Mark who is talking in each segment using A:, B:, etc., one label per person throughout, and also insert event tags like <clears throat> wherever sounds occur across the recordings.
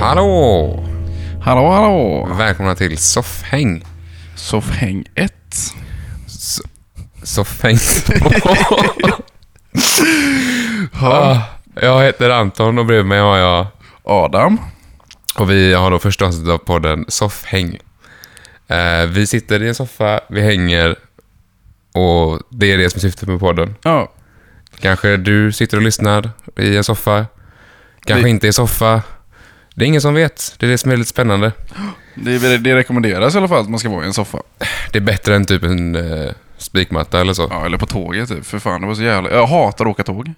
A: Hallå!
B: Hallå, hallå!
A: Välkomna till Soffhäng.
B: Soffhäng 1.
A: S- Soffhäng
B: <laughs> Ja.
A: Ah, Jag heter Anton och bredvid mig har jag...
B: Adam.
A: Och vi har då första avsnittet av podden Soffhäng. Eh, vi sitter i en soffa, vi hänger och det är det som är syftet med podden.
B: Ja,
A: Kanske du sitter och lyssnar i en soffa. Kanske
B: Det-
A: inte i soffa. Det är ingen som vet. Det är det som är lite spännande.
B: det, det rekommenderas i alla fall att man ska vara i en soffa.
A: Det är bättre än typ en eh, spikmatta eller så.
B: Ja, eller på tåget typ. För fan, det var så jävla... Jag hatar att åka tåg.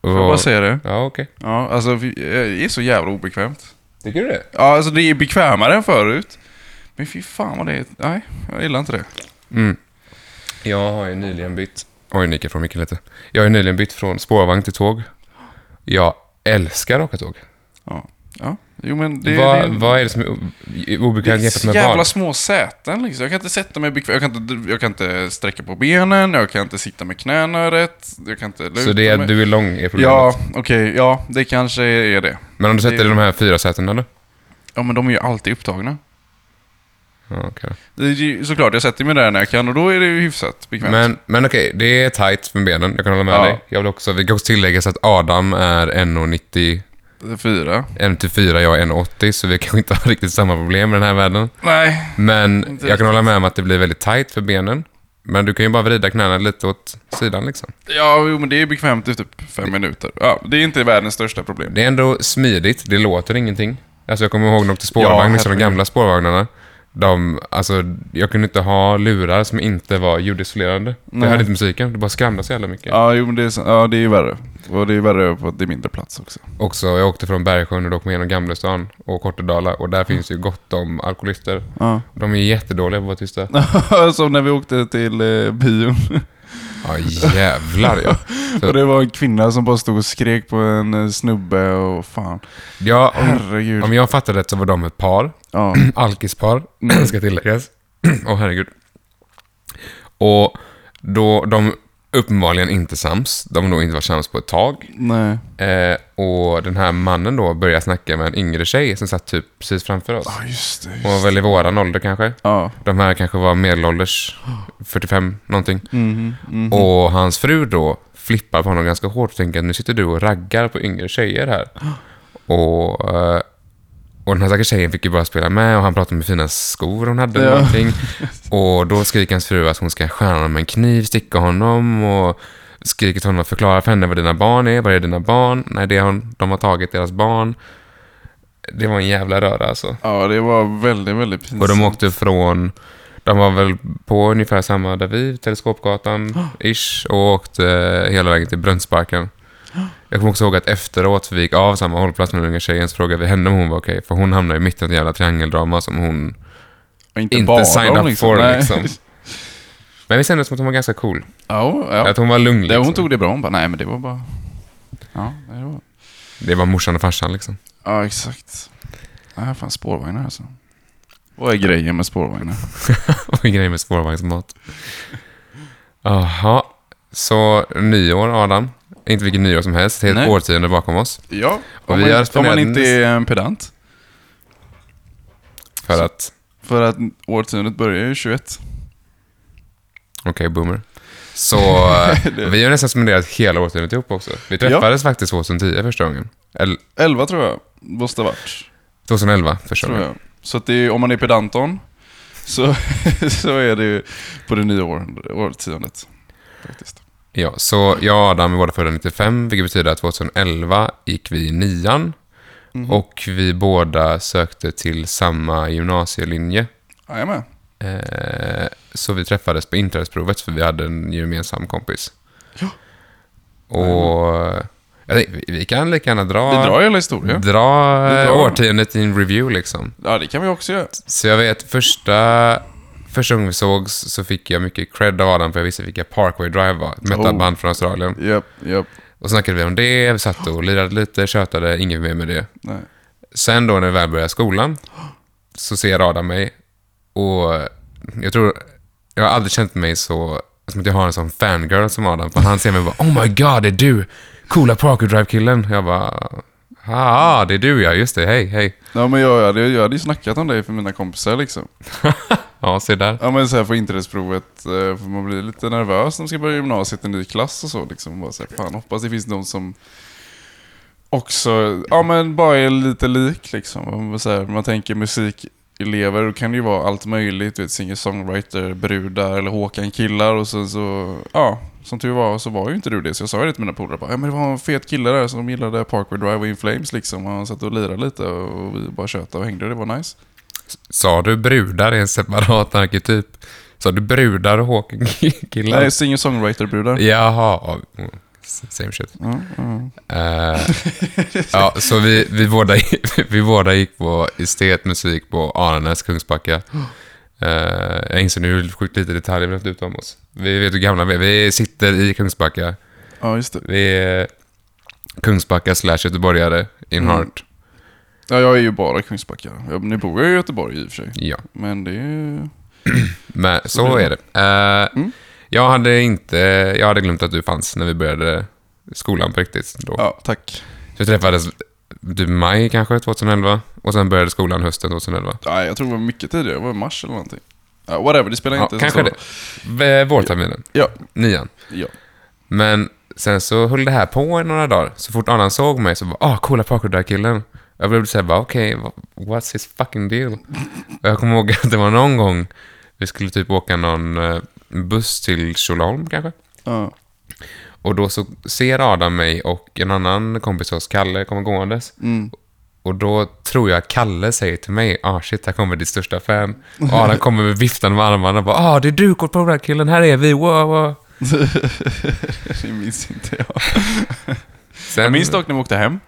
B: Får jag
A: Och-
B: bara säga det?
A: Ja, okej.
B: Ja, alltså det är så jävla obekvämt.
A: Tycker du det?
B: Ja, alltså det är bekvämare än förut. Men fy fan vad det är... Nej, jag gillar inte det.
A: Mm. Jag har ju nyligen bytt... Oj, nickar från micken lite. Jag har ju nyligen bytt från spårvagn till tåg. Jag älskar att åka tåg.
B: Ja. ja. Jo, men det,
A: vad,
B: det,
A: vad är det som är o- i- obekvämt
B: det är
A: jämfört
B: så
A: med
B: jävla
A: vad?
B: små säten liksom. Jag kan inte sätta mig bekvämt. Jag, kan inte- jag kan inte sträcka på benen, jag kan inte sitta med knäna rätt. Jag kan inte luta
A: Så det är
B: mig.
A: att du är lång är problemet?
B: Ja, okej. ja, det kanske är det.
A: Men om du sätter
B: det-
A: dig i de här fyra sätena då?
B: Ja, men de är ju alltid upptagna.
A: Ja, okej.
B: Det är ju, såklart, jag sätter mig där när jag kan och då är det ju hyfsat bekvämt.
A: Men, men okej, det är tight med benen. Jag kan hålla med
B: Ja.
A: dig. Jag vill också, vi kan också tillägga så att Adam är 1,90,
B: Fyra.
A: 1,84, jag är 1,80, så vi kanske inte har riktigt samma problem med den här världen.
B: Nej,
A: Men
B: Inte
A: jag
B: riktigt.
A: kan hålla med om att det blir väldigt tight för benen. Men du kan ju bara vrida knäna lite åt sidan liksom.
B: ja, jo, men det är bekvämt i typ fem minuter. Ja, det är inte världens största problem.
A: Det är ändå smidigt, det låter ingenting. Alltså jag kommer ihåg när jag åkte spårvagn,
B: Ja,
A: liksom de
B: herregud.
A: gamla spårvagnarna. De, alltså, jag kunde inte ha lurar som inte var ljudisolerande. Jag
B: Nej.
A: hörde inte musiken, det bara skramlade så jävla mycket.
B: Ja, jo, men det är, så- ja, det är ju värre. Och det är värre på att det är mindre plats också.
A: Också, jag åkte från Bergsjön och då kom jag igenom Gamlestan och Kortedala och där finns ju gott om alkoholister.
B: Ja.
A: De är jättedåliga på att vara
B: <laughs>
A: tysta.
B: <laughs> Som när vi åkte till eh, bion. <laughs>
A: Ja, jävlar ja.
B: Och det var en kvinna som bara stod och skrek på en eh, snubbe och fan.
A: ja om,
B: Herregud.
A: om jag fattar rätt så var de ett par.
B: Ja.
A: alkispar, ska tilläggas. Åh herregud. Och då, de uppenbarligen inte sams. De har nog inte varit sams på ett tag.
B: Nej.
A: Eh, och den här mannen då börjar snacka med en yngre tjej som satt typ precis framför oss.
B: Ja, just det.
A: Hon var väl i våran ålder kanske.
B: Ja.
A: De här kanske var medelålders, 45 någonting.
B: Mhm. mhm.
A: Och hans fru då flippar på honom ganska hårt och tänker att nu sitter du och raggar på yngre tjejer här. Och, eh, och den här stackars tjejen fick ju bara spela med och han pratade om hur fina skor hon hade eller
B: Ja.
A: någonting. Och då skriker hans fru att hon ska skära honom med en kniv, sticka honom och skriker till honom förklara för henne vad dina barn är, vad är dina barn? Nej, det är hon, de har tagit deras barn. Det var en jävla röra alltså.
B: Ja, det var väldigt, väldigt pinsamt.
A: Och de åkte från, de var väl på ungefär samma där vi,
B: <gasps>
A: Teleskopgatan, ish, och åkte hela vägen till Brunnsparken. Jag kommer också ihåg att efteråt vi gick av samma hållplats med den unga tjejen så frågade vi henne om hon var okej, för hon hamnade i mitten av ett jävla triangeldrama som hon
B: Och
A: inte
B: bara
A: signed
B: dem,
A: up for
B: Nej. <laughs>
A: liksom. Men vi kände som att hon var ganska cool.
B: Ja, ja.
A: Att hon var lugn
B: Det,
A: liksom.
B: hon tog det bra. Hon bara, nej men det var bara... Ja, det var...
A: Det var morsan och farsan liksom. <laughs>
B: Ja, exakt. Nej, fan spårvagnar alltså. Vad är grejen med spårvagnar?
A: Vad är grejen med spårvagnsmat? Jaha, så nyår Adam. Inte vilket nyår som helst, helt
B: Nej.
A: årtionde bakom oss.
B: Ja,
A: Och
B: om,
A: vi har
B: man, om
A: spenderat
B: man inte
A: näst-
B: är en pedant.
A: För att
B: För att årtiondet börjar ju 21.
A: Okej, boomer. Så
B: <laughs>
A: eh, vi har nästan spenderat hela årtiondet ihop också. Vi träffades faktiskt 2010 första gången. Eller
B: 11 tror jag, måste ha varit.
A: 2011 första
B: Tror
A: gången.
B: jag. Så att det är, om man är pedanton så, <laughs> så är det ju på det nya år, årtiondet. Faktiskt.
A: Ja, så jag och Adam är båda födda 95, vilket betyder att 2011 gick vi i nian.
B: Mhm.
A: Och vi båda sökte till samma gymnasielinje.
B: Jajamän.
A: Eh, så vi träffades på inträdesprovet för vi hade en gemensam kompis.
B: Ja.
A: Och... Ja, det- vi- vi kan lika gärna dra...
B: Vi drar hela historien.
A: dra,
B: Vi
A: eh,
B: drar.
A: årtiondet i en review liksom.
B: Ja, det kan vi också göra.
A: Så jag vet, första, första gången vi sågs så fick jag mycket cred av Adam för jag visste vilka Parkway Drive var. Ett metalband från Australien.
B: Japp, japp.
A: Och så snackade vi om det, vi satt och lirade lite, tjötade, inget mer med det.
B: Nej.
A: Sen då när vi väl började skolan så ser Adam mig och jag tror, jag har aldrig känt mig så, som att jag har en sån fangirl som Adam. För han ser mig och bara “Oh my god, det är du! Coola Parkway Drive-killen!” Jag bara Ah, det är du ja, just det. Hej, hej.
B: Ja, men jag, jag, hade- jag hade ju snackat om dig för mina kompisar liksom.
A: Ja, se där.
B: Ja, men så här på inträdesprovet, eh, för man blir lite nervös när man ska börja gymnasiet i en ny klass och så liksom. Bara så här, fan, hoppas det finns någon som också, ja men bara är lite lik liksom. Och man- Så här, man tänker musikelever, då kan det ju vara allt möjligt. Du vet, singer-songwriter, brudar eller Håkan-killar och sen så, ja. Som tur var så var ju inte du det, så jag sa ju det till mina polare. bara, Ja, men det var en fet kille där som gillade Parkway Drive och In Flames liksom. Och han satt och lirade lite och vi bara tjötade och hängde och det var nice.
A: Sa du brudar är en separat arketyp? Sa du brudar och Håkan-killar?
B: Nej, singer-songwriter-brudar.
A: Jaha. ja, mm, s- Same shit.
B: Ja, ja.
A: Eh, ja, så vi, vi, båda, vi båda gick <laughs> på estetmusik på Aranäs, Kungsbacka. Eh, jag inser nu hur sjukt lite detaljer vi har haft ut om oss. Vi vet hur gamla vi är. Vi sitter i Kungsbacka.
B: ja, just det.
A: Vi är Kungsbacka slash göteborgare in
B: Mm.
A: heart.
B: Ja, jag är ju bara Kungsbacka. Jag, nu bor jag i Göteborg i och för sig.
A: Ja,
B: Men det är ju...
A: men så,
B: Så blir
A: är det. Eh,
B: Mm.
A: Jag hade inte... Jag hade glömt att du fanns när vi började skolan på riktigt. Då.
B: Ja, tack.
A: Så vi träffades du maj kanske 2011 och sen började skolan hösten 2011.
B: Nej, jag tror det var mycket tidigare. Det var i mars eller någonting. Ja, whatever, det spelar
A: Ja,
B: inte så
A: kanske
B: stor
A: det.
B: roll.
A: V- Vårterminen,
B: Ja,
A: nian.
B: ja.
A: Men sen så höll det här på i några dagar. Så fort Annan såg mig så bara ah, coola parkour-killen. Jag blev såhär bara okej, wha- what's his fucking deal? Och jag kommer ihåg <laughs> att det var någon gång vi skulle typ åka någon eh, buss till Tjolöholm kanske.
B: ja.
A: Och då så ser Adam mig och en annan kompis till oss, Kalle, kommer gåendes.
B: Mm. <laughs>
A: Och då tror jag Kalle säger till mig, ah shit, här kommer ditt största fan.
B: <laughs>
A: Och Adam kommer med viftande med armarna och bara, ah det är du, kort på killen, här är vi, wow, wow.
B: det minns inte jag.
A: Sen,
B: Jag minns dock när vi åkte hem.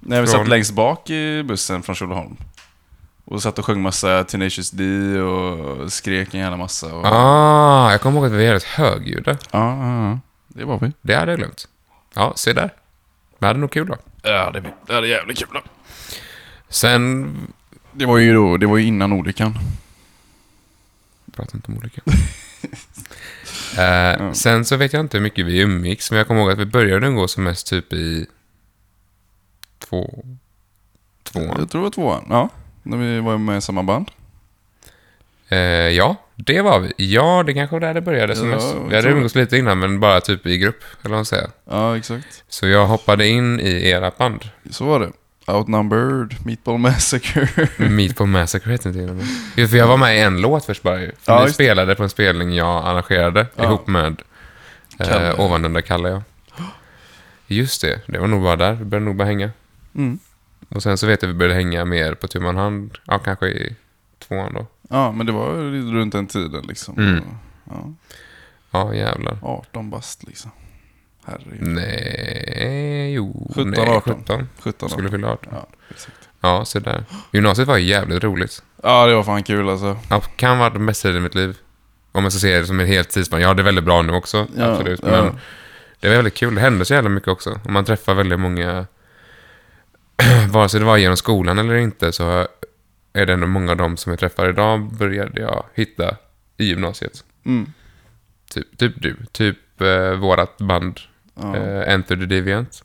B: När vi
A: Från-
B: satt längst bak i bussen från Tjolöholm. Och satt och sjöng massa Tenacious D och skrek en jävla massa. Och...
A: Ah, jag kommer ihåg att vi var rätt högljudda.
B: Ja, ja, ja. Det var vi.
A: Det hade jag glömt. Ja, se där. Vi hade nog kul då.
B: Ja, det, var- det är jävligt kul. då.
A: Sen...
B: Det var ju då, det var ju innan olyckan.
A: Prata inte om olika. <laughs> Eh, Sen så vet jag inte hur mycket vi umgicks, men jag kommer ihåg att vi började umgås som mest typ i... Två... Tvåan.
B: Jag tror det var tvåan, ja. När vi var med i samma band.
A: Eh, ja, det var vi. Ja, det kanske var där det började som
B: Ja,
A: mest.
B: jag
A: Vi hade
B: tror det.
A: umgås lite innan, men bara typ i grupp, eller vad man säger.
B: Ja, exakt.
A: Så jag hoppade in i era band.
B: Så var det. Outnumbered, Meatball Massacre. <laughs>
A: Meat på Massacre heter inte innan. Just för jag var med i en låt först bara ju.
B: Ja,
A: För ni
B: just det.
A: spelade på en spelning jag arrangerade
B: Ja.
A: ihop med
B: Kalle.
A: eh, Ovanunda-Kalle. Ja. Just det, det var nog bara där. Vi började nog bara hänga.
B: Mm.
A: Och sen så vet jag att vi började hänga mer på tu man hand. Ja, kanske i tvåan då.
B: Ja, men det var runt den tiden liksom.
A: Mm.
B: Ja,
A: Ja, jävlar.
B: 18 bast liksom. Herregud.
A: Nej, jo.
B: 17,
A: nej,
B: 18.
A: 17.
B: 17
A: Skulle
B: år.
A: fylla 18.
B: Ja, exakt.
A: Ja, så där. Gymnasiet var jävligt roligt.
B: Ja, det var fan kul alltså.
A: Ja, kan vara den bästa tiden i mitt liv. Om jag ska se det som en helt tidsplan. Jag har det väldigt bra nu också.
B: Ja,
A: absolut.
B: ja.
A: Men Det var väldigt kul. Det hände så jävla mycket också. Och man träffar väldigt många... <clears throat> Vare sig det var genom skolan eller inte så är det ändå många av dem som jag träffar idag började jag hitta i gymnasiet.
B: Mm.
A: Typ, typ du. Typ eh, vårat band
B: Ja.
A: eh, Enter the Deviant.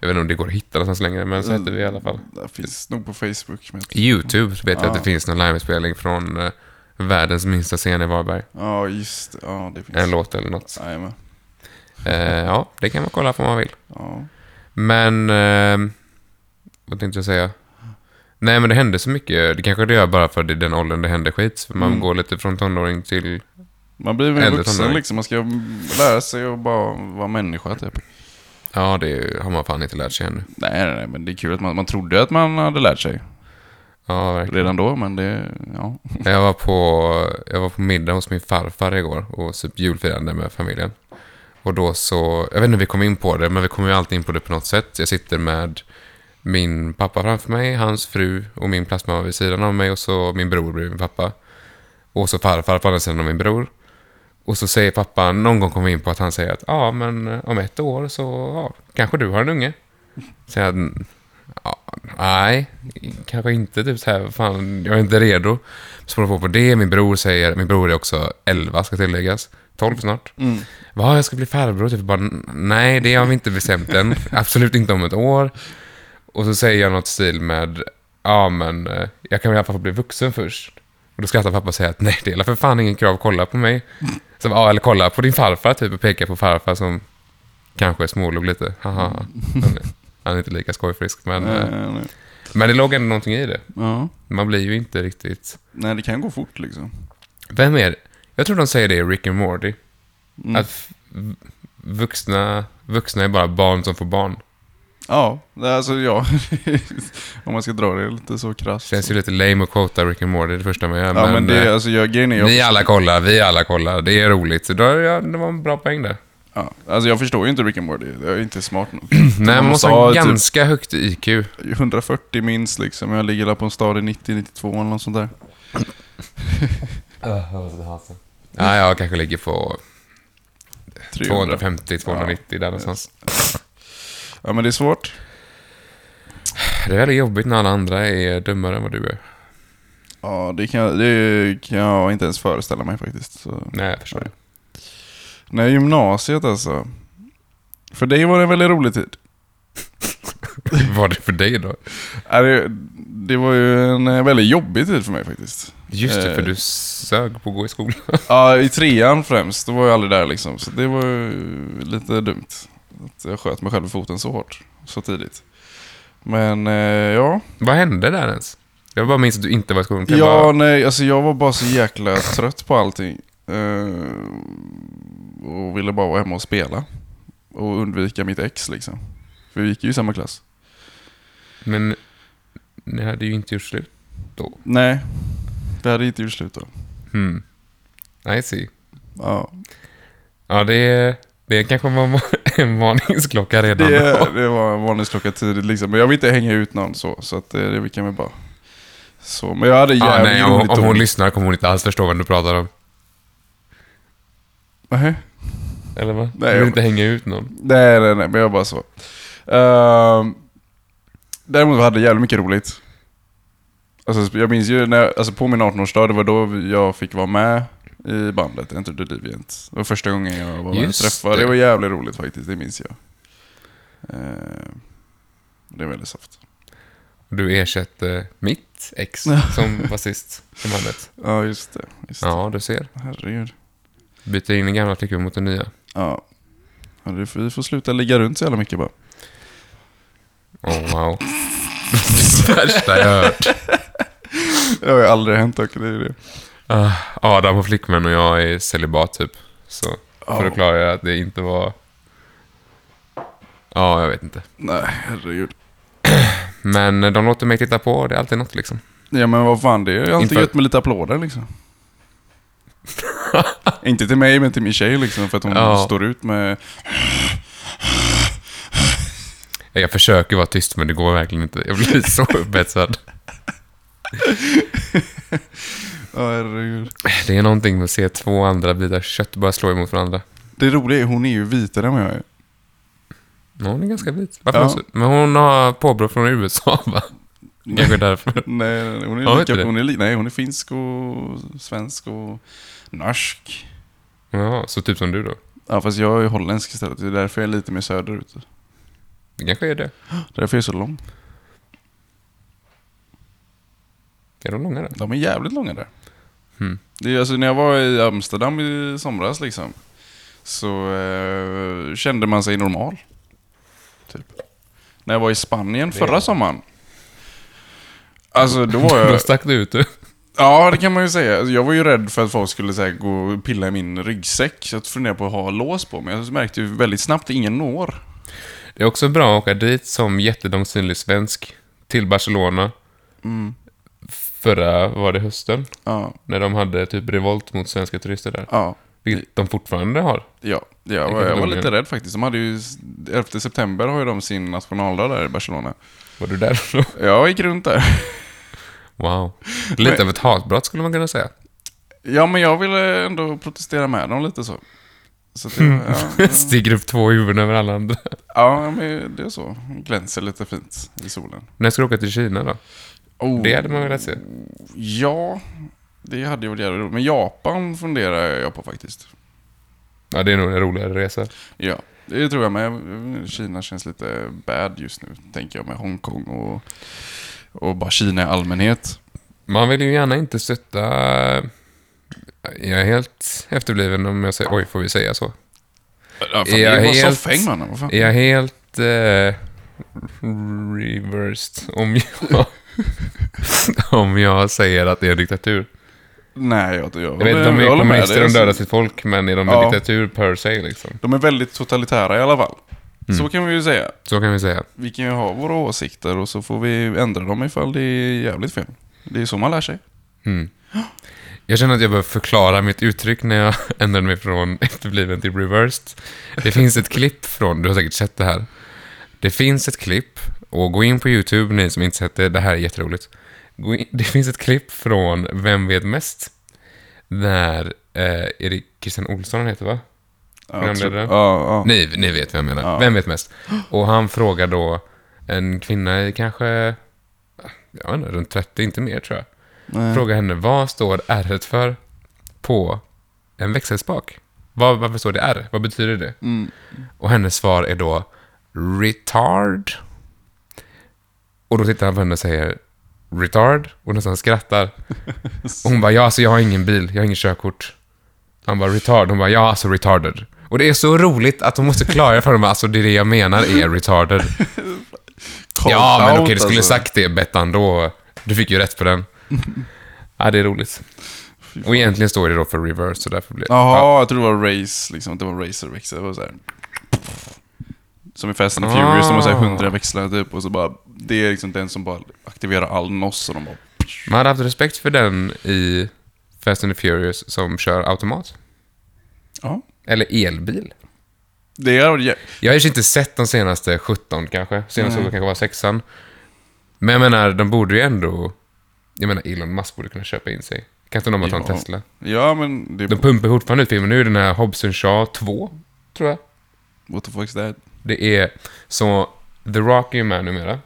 A: Jag vet inte om det går att hitta någonstans längre, men så
B: Mm.
A: heter vi i alla fall.
B: Det finns nog på Facebook. Men...
A: YouTube vet jag att
B: Ja.
A: det finns någon livespelning från eh, världens minsta scen i Varberg.
B: Ja, just det. Ja, det finns.
A: En låt eller något.
B: Jajamän.
A: Eh, ja, det kan man kolla på om man vill.
B: Ja.
A: Men... Eh, vad tänkte jag säga? Nej, men det hände så mycket. Det kanske det gör bara för att det är den åldern det händer skit. För man
B: Mm.
A: går lite från tonåring till...
B: Man blir väl
A: Äldre
B: vuxen
A: tonåring.
B: liksom. Man ska lära sig att bara vara människa typ.
A: Ja, det har man fan inte lärt sig ännu.
B: Nej, nej, nej, men det är kul att man, man trodde att man hade lärt sig
A: Ja, verkligen.
B: redan då, men det, ja.
A: Jag var, på, jag var på middag hos min farfar igår och typ julfirande med familjen. Och då så, jag vet inte hur vi kom in på det, men vi kommer ju alltid in på det på något sätt. Jag sitter med min pappa framför mig, hans fru och min plastmamma vid sidan av mig och så min bror bredvid min pappa. Och så farfar på andra sidan och min bror. Och så säger pappa, någon gång kommer vi in på att han säger att ja, men om ett år så ja, kanske du har en unge. Så jag, ja, nej, kanske inte typ så här, fan, jag är inte redo. Så håller jag på på det, min bror säger, min bror är också 11 ska tilläggas, 12 snart.
B: Mm. <laughs>
A: Vad, jag ska bli farbror? Typ bara, nej, det har vi inte bestämt än. Absolut inte om ett år. Och så säger jag något i stil med, ja men eh, jag kan väl i alla fall få bli vuxen först. Och då skrattar pappa och säger att nej, det är för fan ingen krav, kolla på mig. Så, ja, eller kolla på din farfar typ och pekar på farfar som kanske smålog lite. Haha. Han, är- han är inte lika skojfrisk. Men, eh,
B: Mm. Nej, nej.
A: men det låg ändå någonting i det.
B: Ja.
A: Man blir ju inte riktigt...
B: Nej, det kan gå fort liksom.
A: Vem är det? Jag tror de säger det i Rick and Morty.
B: Mm.
A: Att f- v- vuxna, vuxna är bara barn som får barn.
B: Ja, det är alltså ja. <laughs> Om man ska dra det lite så krasst.
A: Känns ju lite lame att quota Rick and Morty det första man gör.
B: ja, men, det är
A: eh,
B: alltså jag, grejen är jag,
A: Ni alla kollar, vi alla kollar. Det är roligt. Så då, är jag- det var en bra poäng
B: <clears throat>
A: där.
B: ja, alltså jag förstår ju inte Rick and Morty. Jag är inte smart nog. <clears throat>
A: Nej, man måste
B: måste
A: ha
B: ha typ- Mm.
A: ganska högt IQ.
B: 140 minst liksom. Jag ligger där på en stad i 90-92 eller något sånt där.
A: Ja, jag kanske ligger på
B: 300.
A: 250-290 där någonstans.
B: Ja, men det är svårt.
A: Det är väldigt jobbigt när alla andra är dummare än vad du är.
B: Ja, det kan, det kan jag inte ens föreställa mig faktiskt. Så.
A: Nej, jag
B: <laughs>
A: förstår.
B: Nej, gymnasiet alltså. För dig var det en väldigt rolig tid.
A: Vad var det för dig då?
B: Ja, Det, det var ju en eh, väldigt jobbig tid för mig faktiskt.
A: Just det, för
B: Eh.
A: du sög på att gå i skolan.
B: Ja, i trean främst. Då var jag aldrig där liksom. Så det var ju lite dumt. Att jag sköt mig själv i foten så hårt. Så tidigt. Men eh, ja.
A: Vad hände där ens? Jag bara minns att du inte var i skolan. Kan
B: Ja,
A: bara-
B: nej. Alltså jag var bara så jäkla trött på allting. Eh, och ville bara vara hemma och spela. Och undvika mitt ex liksom. För vi gick ju i samma klass.
A: Men ni hade ju inte gjort slut.
B: Nej. Det hade inte gjort slut då.
A: Hmm. I see.
B: Ja.
A: Ja, det, är- det kanske var en- <laughs> en varningsklocka redan
B: Det,
A: då.
B: det var en varningsklocka tidigt liksom. Men jag vill inte hänga ut någon så. Så att eh, det kan vi bara... Så, men jag hade
A: Ja,
B: jävligt
A: nej, om,
B: roligt
A: om
B: då.
A: hon lyssnar kommer hon inte alls förstå vad du pratar om.
B: Nej,
A: Eller vad?
B: Nej,
A: du vill
B: jag-
A: inte hänga ut någon.
B: nej, nej, nej, men jag bara så. Ehm, däremot hade jag jävligt mycket roligt. Alltså, jag minns ju när jag, alltså på min 18-årsdag, det var då jag fick vara med i bandet Enter the Deviant. Det var första gången jag var med och
A: Just
B: träffade. Det.
A: det.
B: var jävligt roligt faktiskt, det minns jag. Ehm, det är väldigt soft.
A: Du ersätter mitt ex som basist i bandet.
B: Ja, just det. Just det.
A: Ja, du ser.
B: Herregud.
A: Byter in den gamla flickvän mot den nya.
B: Ja. ja det, vi får sluta ligga runt så jävla mycket bara.
A: Oh, wow. <laughs> det värsta jag hört.
B: Det har ju aldrig hänt dock. Det är ju det.
A: Ah, Adam och flickvän och jag är celibat typ. Så. För att
B: Ja.
A: klara att det inte var... Ja, jag vet inte.
B: Nej, herregud.
A: Men de låter mig titta på, det är alltid något liksom.
B: Ja men vad fan, det är ju alltid
A: Inför-
B: gött med lite
A: <laughs>
B: applåder liksom. Inte till mig, men till min tjej liksom. För att hon
A: Ja.
B: står ut med...
A: Jag försöker vara tyst, men det går verkligen inte. Jag blir <laughs> så upphetsad.
B: Ja, herregud.
A: Det är någonting med att se två andra bitar kött bara slå emot varandra.
B: Det roliga är, hon är ju vitare än vad jag är.
A: Ja, Hon är ganska vit. Varför
B: Ja.
A: också? Men hon har påbrå från USA, <laughs> va? Kanske därför. <laughs>
B: Nej, nej, nej, hon
A: Har
B: är,
A: du inte
B: lika,
A: det?
B: hon är, li- nej, hon är finsk och svensk och norsk.
A: Ja, så typ som du då.
B: Ja, fast jag är holländsk istället. Det är därför jag är lite mer söderut.
A: Det kanske är det.
B: Därför är jag så lång.
A: Är de långa där?
B: De är jävligt långa där.
A: Mm.
B: Det är alltså när jag var i Amsterdam i somras liksom. Så eh, kände man sig normal. Typ. När jag var i Spanien förra sommaren. Alltså då var
A: Då
B: jag...
A: stack du ut du.
B: Ja, det kan man ju säga. Alltså, Jag var ju rädd för att folk skulle så här, gå och pilla i min ryggsäck. Så jag funderade på att ha lås på mig. Jag märkte ju väldigt snabbt att ingen når.
A: Det är också bra att åka dit som jättelång synlig svensk till Barcelona
B: Mm.
A: förra, var det hösten?
B: Ja,
A: När de hade typ revolt mot svenska turister där.
B: ja.
A: Vilket de fortfarande har.
B: Ja, jag
A: kan
B: var, jag var
A: lugna
B: lite rädd faktiskt. De hade ju, 11 september har ju de sin nationaldag där i Barcelona.
A: Var du där <laughs> då?
B: Jag gick runt där.
A: Wow. Lite av ett hatbrott skulle man kunna säga.
B: Ja, men jag ville ändå protestera med dem lite så. Så att det,
A: <laughs>
B: ja,
A: Sticker upp två huvuden över alla andra.
B: ja, men det är så. Glänser lite fint i solen.
A: När ska du åka till Kina då?
B: Oh,
A: Det hade man velat se.
B: Ja, det hade ju varit jävligt roligt. Men Japan funderar jag på faktiskt.
A: Ja, det är nog en roligare resa.
B: Ja. Det tror jag med. Kina känns lite bad just nu, tänker jag, med Hongkong och, och bara Kina i allmänhet.
A: Man vill ju gärna inte stötta... Jag är helt efterbliven om jag säger... Oj, får vi säga så?
B: Ja, fan,
A: Är jag
B: det var
A: helt-
B: så fäng mannen, vad fan.
A: Är jag helt... Eh, reversed om jag... <laughs> om jag säger att det är en diktatur.
B: Nej, jag, jag, jag,
A: Jag vet inte om
B: jag
A: det är
B: håller med
A: kommunister,
B: dig.
A: de dödar sitt folk, men är de en
B: Ja.
A: diktatur per se liksom?
B: De är väldigt totalitära i alla fall. Så
A: Mm.
B: kan vi ju säga.
A: Så kan vi säga.
B: Vi kan ju ha våra åsikter och så får vi ändra dem ifall det är jävligt fel. Det är så man lär sig.
A: Mm. Jag känner att jag behöver förklara mitt uttryck när jag <laughs> ändrade mig från efterbliven till reversed. Det finns ett klipp från, du har säkert sett det här. Det finns ett klipp, och gå in på YouTube ni som inte sett det, det här är jätteroligt. Gå in, <laughs> det finns ett klipp från Vem vet mest? Där, eh, Erik Christian Olsson han heter va?
B: Ja,
A: Programledare?
B: tror- ja, ja.
A: Ni, ni vet vem jag menar.
B: Ja.
A: Vem vet mest? Och han frågar då en kvinna i kanske, jag vet inte, runt 30, inte mer tror jag.
B: Nej.
A: Fråga henne, vad står R för på en växelspak? Vad, varför står det R? Vad betyder det?
B: Mm.
A: Och hennes svar är då retard. Och då tittar han på henne och säger retard och nästan
B: <laughs>
A: skrattar. Och hon bara, ja alltså jag har ingen bil, jag har ingen körkort. Han bara retard, hon bara, ja alltså retarded. Och det är så roligt att hon måste klara för dem, alltså det är det jag menar är
B: <laughs>
A: retarded.
B: Call
A: ja men
B: out,
A: okej, du skulle
B: alltså.
A: sagt det Bettan då. Du fick ju rätt på
B: <laughs>
A: den. ja, det är roligt.
B: Fy fan.
A: Och egentligen står det då för reverse, så därför blir det... Ja.
B: Jaha, jag tror det var race, liksom. att Det var racerväxel. Det var så här. Som i Fast and the Furious, de har så här
A: Ah.
B: 100 växlar typ. Och så bara, det är liksom den som bara aktiverar all NOS och de bara...
A: Man hade haft respekt för den i Fast and the Furious som kör automat.
B: Ja.
A: Eller elbil.
B: Det är... ja,
A: Jag har ju inte sett de senaste 17 kanske. Senaste
B: Nej.
A: såg kanske var sexan. Men jag menar, de borde ju ändå... Jag menar, Elon Musk borde kunna köpa in sig. Kan inte de bara ta en
B: Ja.
A: Tesla?
B: Ja, men det...
A: De pumpar fortfarande ut filmen. Nu är den här Hobson Shaw 2, tror jag.
B: What the fuck is that?
A: Det är så... The Rock är ju med numera.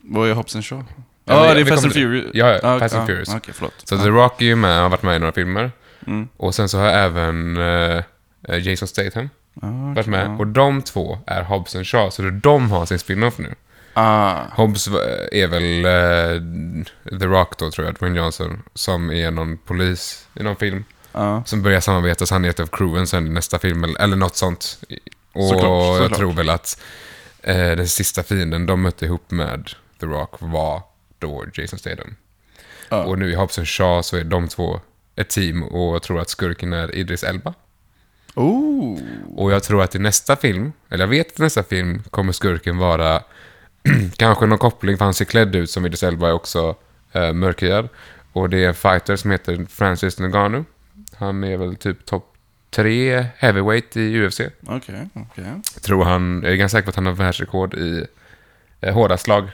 B: Vad är Hobbs and Shaw?
A: Ja,
B: Ja,
A: vi-
B: det är
A: vi
B: Fast
A: kommer
B: and
A: till-
B: Furious.
A: Ja, ja,
B: Ah,
A: Fast and
B: ah,
A: Furious.
B: Okej, förlåt.
A: Så The Rock är ju med, han har varit med i några filmer.
B: Mm.
A: Och sen så har även eh, Jason Statham
B: Ah,
A: varit
B: okej,
A: med.
B: ja.
A: Och de två är Hobbs and Shaw, så det är de har sin spin-off nu.
B: Ah,
A: Hobbs eh, är väl eh, The Rock då, tror jag, Dwayne Johnson, som är någon polis i någon film.
B: ah.
A: Som börjar samarbeta, så han är ett av crewen sen i nästa film, eller, eller något sånt. Och
B: Såklart,
A: jag
B: såklart.
A: tror väl att eh, den sista fienden de mötte ihop med The Rock var då Jason Statham.
B: Ja.
A: Och nu i Hobbs and Shaw så är de två ett team och jag tror att skurken är Idris Elba.
B: Oh!
A: Och jag tror att i nästa film, eller jag vet att i nästa film kommer skurken vara <clears throat> kanske någon koppling, för han ser klädd ut som Idris Elba är också eh, mörkhyad. Och det är en fighter som heter Francis Ngannou. Han är väl typ topp tre heavyweight i UFC.
B: Okej, okej.
A: Jag tror han, jag är ganska säker på att han har världsrekord i eh, hårda slag.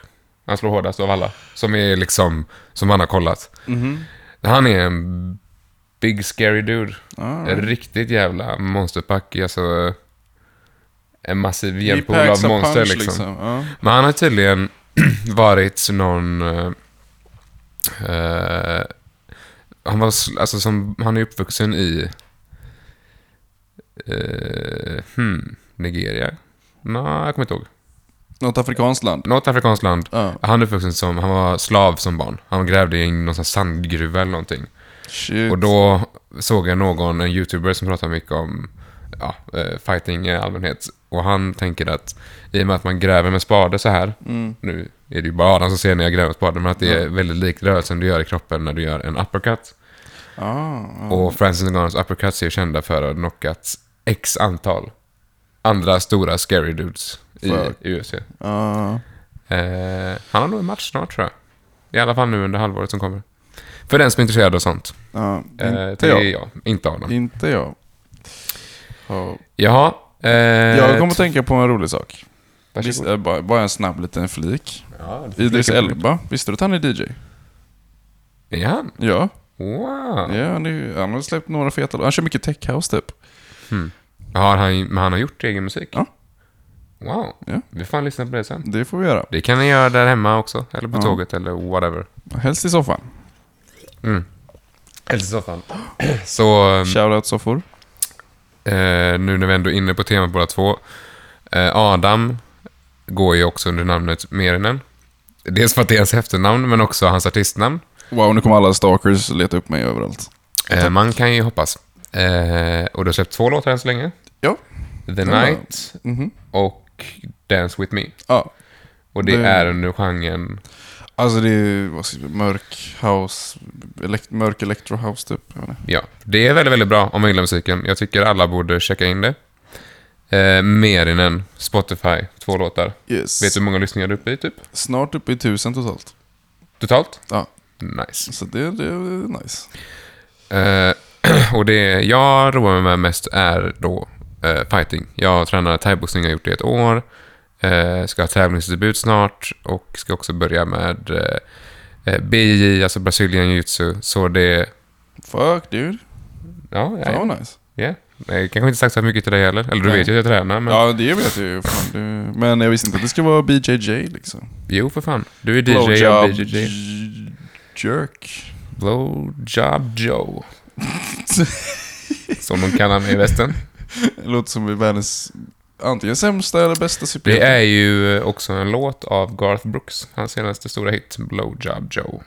A: Han slår hårdast av alla, som är liksom, som han har kollat.
B: Mhm.
A: Han är en big scary dude.
B: Ah,
A: En riktigt jävla monsterpack. Alltså, en massiv
B: He
A: hjälppool
B: packs
A: av
B: a
A: monster
B: punch,
A: liksom.
B: Ja.
A: Men han har tydligen <clears throat> varit någon... eh, eh, han var s- alltså som, han är uppvuxen i... eh, hmm, Nigeria? Nej, jag kommer inte ihåg.
B: Något afrikanskt land? Ah,
A: Något afrikanskt land.
B: Ja.
A: Han är uppvuxen som, han var slav som barn. Han grävde i någon sån här sandgruva eller någonting.
B: Shit.
A: Och då såg jag någon, en youtuber som pratar mycket om ja, eh, fighting i allmänhet. Och han tänker att i och med att man gräver med spade så här,
B: Mm.
A: nu är det ju bara Adam som ser när jag gräver med spaden, men att det är väldigt likt rörelsen du gör i kroppen när du gör en uppercut.
B: Ah, ah.
A: Och Francis Ngannous uppercuts är ju kända för att ha knockat x antal andra stora scary dudes i
B: Fuck.
A: UFC.
B: Ah.
A: Eh, han har nog en match snart tror jag. I alla fall nu under halvåret som kommer. För den som är intresserad av sånt.
B: Ja,
A: Eh,
B: ah. inte
A: det är
B: jag.
A: jag, inte Adam.
B: Inte jag. Ja.
A: Jaha. Eh,
B: Jag kommer att tänka på en rolig sak. Visst,
A: Varsågod.
B: eh, bara, bara en snabb liten flik.
A: Ja, det får
B: Idris
A: flika på.
B: Elba, visste du att han är DJ?
A: Är han?
B: Ja,
A: Wow.
B: ja han, är, han har släppt några feta Han kör mycket tech house typ.
A: Har han, men han har gjort egen musik?
B: Ja.
A: Wow.
B: Ja.
A: Vi får fan lyssna på det sen.
B: Det får vi göra.
A: Det kan ni göra där hemma också, eller på
B: Ja.
A: tåget eller whatever.
B: Helst i soffan.
A: Eller i soffan. <clears throat> Så, um,
B: Shoutout soffor.
A: eh, nu när vi ändå är inne på temat båda två. Eh, Adam går ju också under namnet Merinen. Dels för att det är hans efternamn, men också hans artistnamn.
B: Wow, nu kommer alla stalkers leta upp mig överallt.
A: Eh, man kan ju hoppas. Eh, och du har släppt två låtar än så länge.
B: Ja.
A: The
B: var-
A: Night
B: Mhm.
A: och Dance With Me.
B: Ja.
A: Och det
B: Det-
A: är under genren...
B: Alltså det är vad ska jag säga, mörk house, elekt, mörk electro house typ. Jag vet inte.
A: Ja, det är väldigt, väldigt bra om man gillar musiken. Jag tycker alla borde checka in det. Eh, Merinen, Spotify, två låtar.
B: Yes.
A: Vet du hur många lyssningar du är uppe i, typ?
B: Snart uppe i tusen totalt.
A: Totalt?
B: Ja.
A: Nice.
B: Så det, det är nice.
A: Eh, <clears throat> och det jag roar mig med mest är då eh, fighting. Jag tränar thaiboxning, jag har gjort det i ett år. Eh, ska ha tävlingsdebut snart och ska också börja med eh, eh, BJJ, alltså Brazilian jiu-jitsu. Så det...
B: Fuck dude.
A: Ja,
B: Fan
A: nej,
B: vad nice.
A: yeah. nej, kanske inte sagt så här mycket till dig heller. Eller du
B: Nej.
A: vet ju att jag tränar, men...
B: Ja det vet jag ju. Fan, du... Men jag visste inte att det skulle vara BJJ liksom.
A: Jo, för fan. Du är DJ och
B: Blowjob
A: BJJ.
B: j- jerk.
A: Blowjob
B: <laughs>
A: Joe. Som de kallar mig i västen.
B: Det låter som världens antingen sämsta eller bästa superhjälte.
A: Det är ju eh, också en låt av Garth Brooks. Hans senaste stora hit, Blowjob Joe.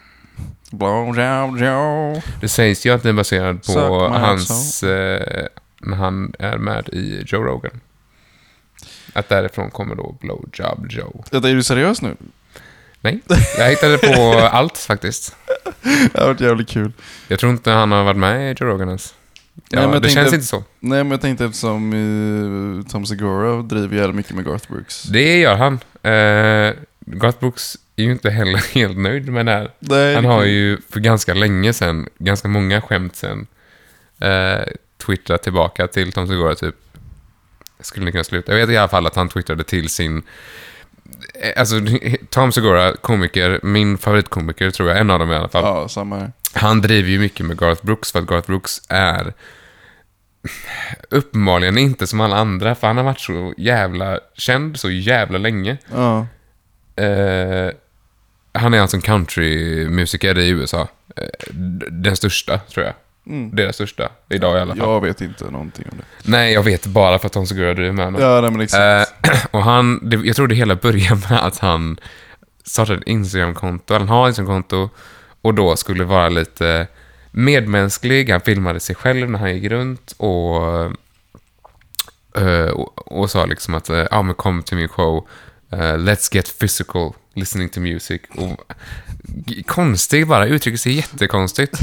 B: Blowjob Joe.
A: Det sägs ju att den är baserad
B: Suck
A: på
B: my
A: hans... Eh, när han är med i Joe Rogan. Att därifrån kommer då Blowjob Joe.
B: Vänta, Är du
A: <laughs>
B: seriös nu?
A: Nej, jag hittade
B: <laughs>
A: på allt faktiskt.
B: Det har varit jävligt kul.
A: Jag tror inte han har varit med i Joe Rogan ens. Ja,
B: Nej, men jag
A: det
B: tänkte-
A: känns inte så.
B: Nej men jag tänkte eftersom eh, Tom Segura driver jävligt mycket med Garth Brooks.
A: Det gör han. Eh, Garth Brooks är ju inte heller <laughs> helt nöjd med det här.
B: Nej,
A: Han
B: det-
A: har ju för ganska länge sedan, ganska många skämt sen, eh, twittrat tillbaka till Tom Segura typ. Skulle ni kunna sluta? Jag vet i alla fall att han twittrade till sin... eh, Alltså, <laughs> Tom Segura, komiker, min favoritkomiker tror jag, en av dem i alla fall.
B: Ja, samma här.
A: Han driver ju mycket med Garth Brooks för att Garth Brooks är <laughs> uppenbarligen inte som alla andra, för han har varit så jävla känd så jävla länge.
B: Ja.
A: Eh, han är alltså en countrymusiker i USA. Eh, d- den största, tror jag.
B: Mm.
A: Deras största, idag i alla fall.
B: Jag vet inte någonting om det.
A: Nej, jag vet bara för att Tom Segura driver med honom.
B: Ja, nej men liksom exakt.
A: Eh, <clears throat> och han, det, jag tror det hela började med att han startade ett Instagram-konto, eller han har ett Instagram-konto, och då skulle vara lite medmänsklig. Han filmade sig själv när han gick runt och, eh, och, och sa liksom att eh, ja men kom till min show, eh, let's get physical, listening to music. Och, g- konstig bara, uttrycker sig jättekonstigt.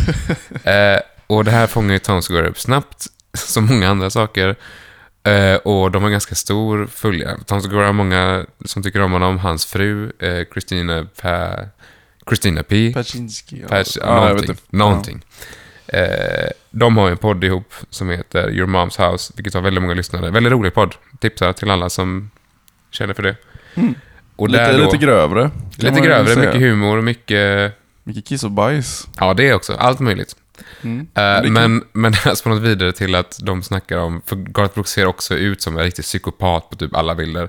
A: Eh, och det här fångar ju Tom Segura upp snabbt, <laughs> som många andra saker. Eh, och de har ganska stor följare. Tom Segura har många som tycker om honom. Hans fru, eh, Christina, pa, Christina P.
B: Paczynski.
A: Patch,
B: ja, jag vet
A: någonting.
B: inte.
A: någonting. Eh, de har ju en podd ihop som heter Your Mom's House, vilket har väldigt många lyssnare. Väldigt rolig podd. Tipsar till alla som känner för det. Och
B: Mm. Lite,
A: där då,
B: lite grövre. kan man
A: lite
B: ju
A: grövre,
B: säga.
A: mycket humor, mycket...
B: Mycket kiss och bajs.
A: Ja, det också. Allt möjligt.
B: Mm.
A: Eh,
B: Vilket-
A: men men <laughs> det här spånat vidare till att de snackar om, för Garth Brooks ser också ut som en riktig psykopat på typ alla <laughs> bilder.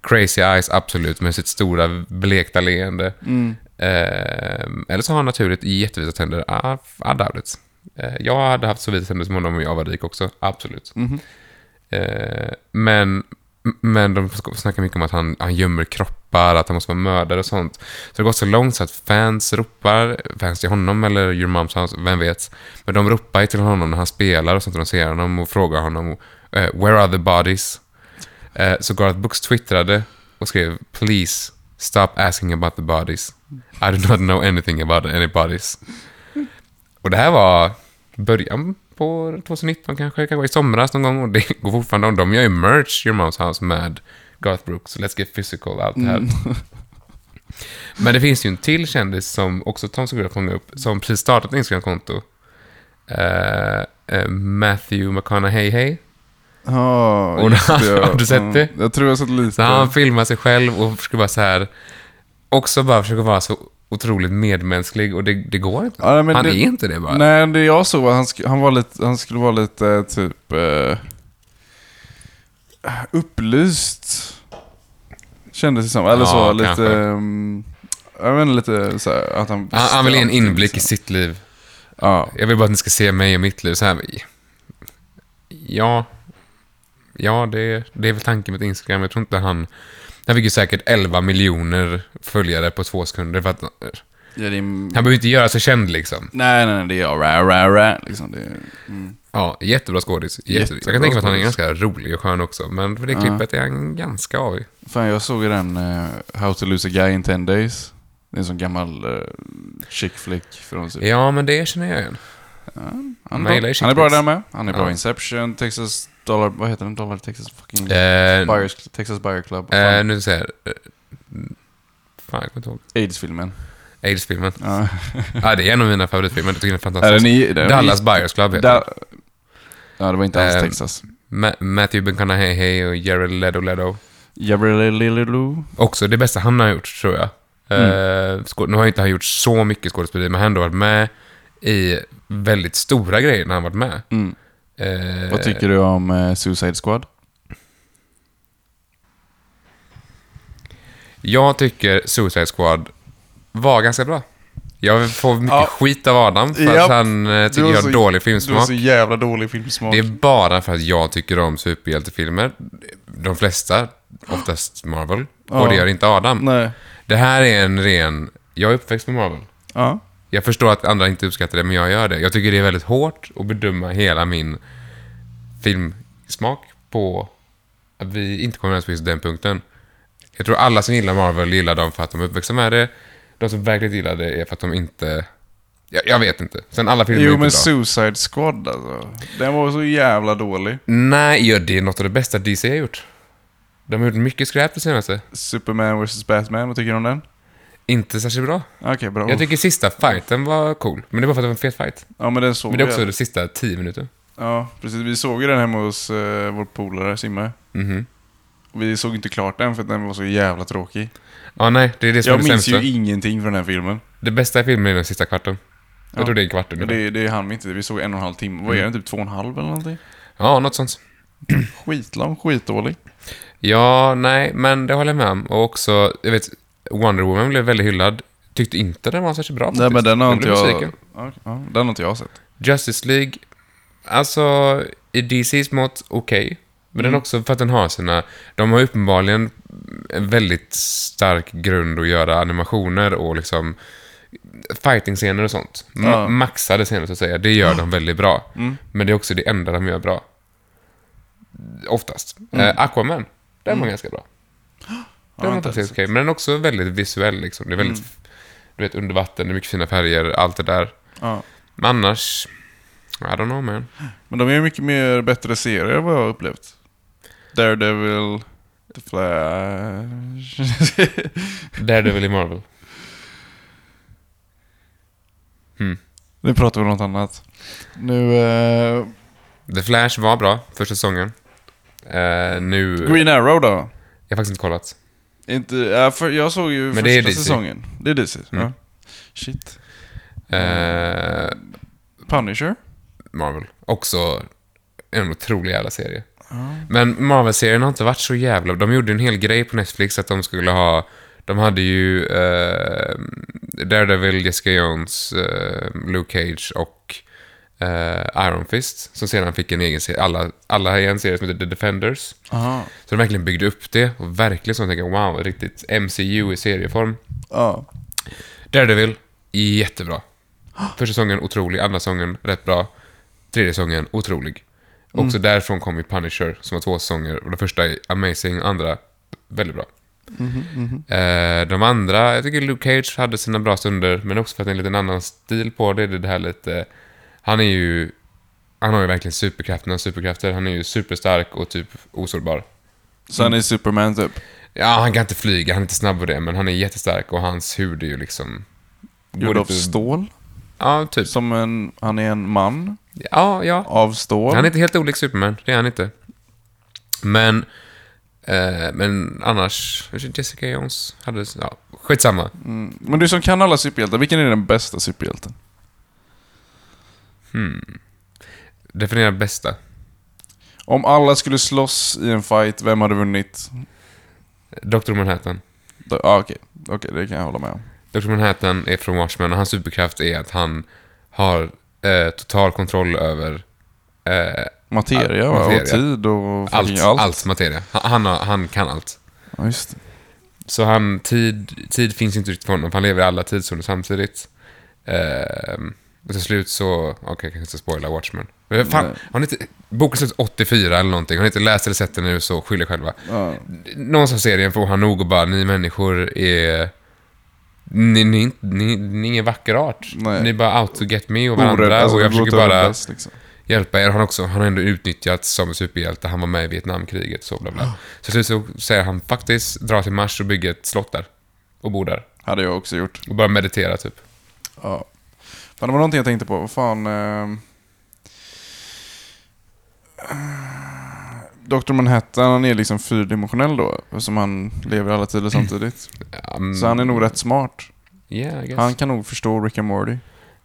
A: Crazy eyes, absolut, med sitt stora blekta leende.
B: Mm.
A: Eh, eller så har han naturligt jättevita tänder. I, I doubt it. Eh, jag hade haft så vita tänder som honom om jag var rik också. Absolut.
B: Mhm.
A: Eh, men, men de sk- snackar mycket om att han, han gömmer kroppar, att han måste vara mördare och sånt. Så det har gått så långt så att fans ropar, fans till honom eller your mom's house, vem vet. Men de ropar ju till honom när han spelar och sånt, när de ser honom och frågar honom eh, “Where are the bodies?” eh, Så Garth Brooks twittrade och skrev “Please, stop asking about the bodies. I do not know anything about any bodies.” Och det här var början på 2019 kanske, kanske i somras någon gång. Och det går fortfarande om. De gör ju merch, Your Moms House, med Garth Brooks, Let's Get Physical, allt det här.
B: Mm.
A: <laughs> Men det finns ju en till kändis som också Tom Segura fångade upp, som precis startat ett Instagram-konto. Eh, eh, Matthew McConaughey. Hey.
B: Ja,
A: Och
B: just
A: då-
B: det,
A: <laughs>
B: ja.
A: har du sett
B: Ja.
A: det?
B: Jag tror jag har sett lite.
A: Så han filmar sig själv och försöker bara så här... Också bara försöker vara så otroligt medmänsklig och det, det går inte.
B: Ja, men
A: han
B: det-
A: är inte det bara.
B: Nej, det jag såg var han, sk- han, var lite, han skulle vara lite eh, typ eh, upplyst. Kändes det som. Eller
A: Ja,
B: så,
A: kanske.
B: lite... ehm, jag vet inte, lite så här, att han...
A: Han, han vill ge en inblick i
B: Liksom.
A: sitt liv.
B: Ja.
A: Jag vill bara att ni ska se mig och mitt liv så här. Ja, ja, det, det är väl tanken med Instagram. Jag tror inte han... Han fick ju säkert 11 miljoner följare på två sekunder. För att, han
B: Ja, det är...
A: behöver ju inte göra sig känd liksom.
B: Nej, nej, nej, det är ra, ra, ra, liksom. Det är... mm.
A: Ja, jättebra skådis. Jätte, jag
B: Jättebra
A: kan tänka mig att han är
B: skådis.
A: ganska rolig och skön också. Men för det
B: Ja.
A: klippet är han ganska avig.
B: Fan, jag såg ju den eh, How to lose a guy in 10 days. Det är en sån gammal uh, chick flick från typ.
A: Ja, men det känner jag igen.
B: Han
A: man
B: är,
A: gillar
B: bra.
A: ju chick
B: han är bra
A: flicks.
B: där med. Han är bra i
A: Ja.
B: Inception, Texas Dollar... Vad heter den? Dollar Texas fucking...
A: Eh,
B: Buyers, Texas Buyer Club.
A: eh,
B: Fan,
A: nu ska jag säga... eh, Fan, jag kommer inte ihåg.
B: Aids-filmen.
A: Aids-filmen.
B: Ja.
A: Ja, det är en av mina favoritfilmer. Jag tycker den är
B: Är
A: fantastisk.
B: den i... den-
A: Dallas Buyers Club heter den.
B: Da- Ja, det var inte alls
A: Eh,
B: Texas.
A: Ma- Matthew McConaughey och Jared Leto Leto.
B: Jabrelilililoo.
A: Också det bästa han har gjort, tror jag.
B: Mm.
A: Eh, skå- nu har inte han gjort så mycket skådespeleri, men han har ändå varit med i väldigt stora grejer när han varit med.
B: Mm.
A: Eh,
B: Vad tycker du om eh, Suicide Squad?
A: Jag tycker Suicide Squad var ganska bra. Jag får mycket
B: Ja.
A: skit av Adam för
B: Japp.
A: att han eh,
B: Du
A: tycker
B: har
A: jag har
B: så-
A: dålig filmsmak.
B: jävla dålig filmsmak.
A: Det är bara för att jag tycker om superhjältefilmer. De flesta, oftast Marvel.
B: Ja.
A: Och det gör inte Adam.
B: Nej.
A: Det här är en ren... Jag är uppväxt med Marvel.
B: Ja.
A: Jag förstår att andra inte uppskattar det, men jag gör det. Jag tycker det är väldigt hårt att bedöma hela min filmsmak på att vi inte kommer överens på just den punkten. Jag tror alla som gillar Marvel gillar dem för att de är uppväxta med det. De som verkligen gillar det är för att de inte... Jag, jag vet inte. Sen alla filmer är
B: Jo,
A: inte bra.
B: men Suicide Squad alltså. Den var så jävla dålig.
A: Nej, ja, det är något av det bästa DC har gjort. De har gjort mycket skräp det senaste.
B: Superman vs Batman, vad tycker du om den?
A: Inte särskilt bra.
B: Okej, bra.
A: Jag tycker sista fighten var cool. Men det var för att det var en fet fight.
B: Oh, ja, men den såg
A: Men det är också
B: jag.
A: de sista tio minuterna.
B: Ja, precis. Vi såg ju den hemma hos eh, vår polare Simme.
A: Mhm.
B: Och Vi såg inte klart den för att den var så jävla tråkig.
A: Ja, nej, det är det som
B: Jag
A: är det
B: minns
A: sämsta.
B: ju ingenting från den här filmen.
A: Det bästa i filmen är den sista kvarten. Jag
B: Ja.
A: tror det Mm. är en kvart
B: Men
A: ungefär.
B: det, det hann vi inte. Vi såg en och en halv timme. Vad är den? Typ två och en halv eller någonting?
A: Ja, något sånt.
B: Skitlång, skitdålig.
A: Ja, nej, men det håller jag med om. Och också, jag vet, Wonder Woman blev väldigt hyllad. Tyckte inte den var särskilt bra
B: Nej, men den har inte
A: blev
B: jag...
A: besviken.
B: Ja, okej. Ja, den har inte jag sett.
A: Justice League, alltså i DCs mått okej. men den också för att den har sina... De har uppenbarligen en väldigt stark grund att göra animationer och liksom fighting-scener och sånt. Ma-
B: Ja.
A: Maxade scener så att säga, det gör de väldigt bra. Men det är också det enda de gör bra. Oftast. Eh, Aquaman, den
B: Mm.
A: var ganska bra. Den var
B: inte
A: faktiskt okej, men den är också väldigt visuell liksom. Det är
B: Mm.
A: väldigt, du vet, under vatten, det är mycket fina färger, allt det där.
B: Ja.
A: Men annars... I don't know man.
B: Men de är ju mycket mer bättre serier än vad jag har upplevt. Daredevil, The Flash.
A: Daredevil i Marvel.
B: nu pratar vi om något annat. Nu... eh,
A: The Flash var bra, första säsongen. Eh, nu...
B: Green Arrow då?
A: Jag har faktiskt inte kollat.
B: Inte, ja, för jag såg ju
A: Men
B: första
A: det är DC.
B: säsongen. Det är DC.
A: Mm.
B: Ja. Shit.
A: Eh,
B: Punisher?
A: Marvel. Också en otrolig jävla serie. Men Marvel-serien har inte varit så jävla... De gjorde en hel grej på Netflix att de skulle ha... De hade ju eh, Daredevil, Jessica Jones, eh, Luke Cage och eh, Iron Fist. Som sedan fick en egen serie. Alla, alla i en serie som heter The Defenders.
B: Aha.
A: Så de verkligen byggde upp det och verkligen så tänker jag, wow, riktigt MCU i serieform.
B: Ja.
A: Daredevil, jättebra. Första säsongen otrolig, andra säsongen rätt bra. Tredje säsongen otrolig. Också därifrån kom ju Punisher som var två säsonger. Och den första är amazing, andra väldigt bra. Eh, de andra, jag tycker Luke Cage hade sina bra stunder, men också för att det är en liten annan stil på det. Det är det här lite... Han är ju... Han har ju verkligen superkrafterna, superkrafter. Han är ju superstark och typ osårbar.
B: Så han är Superman typ?
A: Ja, han kan inte flyga, han är inte snabb på det, men han är jättestark och hans hud är ju liksom... typ
B: Gjord
A: går
B: av
A: inte-
B: stål?
A: Ja, typ.
B: Som en... Han är en man
A: Ja, ja.
B: av stål?
A: Han är inte helt olik Superman, det är han inte. Men... Eh, men annars, Jessica Jones hade... Ja, skitsamma.
B: Mm. Men du som kan alla superhjältar, vilken är den bästa superhjälten?
A: Definiera bästa.
B: Om alla skulle slåss i en fight, vem hade vunnit?
A: Dr. Manhattan.
B: Då- Ja, okej. Okej, det kan jag hålla med om.
A: Dr. Manhattan är från Watchmen och hans superkraft är att han har eh, total kontroll över eh,
B: Materia,
A: Ja,
B: va?
A: materia.
B: och tid och fucking
A: Allt,
B: allt.
A: allt. materia. Han, han, har- han kan allt.
B: Ja, just det.
A: Så han, tid, tid finns inte riktigt för honom, för han lever i alla tidszoner samtidigt. Ehm, och till slut så, okej, jag kanske inte ska spoila Watchmen. Men fan,
B: Nej.
A: har ni inte, boken slutar 84 eller någonting, har ni inte läst eller sett den nu så skyll er själva.
B: Ja.
A: Någonstans i serien får han nog och bara, ni människor är... Ni, ni, ni, ni är ingen vacker art.
B: Nej.
A: Ni är bara out to get me och varandra.
B: Orädd, alltså,
A: och jag
B: det
A: försöker
B: låter
A: bara
B: oräddast, liksom.
A: hjälpa er. Han, har också, han har ändå utnyttjats som superhjälte. Han var med i Vietnamkriget så bla bla. Så till slut så säger han faktiskt dra till Mars och bygga ett slott där. Och bo där.
B: Hade jag också gjort.
A: Och bara meditera typ.
B: Ja. Fan, det var någonting jag tänkte på. Vad fan... Eh... Dr. Manhattan, han är liksom fyrdimensionell då. Eftersom han lever alla tider
A: Mm.
B: samtidigt.
A: Um,
B: Så han är nog rätt smart.
A: Yeah, I guess.
B: Han
A: Han,
B: kan nog förstå Rick and Morty.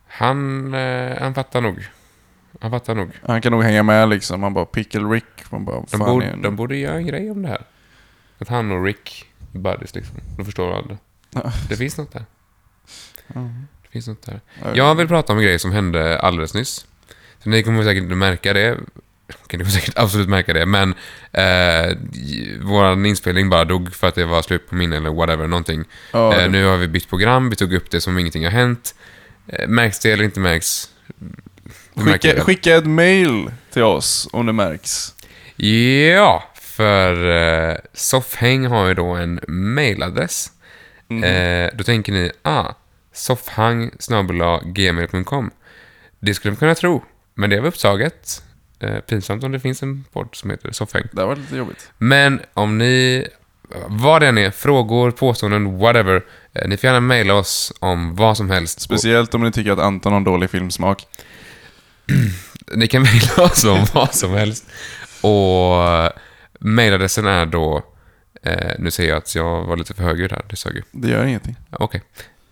A: han, eh, han fattar nog. Han fattar nog.
B: Han kan nog hänga med liksom. Han bara pickle Rick. Man bara,
A: De,
B: fan är
A: borde,
B: en-
A: de borde göra en grej om det här. Att han och Rick är buddies liksom. De förstår varandra.
B: Ja.
A: Det finns något där. Det finns något där.
B: Ja.
A: Jag vill prata om en grej som hände alldeles nyss. Så ni kommer säkert inte märka det. Okej, ni kommer säkert absolut märka det, men eh, j- vår inspelning bara dog för att det var slut på minne eller whatever, någonting.
B: Ja,
A: eh,
B: det-
A: nu har vi bytt program, vi tog upp det som om ingenting har hänt. Eh, märks det eller inte märks? Du märker
B: skicka,
A: det.
B: skicka ett mail till oss om det märks.
A: Ja, för eh, Soffhäng har ju då en mailadress. Eh, då tänker ni, ah, soffhang gmail.com. Det skulle man kunna tro, men det var upptaget. Eh, pinsamt om det finns en podd som heter Soffhäng.
B: Det här var lite jobbigt.
A: Men om ni, vad det än är, frågor, påståenden, whatever, eh, ni får gärna mejla oss om vad som helst.
B: Speciellt om ni tycker att Anton har dålig filmsmak.
A: Ni kan <laughs> mejla oss om vad som helst. Och eh, mejladressen är då... Eh, nu ser jag att jag var lite för högljudd här. Det sög ju.
B: Det gör ingenting.
A: Okej.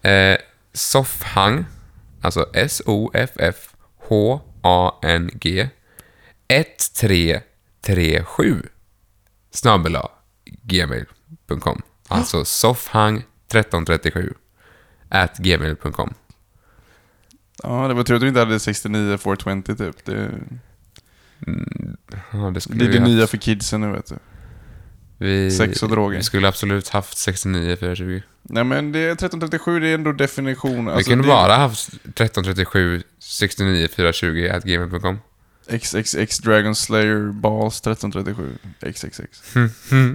A: Eh, soffhang, alltså S-O-F-F-H-A-N-G 1337 snabbela gmail.com. Alltså soffhang 1337 at gmail.com.
B: Ja, det var tur att vi inte hade 69 420 typ. Det,
A: Ja, det skulle
B: det är
A: vi
B: det
A: haft.
B: nya för kidsen nu vet du.
A: Vi,
B: Sex och droger.
A: Vi skulle absolut haft 69 420.
B: Nej men det är 1337, det är ändå definition. Alltså,
A: vi kunde bara haft 1337 69 420 at gmail.com.
B: XXX Dragon Slayer Balls 1337. <laughs> XXX.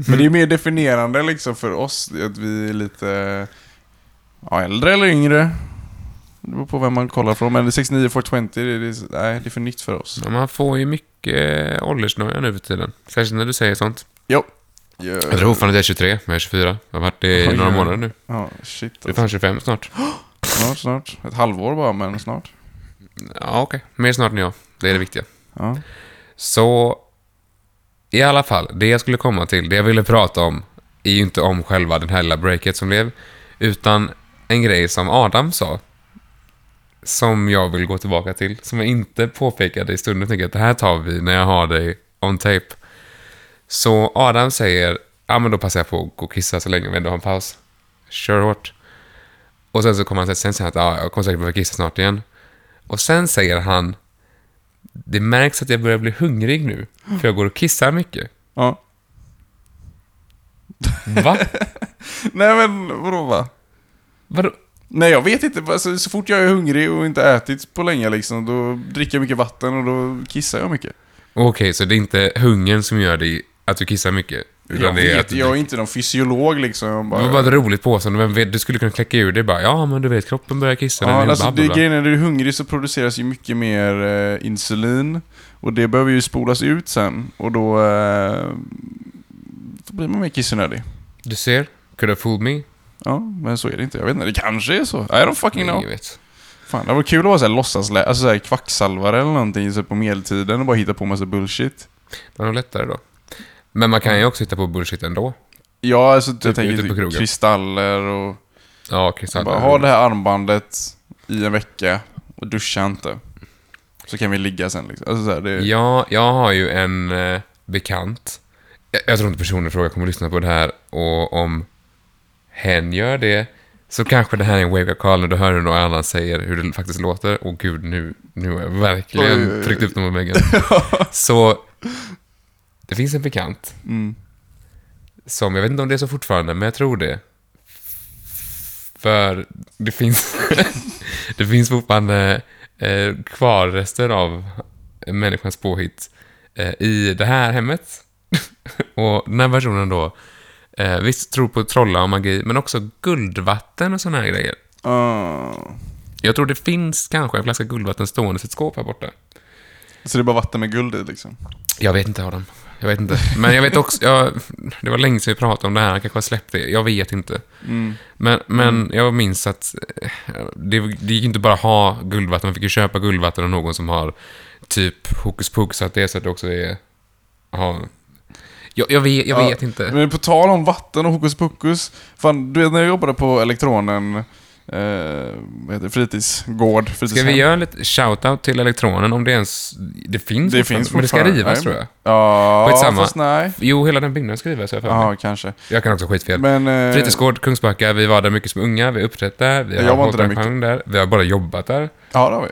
B: Men det är mer definierande liksom för oss. Att vi är lite ja, äldre eller yngre. Det beror på vem man kollar från. Men 69 420, det är, det är, nej, det är för nytt för oss.
A: Ja, Man får ju mycket eh, åldersnoja nu för tiden. Särskilt när du säger sånt. Jag tror fan att jag är 23, men jag är 24. Jag har varit det i
B: Oj,
A: några
B: oj.
A: månader nu.
B: Ja, shit
A: Det är
B: alltså.
A: fan 25 snart.
B: Snart, snart. Ett halvår bara, men snart.
A: Ja, okej. Mer snart än jag. Det är det viktiga.
B: Ja.
A: Så, i alla fall, det jag skulle komma till, det jag ville prata om, är ju inte om själva den här lilla breaket som blev, utan en grej som Adam sa, som jag vill gå tillbaka till, som jag inte påpekade i stunden, tänker att det här tar vi när jag har dig on tape. Så Adam säger, ja men då passar jag på att gå och kissa så länge vi ändå har en paus. Kör hårt. Och sen så kommer han sen säger han att ja, jag kommer säkert behöva kissa snart igen. Och sen säger han, det märks att jag börjar bli hungrig nu, för jag går och kissar mycket.
B: ja.
A: Va?
B: Nej men vadå va?
A: Vadå?
B: Nej jag vet inte, alltså, så fort jag är hungrig och inte ätit på länge liksom, då dricker jag mycket vatten och då kissar jag mycket.
A: Okej, så det är inte hungern som gör dig att du kissar mycket? Utan
B: Jag
A: det är
B: vet,
A: att du...
B: jag är inte någon fysiolog liksom. Jag
A: Det
B: bara,
A: var bara ett roligt påstående, men vet- du skulle kunna kläcka ur det bara. Ja, men du vet, kroppen börjar kissa.
B: ja,
A: den är
B: alltså,
A: bla, bla,
B: det,
A: bla.
B: grejen är, när du är hungrig så produceras ju mycket mer eh, insulin. Och det behöver ju spolas ut sen. Och då, eh, då blir man mer kissnödig.
A: Du ser, could have fooled me.
B: Ja, men så är det inte. Jag vet inte, det kanske är så. I don't fucking know.
A: Ingen vet.
B: Fan, det var kul att vara såhär låtsaslä... Alltså såhär kvacksalvare eller någonting så på medeltiden och bara hitta på massa bullshit.
A: Det var nog lättare då. Men man kan ju också hitta på bullshit ändå.
B: Ja, alltså jag
A: Typ ute på
B: tänker
A: krogen.
B: kristaller och...
A: Ja, kristaller.
B: Bara ha det här armbandet i en vecka och duscha inte. Så kan vi ligga sen liksom. Alltså, så här, det,
A: Ja, jag har ju en eh, bekant. Jag, jag tror inte personen i fråga kommer att lyssna på det här och om hen gör det Så kanske det här är en wake-up call när du hör hur någon annan säger hur det faktiskt låter. Och gud, nu, nu har jag
B: Oj, oj,
A: verkligen
B: oj.
A: tryckt upp dem mot
B: <laughs>
A: väggen. Så det finns en bekant
B: Mm.
A: som, jag vet inte om det är så fortfarande, men jag tror det. För det finns, <laughs> det finns fortfarande eh, kvarrester av människans påhitt eh, i det här hemmet. <laughs> och den här personen då, eh, visst tror på trollar och magi, men också guldvatten och såna här grejer.
B: Ah.
A: Jag tror det finns kanske en flaska guldvatten stående i ett skåp här borta.
B: Så det är bara vatten med guld i liksom?
A: Jag vet inte Adam. Jag vet inte. <laughs> Men jag vet också, jag, det var länge sedan vi pratade om det här, han kanske har släppt det. Jag vet inte.
B: Mm.
A: Men, men jag minns att eh, det, det gick inte bara att ha guldvatten, man fick ju köpa guldvatten av någon som har typ hokus pokus, så att det är så att det också är... Ja, jag, jag vet, jag
B: Ja,
A: vet inte.
B: Men på tal om vatten och hokus pokus. Fan, du vet när jag jobbade på Elektronen, eh, vad heter det, fritidsgård,
A: Ska
B: fritidshem.
A: vi göra lite shout-out till elektronen om det ens... Det finns,
B: Det
A: fortfarande,
B: finns
A: men det ska
B: fortfarande,
A: rivas
B: nej.
A: tror jag.
B: Ja,
A: Skitsamma.
B: fast nej.
A: Jo, hela den byggnaden ska rivas har jag för mig.
B: Ja, kanske.
A: Jag kan också ha skitfel.
B: Men... eh,
A: Fritidsgård, Kungsbacka, vi var där mycket som unga, vi uppträdde där, vi
B: Jag
A: har
B: var inte där
A: hållit en där, vi har bara jobbat där.
B: Ja, det har vi.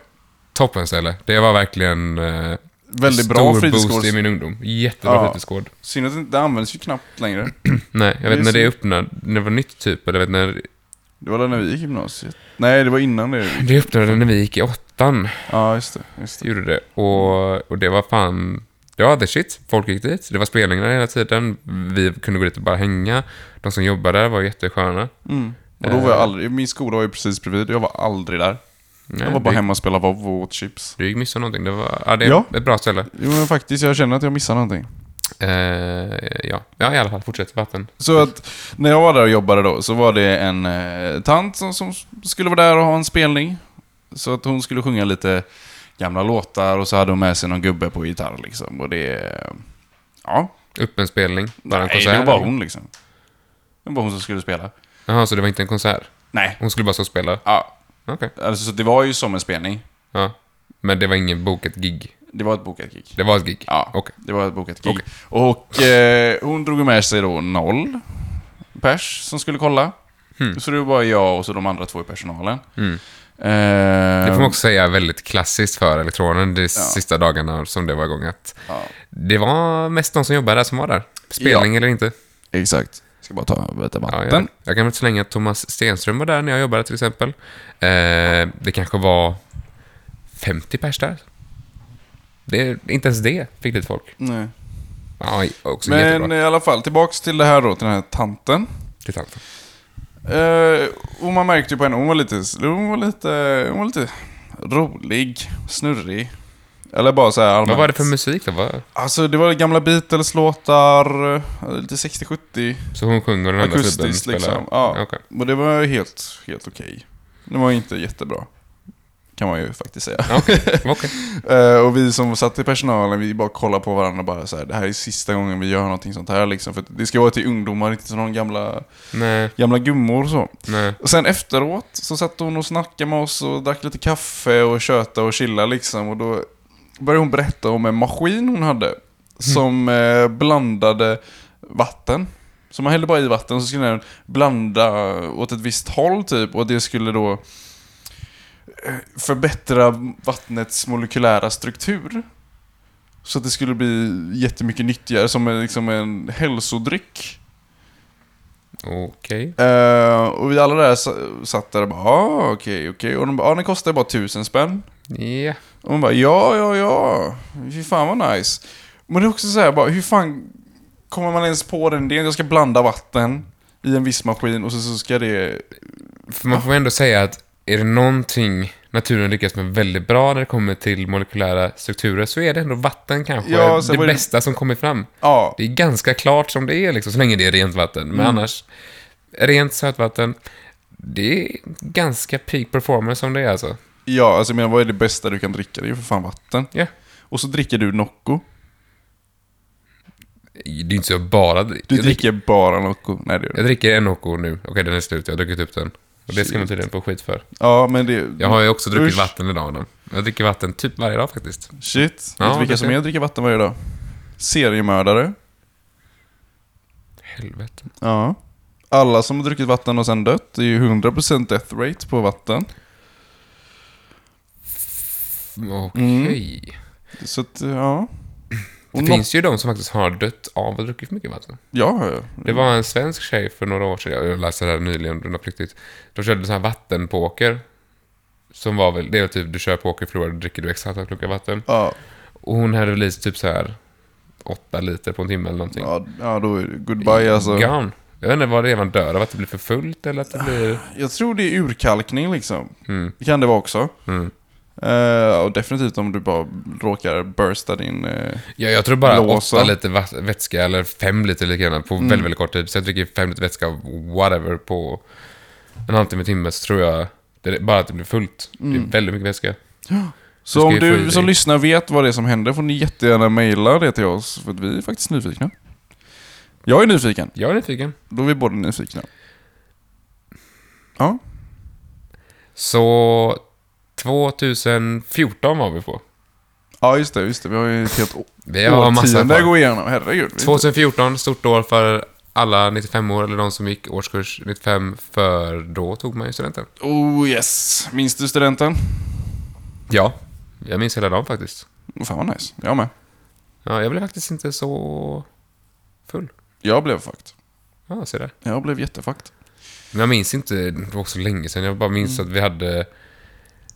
A: Toppenställe. Det var verkligen eh,
B: Väldigt bra
A: stor boost
B: fritidsgård.
A: i min ungdom. Jättebra
B: Ja.
A: fritidsgård.
B: Synd att det inte det används ju knappt längre.
A: Nej, jag
B: Det
A: vet
B: är
A: när det
B: så-
A: öppnade, när det var nytt typ, eller vet när...
B: Det var där när vi gick i gymnasiet. Nej, det var innan det.
A: Det öppnade när vi gick i åttan,
B: Ja, just det. Just det.
A: gjorde det. Och, och det var fan... Det var the shit. Folk gick dit. Det var spelningar hela tiden. Vi kunde gå dit och bara hänga. De som jobbade där var jättesköna.
B: Mm. Och då var jag aldrig, min skola var ju precis bredvid, jag var aldrig där.
A: Nej,
B: Jag var bara
A: du,
B: hemma och spelade WoW och åt chips.
A: du gick miste om någonting. Det var... Ja, det är
B: Ja.
A: ett bra ställe.
B: Jo men faktiskt, jag känner att jag missar någonting.
A: Eh, ja. ja, i alla fall. Fortsätt. Vatten.
B: Så att när jag var där och jobbade då så var det en eh, tant som, som skulle vara där och ha en spelning. Så att hon skulle sjunga lite gamla låtar och så hade hon med sig någon gubbe på gitarr liksom. Och det... eh, Ja.
A: Öppen spelning. Bara en
B: Nej,
A: konsert.
B: det var bara hon liksom. Det var bara hon som skulle spela.
A: Jaha, så det var inte en konsert?
B: Nej.
A: Hon skulle bara stå och spela?
B: Ja.
A: Okej.
B: Alltså så det var ju som en spelning.
A: Ja. Men det var ingen bokat gig?
B: Det var ett bokat gig.
A: Det var ett gig?
B: Ja,
A: Okej.
B: det var ett bokat gig.
A: Okej.
B: Och eh, hon drog med sig då noll pers som skulle kolla.
A: Hmm.
B: Så det var bara jag och så de andra två i personalen. Eh,
A: Det får man också säga är väldigt klassiskt för elektronen de sista dagarna som det var igång. Att
B: Ja.
A: det var mest de som jobbade där som var där. Spelning eller inte.
B: Exakt. Jag ska bara ta lite
A: Ja,
B: vatten.
A: jag, jag kan väl slänga att Thomas Stenström var där när jag jobbade till exempel. Eh, det kanske var 50 pers där. Det, inte ens det fick dit folk.
B: Nej.
A: Ja, också
B: Men
A: jättebra.
B: i alla fall, tillbaks till det här då, till den här tanten.
A: Till tanten.
B: Eh, och man märkte ju på henne, hon var lite, hon var lite, hon var lite rolig, snurrig. Eller bara så här allmänt.
A: Vad var det för musik då? Vad-
B: Alltså det var gamla Beatles-låtar, eh, lite 60-70.
A: Så hon sjunger och den andra snubben
B: Akustiskt
A: spelar?
B: liksom. Ja.
A: Okej.
B: Och det var helt, helt okej. Det var inte jättebra. Kan man ju faktiskt säga.
A: Okej.
B: <laughs> Eh, och vi som satt i personalen, vi bara kollade på varandra och bara så här, det här är sista gången vi gör någonting sånt här liksom. För att det ska vara till ungdomar, inte till någon gamla,
A: Nej,
B: gamla gummor och så.
A: nej.
B: Och sen efteråt så satt hon och snackade med oss och drack lite kaffe och tjötade och chillade liksom. Och då började hon berätta om en maskin hon hade. Som eh, blandade vatten. Så man hällde bara i vatten och så skulle den blanda åt ett visst håll typ. Och det skulle då eh, förbättra vattnets molekylära struktur. Så att det skulle bli jättemycket nyttigare som en, liksom en hälsodryck.
A: Okej.
B: Eh, och vi alla där sa- satt där och bara ah, okej, okej. Och de bara, ah, den kostar bara tusen spänn.
A: Ja.
B: Och man bara ja, ja, ja. Fy fan vad nice. Men det är också så här, bara, hur fan kommer man ens på den idén? Jag ska blanda vatten i en viss maskin och så, så ska det...
A: För man får ändå säga att är det någonting naturen lyckas med väldigt bra när det kommer till molekylära strukturer så är det ändå vatten kanske
B: Ja, sen
A: det
B: var det-
A: bästa som kommer fram.
B: Ja,
A: Det är ganska klart som det är liksom, så länge det är rent vatten. Men
B: Mm.
A: annars, rent sötvatten, det är ganska peak performance som det är alltså.
B: ja alltså jag menar, vad är det bästa du kan dricka? Det är ju för fan vatten.
A: Ja.
B: Och så dricker du Nocco.
A: Det är ju inte så jag bara... jag,
B: Du
A: dricker,
B: dricker bara Nocco. Nej, det gör du
A: jag dricker en Nocco nu. Okej, den är slut. Jag har druckit upp den. Och det ska man
B: Shit.
A: tydligen få skit för.
B: Ja, men det...
A: Jag har ju också druckit
B: Usch.
A: vatten idag. Adam. Jag dricker vatten typ varje dag faktiskt.
B: Shit.
A: Ja,
B: Vet du
A: du
B: vilka som
A: ser.
B: är dricker vatten varje dag? Seriemördare.
A: Helvete.
B: Ja. alla som har druckit vatten och sen dött är ju 100% death rate på vatten.
A: Okej.
B: Mm. Så att, ja.
A: Det
B: Och
A: finns ju de som faktiskt har dött av att ha druckit för mycket vatten.
B: Ja,
A: Det var en svensk tjej för några år sedan, jag läste det här nyligen, den har flyktigt. De körde sån här vattenpoker. Som var väl, det är typ du kör poker, förlorar, dricker du exakt klocka vatten.
B: ja.
A: Och hon hade väl i sig typ så här åtta liter på en timme eller någonting.
B: Ja, ja, då är det goodbye alltså.
A: Gone. Jag vet inte vad det är man dör av, att det blir för fullt eller att det blir...
B: Jag tror det är urkalkning liksom.
A: Mm,
B: Det kan det vara också.
A: mm.
B: Eh, och definitivt om du bara råkar bursta din... eh,
A: Ja, jag tror bara
B: Blåsa.
A: åtta liter va- vätska, eller fem liter lika gärna, på
B: Mm.
A: väldigt, väldigt kort tid. Sen dricker jag fem liter vätska, av whatever, på en halvtimme, timme, så tror jag... Det är bara att det blir fullt. Det
B: Mm.
A: är väldigt mycket vätska.
B: Så om
A: ju få i
B: du
A: dig.
B: som lyssnar vet vad det är som händer får ni jättegärna mejla det till oss, för att vi är faktiskt nyfikna. Jag är nyfiken.
A: Jag är nyfiken.
B: Då är vi båda nyfikna.
A: Så 2014 var vi på.
B: Ja, just det. Just det. Vi har ju ett helt
A: Vi har massa
B: årtionde att
A: kvar.
B: gå igenom. Herregud. Vi-
A: 2014, stort år för alla 95 år eller de som gick årskurs 95, för då tog man ju studenten.
B: Oh yes. Minns du studenten?
A: Ja, jag minns hela dagen faktiskt.
B: Fan vad nice. Jag med.
A: Ja, jag blev faktiskt inte så full.
B: Jag blev fucked.
A: Ja, se där.
B: Jag blev jättefucked.
A: Men jag minns inte, det var också länge sedan. Jag bara minns
B: Mm.
A: att vi hade...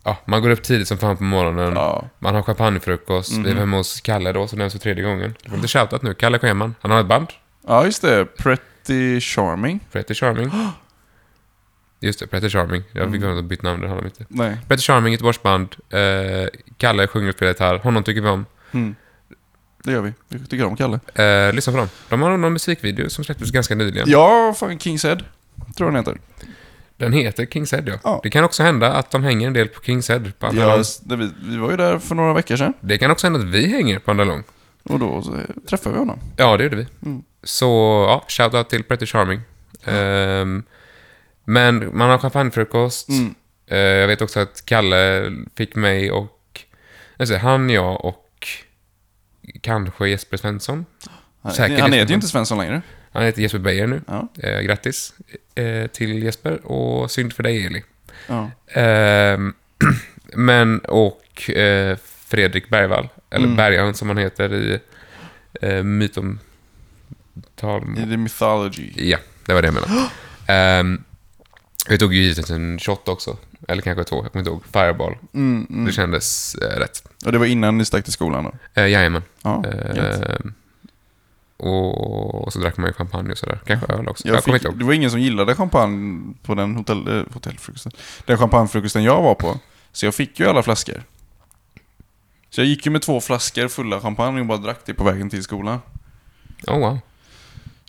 A: Ja, man går upp tidigt som fan på morgonen.
B: Ja. Mm.
A: Man har champagnefrukost. Vi var hemma hos Kalle då, som nämns för tredje gången. Jag får inte shoutout nu. Kalle Scheman. Han har ett band.
B: ja, just det. Pretty charming.
A: Pretty
B: <gasps>
A: Charming. Just det, Pretty Charming. Jag
B: Mm.
A: fick glömma att byta namn, det handlar inte.
B: Nej.
A: Pretty Charming, Göteborgsband. Eh, Kalle sjunger och spelar gitarr. Honom tycker vi om.
B: Mm. Det gör vi. Vi tycker om Kalle.
A: Eh, lyssna på dem. De har någon musikvideo som släpptes ganska nyligen.
B: Ja, fan Kings Head. Tror jag den heter.
A: Den heter Kings Head, ja.
B: Ja.
A: Det kan också hända att de hänger en del på Kings Head på andra
B: Ja,
A: lång.
B: s- det vi, vi var ju där för några veckor sedan.
A: Det kan också hända att vi hänger på andra lång.
B: Och då så, eh, träffade vi honom.
A: Ja, det gjorde vi.
B: Mm.
A: Så, ja, shoutout till Pretty Charming. Ehm, men man har champagnefrukost.
B: Mm.
A: Eh, jag vet också att Kalle fick mig och... Alltså, han, jag och kanske Jesper Svensson.
B: Han,
A: Säkert
B: han heter
A: liksom.
B: ju inte Svensson längre.
A: Han heter Jesper Beijer nu.
B: Ja.
A: Eh, grattis eh, till Jesper och synd för dig Eli.
B: Ja.
A: Ehm, <clears throat> men och eh, Fredrik Bergvall, eller
B: Mm.
A: Bergan som han heter i eh, mytom...
B: I the mythology.
A: Ja, det var det jag menade. Ehm, vi tog ju givetvis en shot också. Eller kanske två, jag kommer inte ihåg. Fireball.
B: Mm, mm.
A: Det kändes eh, rätt.
B: Och det var innan ni stack till skolan då?
A: Eh, jajamän.
B: Ja. gött.
A: Ehm, och, och så drack man ju champagne och sådär. Kanske öl också. Jag,
B: Jag
A: kommer
B: fick,
A: inte ihåg.
B: det var ingen som gillade champagne på den hotell, eh, hotellfrukosten. Den champagnefrukosten jag var på. Så jag fick ju alla flaskor. Så jag gick ju med två flaskor fulla champagne och bara drack det på vägen till skolan.
A: Oh, wow.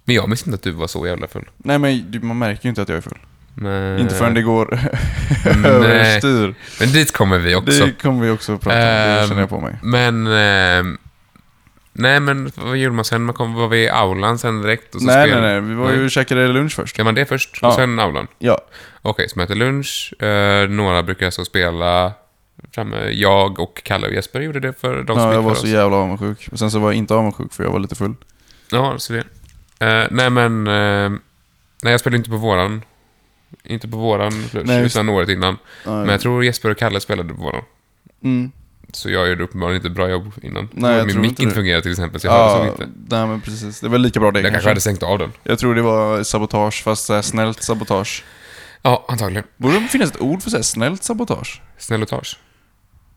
A: Men jag minns inte att du var så jävla full.
B: Nej men du- man märker ju inte att jag är full.
A: Men,
B: Inte förrän det går
A: Eh,
B: <laughs>
A: Nej.
B: överstyr.
A: men dit kommer vi också.
B: Det kommer vi också att prata om, det
A: Ehm,
B: känner jag på mig.
A: Men... ehm, nej, men vad gjorde man sen? Man kom, var vi i aulan sen direkt? Och så
B: Nej nej
A: spelade-
B: nej, vi var ju och käkade lunch först.
A: Gör man det först
B: Ja.
A: och sen aulan?
B: Ja.
A: Okej, så man äter lunch. Eh, några brukar så spela framme. Jag och Kalle och Jesper gjorde det för de som
B: ja jag
A: gick för
B: var
A: oss.
B: så jävla avundsjuk. Och sen så var jag inte avundsjuk för jag var lite full.
A: Ja, så det. Eh, nej, men... eh, nej, jag spelade inte på våran. Inte på våran lunch,
B: Nej, just-
A: utan året innan. Men jag tror Jesper och Kalle spelade på våran.
B: Mm.
A: Så jag gjorde uppenbarligen inte ett bra jobb innan.
B: Nej, jag
A: Min
B: tror
A: mick
B: inte
A: inte
B: det.
A: fungerade till exempel, så jag hörde
B: Ja,
A: såg inte.
B: nej men precis. Det var lika bra det
A: Jag kanske hade sänkt av den.
B: Jag tror det var sabotage, fast så här snällt sabotage.
A: Ja, antagligen.
B: Borde det finnas ett ord för så här snällt sabotage?
A: Snällotage.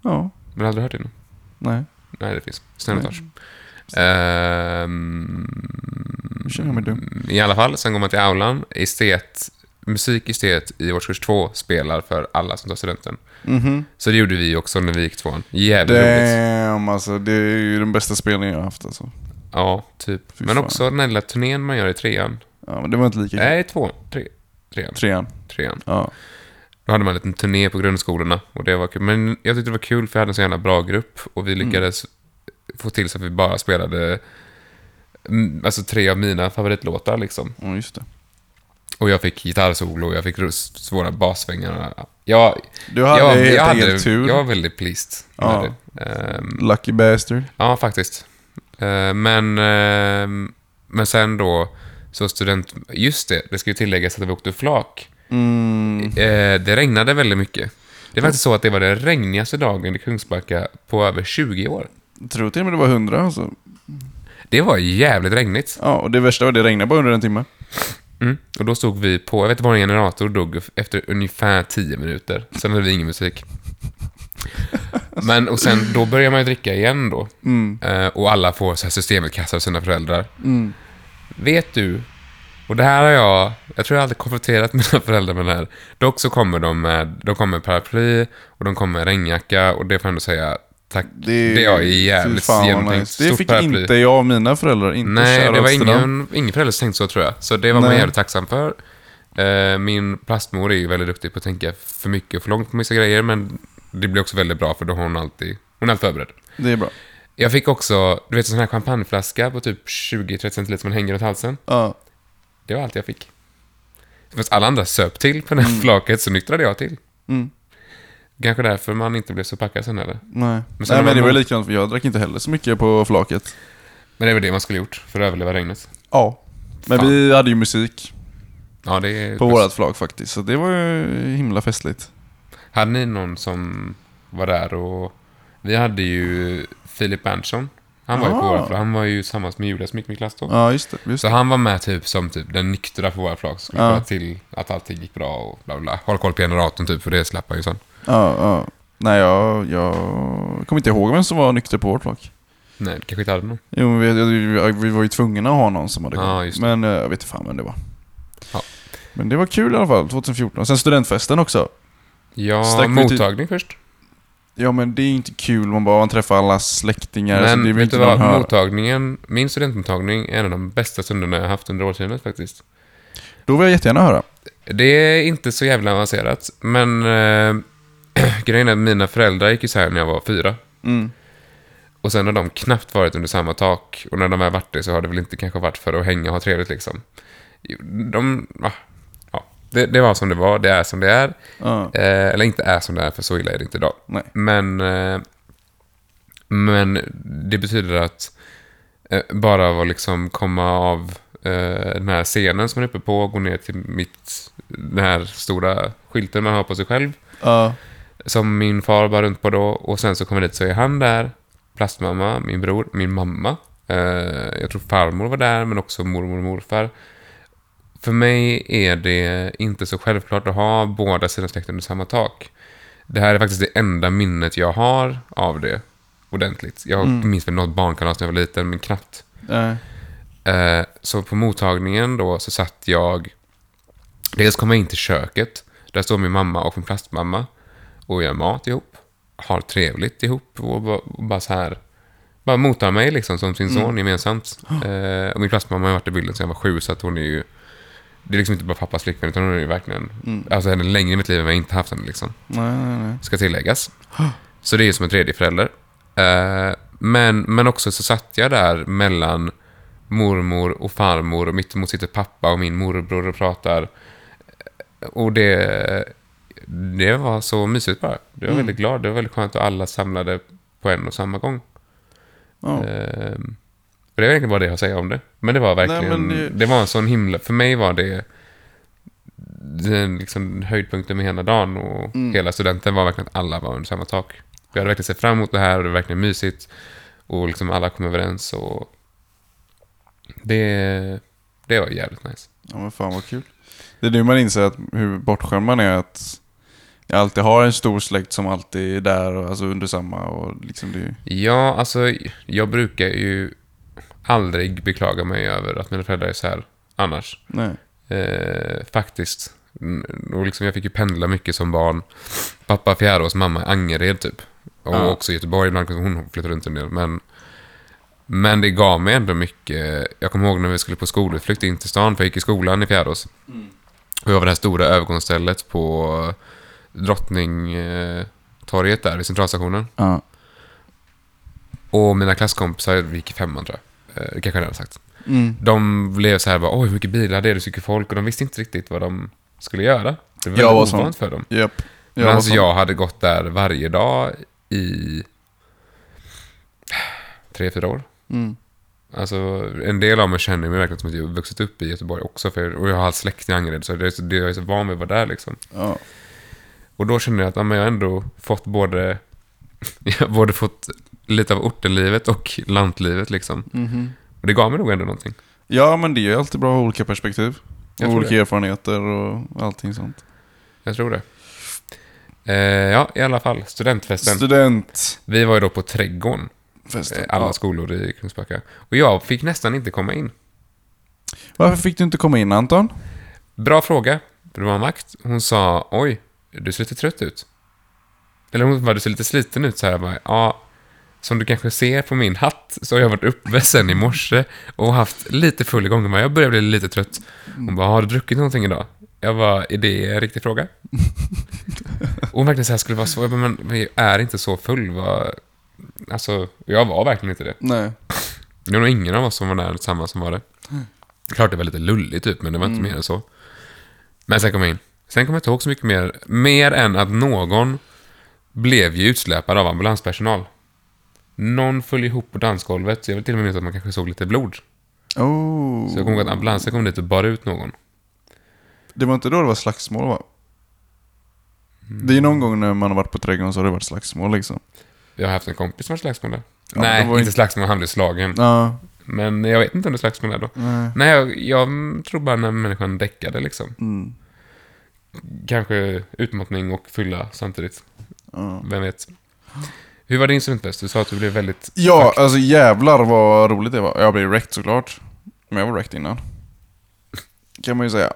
B: Ja,
A: Men aldrig hört det innan.
B: nej.
A: Nej, det finns. Snällotage. Ehm,
B: Nu känner jag mig dum.
A: I alla fall, sen går man till aulan. Estet, musik estet i årskurs två spelar för alla som tar studenten.
B: Mhm.
A: Så det gjorde vi också när vi gick tvåan. Jävligt roligt.
B: Damn alltså, det är ju den bästa spelningen jag har haft alltså.
A: Ja, typ.
B: Fy
A: Men
B: fan.
A: också den här lilla turnén man gör i trean.
B: Ja, men det var inte lika kul.
A: Nej, tvåan. Tre, trean.
B: Trean.
A: Trean.
B: Ja.
A: Då hade man en liten turné på grundskolorna och det var kul. Men jag tyckte det var kul för jag hade en så jävla bra grupp och vi
B: Mm.
A: lyckades få till så att vi bara spelade mm, alltså tre av mina favoritlåtar liksom.
B: ja, just det.
A: Och jag fick gitarrsolo och jag fick rus- svåra bassvängar. Jag,
B: Du
A: jag,
B: hade
A: jag,
B: helt
A: jag,
B: enkelt
A: hade,
B: tur.
A: jag var väldigt pleased med
B: Ja.
A: det. Ehm,
B: Lucky bastard.
A: ja, faktiskt. Ehm, men, ehm, men sen då Så student... Just det, det ska ju tilläggas att vi åkte flak.
B: Mm.
A: Eh, det regnade väldigt mycket. Det är faktiskt så att det var den regnigaste dagen i Kungsbacka på över 20 år.
B: Jag tror till och med det var 100 alltså.
A: Det var jävligt regnigt.
B: Ja, och det värsta var att det regnade bara under en timme.
A: Mm. Och då stod vi på, jag vet inte var en generator dog efter ungefär 10 minuter. Sen hade vi ingen
B: <laughs>
A: musik. Men och sen, då börjar man ju dricka igen då.
B: Mm.
A: Eh, och alla får så här systemetkassar av sina föräldrar.
B: Mm.
A: Vet du, och det här har jag, jag tror jag aldrig konfronterat <laughs> mina föräldrar med det här. Dock så kommer de med, de kommer med paraply och de kommer med regnjacka och det får jag ändå säga tack.
B: Det,
A: Det är ju
B: fy
A: jävligt
B: fan vad
A: genomtänkt.
B: nice. Det
A: Stort
B: fick
A: paraply.
B: inte jag och mina föräldrar. Inte
A: Nej, det
B: shoutout
A: var
B: till dem.
A: ingen, ingen förälder som tänkte så tror jag. Så det var man
B: Nej.
A: jävligt tacksam för. Eh, Min plastmor är ju väldigt duktig på att tänka för mycket och för långt på vissa grejer, men det blir också väldigt bra för då har hon alltid, hon är alltid förberedd.
B: Det är bra.
A: Jag fick också, du vet en sån här champagneflaska på typ 20-30 centiliter som man hänger runt halsen.
B: Ja.
A: Det var allt jag fick. Fast alla andra söp till på det här flaket, så nyktrade jag till.
B: Mm.
A: Kanske därför man inte blev så packad sen eller?
B: Nej.
A: Men sen
B: Nej,
A: var
B: men det var
A: man-
B: likadant. för Jag drack inte heller så mycket på flaket.
A: Men det var det man skulle gjort för att överleva regnet.
B: Ja. Men
A: Fan.
B: vi hade ju musik
A: Ja, det är...
B: på vårat flak faktiskt, så det var ju himla festligt.
A: Hade ni någon som var där och... Vi hade ju Filip Berntsson. Han var ju på
B: Ah.
A: våra flak. Han var ju tillsammans med Julia som gick med i klass då.
B: Ja, just det. Just
A: Så
B: det.
A: han var med typ som typ den nyktra på våra flak. Skulle
B: Ja.
A: kolla till att allting gick bra och bla bla, bla. Håll koll på generatorn typ, för det slapp han ju sen.
B: Ja, ja. Nej, jag, jag kommer inte ihåg vem som var nykter på vårt flak.
A: Nej, det kanske inte hade någon.
B: Jo, men vi, vi, vi var ju tvungna att ha någon som hade
A: Ja,
B: koll.
A: just det.
B: men eh, jag vet inte fan vem det var.
A: Ja.
B: Men det var kul i alla fall, 2014. Sen studentfesten också.
A: Ja,
B: Stack vi till-
A: mottagning först.
B: Ja men det är inte kul, man bara man träffar alla släktingar. så
A: Men
B: alltså, det är väl
A: vet du
B: inte någon
A: vad,
B: hör.
A: mottagningen, min studentmottagning är en av de bästa stunderna jag haft under årtiondet faktiskt.
B: Då vill jag jättegärna höra.
A: Det är inte så jävla avancerat, men eh, <clears throat> grejen är att mina föräldrar gick isär när jag var fyra.
B: Mm.
A: Och sen har de knappt varit under samma tak. Och när de har varit det så har det väl inte kanske varit för att hänga och ha trevligt liksom. De, ah, ja, det, det var som det var, det är som det är.
B: Ja.
A: Eh, eller inte är som det är, för så illa är det inte idag.
B: Nej.
A: Men, eh, men det betyder att eh, bara att liksom komma av eh, den här scenen som man är uppe på, gå ner till mitt, den här stora skylten man har på sig själv,
B: Ja.
A: som min far bar runt på då, och sen så kommer jag dit så är han där, plastmamma, min bror, min mamma, eh, jag tror farmor var där, men också mormor och morfar. För mig är det inte så självklart att ha båda sina släkter under samma tak. Det här är faktiskt det enda minnet jag har av det ordentligt. Jag
B: Mm.
A: minns väl något barnkalas när jag var liten, men knappt.
B: Nej.
A: Eh, så på mottagningen då så satt jag... Dels kom jag in till köket. Där står min mamma och min plastmamma och gör mat ihop. Har trevligt ihop och ba- och bara så här... Bara mottar mig liksom som sin son gemensamt. Eh, och min plastmamma har varit i bilden sedan jag var sju så att hon är ju... Det är liksom inte bara pappas flickvän utan hon är ju verkligen... Alltså henne längre i mitt liv än vad jag inte haft henne liksom
B: Nej, nej, nej.
A: ska tilläggas. Så det är ju som en tredje förälder. Eh, Men, men också så satt jag där mellan mormor och farmor och mittemot sitter pappa och min morbror och pratar. Eh, Och det, det var så mysigt bara. Jag var väldigt glad. Det var väldigt skönt att alla samlade på en och samma gång.
B: Ja.
A: Eh, och det var egentligen bara det jag har att säga om det. Men det var verkligen...
B: men
A: det...
B: det-
A: var en sån himla... För mig var det den liksom höjdpunkten med hela dagen och hela studenten var verkligen att alla var under samma tak. Och Jag hade verkligen sett fram emot det här och det var verkligen mysigt. Och liksom alla kom överens och... Det, det var jävligt nice.
B: ja men fan vad kul. Det är nu man inser att hur bortskämd man är att jag alltid har en stor släkt som alltid är där och alltså under samma och liksom det är ju-
A: Ja, alltså jag brukar ju aldrig beklaga mig över att mina föräldrar är så här annars.
B: Nej.
A: Eh, faktiskt. Mm, Och liksom jag fick ju pendla mycket som barn. Pappa Fjärås, mamma Angered typ. Och
B: Ja.
A: också Göteborg ibland, hon flyttade runt en del. Men, men det gav mig ändå mycket. Jag kommer ihåg när vi skulle på skolutflykt in till stan, för jag gick i skolan i Fjärås. Och jag var det här stora övergångsstället på Drottningtorget där, vid centralstationen.
B: Ja.
A: Och mina klasskompisar, vi gick i femman tror jag. Eh, kanske jag redan sagt.
B: Mm.
A: De blev så här bara, oj hur mycket bilar det är, det är så mycket folk och de visste inte riktigt vad de skulle göra. Det var
B: Jag var
A: väldigt
B: sån.
A: ovant för dem.
B: Japp.
A: Men
B: var
A: alltså
B: sån.
A: jag hade gått där varje dag i tre, fyra år.
B: Mm.
A: Alltså, en del av mig känner mig verkligen som att jag har vuxit upp i Göteborg också. För, och jag har allt släkt i Angered, så, det, är så det, jag är så van vid att vara där liksom.
B: Ja.
A: Och då känner jag att ja, men jag har ändå fått både, <laughs> jag har både fått lite av ortenlivet och lantlivet liksom.
B: Mhm.
A: Och det gav mig nog ändå någonting.
B: ja, men det är ju alltid bra att ha olika perspektiv.
A: Jag
B: och
A: tror
B: olika
A: det.
B: erfarenheter och allting sånt.
A: Jag tror det. Eh, ja, i alla fall. Studentfesten.
B: Studentfesten.
A: vi var ju då på Trädgården, eh, alla
B: Ja.
A: skolor i Kungsbacka. Och jag fick nästan inte komma in.
B: Varför fick du inte komma in Anton?
A: Bra fråga. Det var makt. Hon sa, oj, du ser lite trött ut. Eller hon bara, du ser lite sliten ut så här. Jag bara, ja, som du kanske ser på min hatt så har jag varit uppe sen i morse och haft lite full igång. Jag bara, Jag börjar bli lite trött. Hon bara, har du druckit någonting idag? Jag bara, är det en riktig fråga? Och hon verkligen så här skulle vara så, jag bara, men vi är inte så full. Vad... Alltså, jag var verkligen inte det.
B: Nej.
A: Det var nog ingen av oss som var där tillsammans som var det.
B: Mm.
A: Klart det var lite lulligt typ, men det var inte mer än så. Men sen kom jag in. Sen kommer jag inte ihåg så mycket mer. Mer än att någon blev ju utsläpad av ambulanspersonal. Någon föll ihop på dansgolvet. Jag vill till och med minnas att man kanske såg lite blod.
B: Oh.
A: Så jag kommer ihåg att ambulansen kom dit och bar ut någon.
B: Det var inte då det var slagsmål va? Det är någon gång när man har varit på trädgården så har det varit slagsmål liksom.
A: Jag har haft en kompis som var slagsmål där.
B: Ja,
A: Nej,
B: det var
A: inte
B: inte-
A: slagsmål, han blev slagen.
B: Ja.
A: Men jag vet inte om det var slagsmål där då.
B: Nej.
A: Nej, jag, jag tror bara när människan däckade liksom.
B: Mm.
A: Kanske utmattning och fylla samtidigt.
B: Ja.
A: Vem vet. Hur var din studentfest? Du sa att du blev väldigt...
B: Ja, alltså jävlar vad roligt det var. Jag blev wrecked såklart. Men jag var wrecked innan. Kan man ju säga.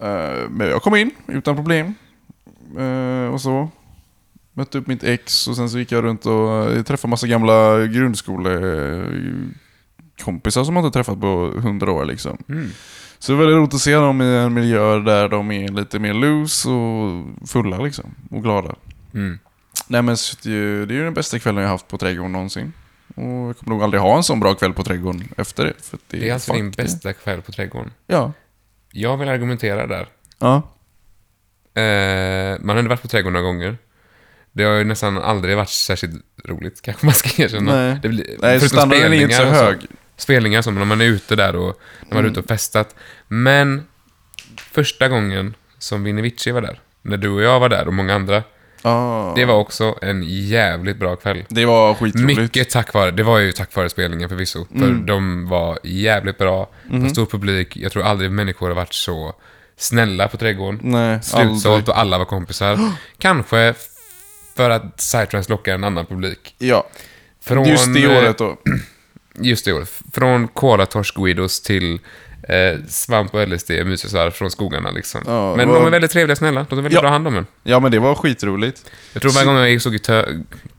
B: Eh, Men jag kom in utan problem. Eh, Och så. Mötte upp mitt ex och sen så gick jag runt och eh, träffade massa gamla grundskolekompisar som man inte träffat på hundra år liksom.
A: Mm.
B: Så det är väldigt roligt att se dem i en miljö där de är lite mer loose och fulla liksom. Och glada.
A: Mm.
B: Nej men så det är ju- det är ju den bästa kvällen jag haft på trädgården någonsin. Och jag kommer nog aldrig ha en sån bra kväll på trädgården efter det. För att det,
A: Det är alltså din
B: fuck det.
A: bästa kväll på trädgården.
B: Ja.
A: Jag vill argumentera där.
B: Ja.
A: Eh, man har ändå varit på trädgården några gånger. Det har ju nästan aldrig varit särskilt roligt, kanske man ska erkänna.
B: Nej.
A: det blir,
B: Nej,
A: förutom
B: standarden är inte så
A: spelningar och
B: hög.
A: Spelningar som när man är ute där och när man är
B: Mm.
A: ute och festat. Men första gången som Vinivici var där, när du och jag var där och många andra,
B: Ja.
A: det var också en jävligt bra kväll.
B: det var skitroligt.
A: Mycket tack vare, det var ju tack vare spelningen förvisso. För
B: Mm.
A: de var jävligt bra,
B: Mhm.
A: på stor publik. Jag tror aldrig människor har varit så snälla på trädgården.
B: Nej,
A: Slutsålt och alla var
B: <gasps>
A: kompisar. Kanske för att Psytrance lockar en annan publik.
B: Ja.
A: Från,
B: Just det
A: eh,
B: året då.
A: Just det året. Från Kolatorsk Guidos till eh, Svamp och LSD, mysisar från skogarna liksom.
B: Ja, det
A: Men
B: var-
A: de är väldigt trevliga och snälla. De är väldigt
B: Ja.
A: bra hand om en.
B: Ja men det var skitroligt.
A: Jag tror varje gång jag gick- såg i, tö,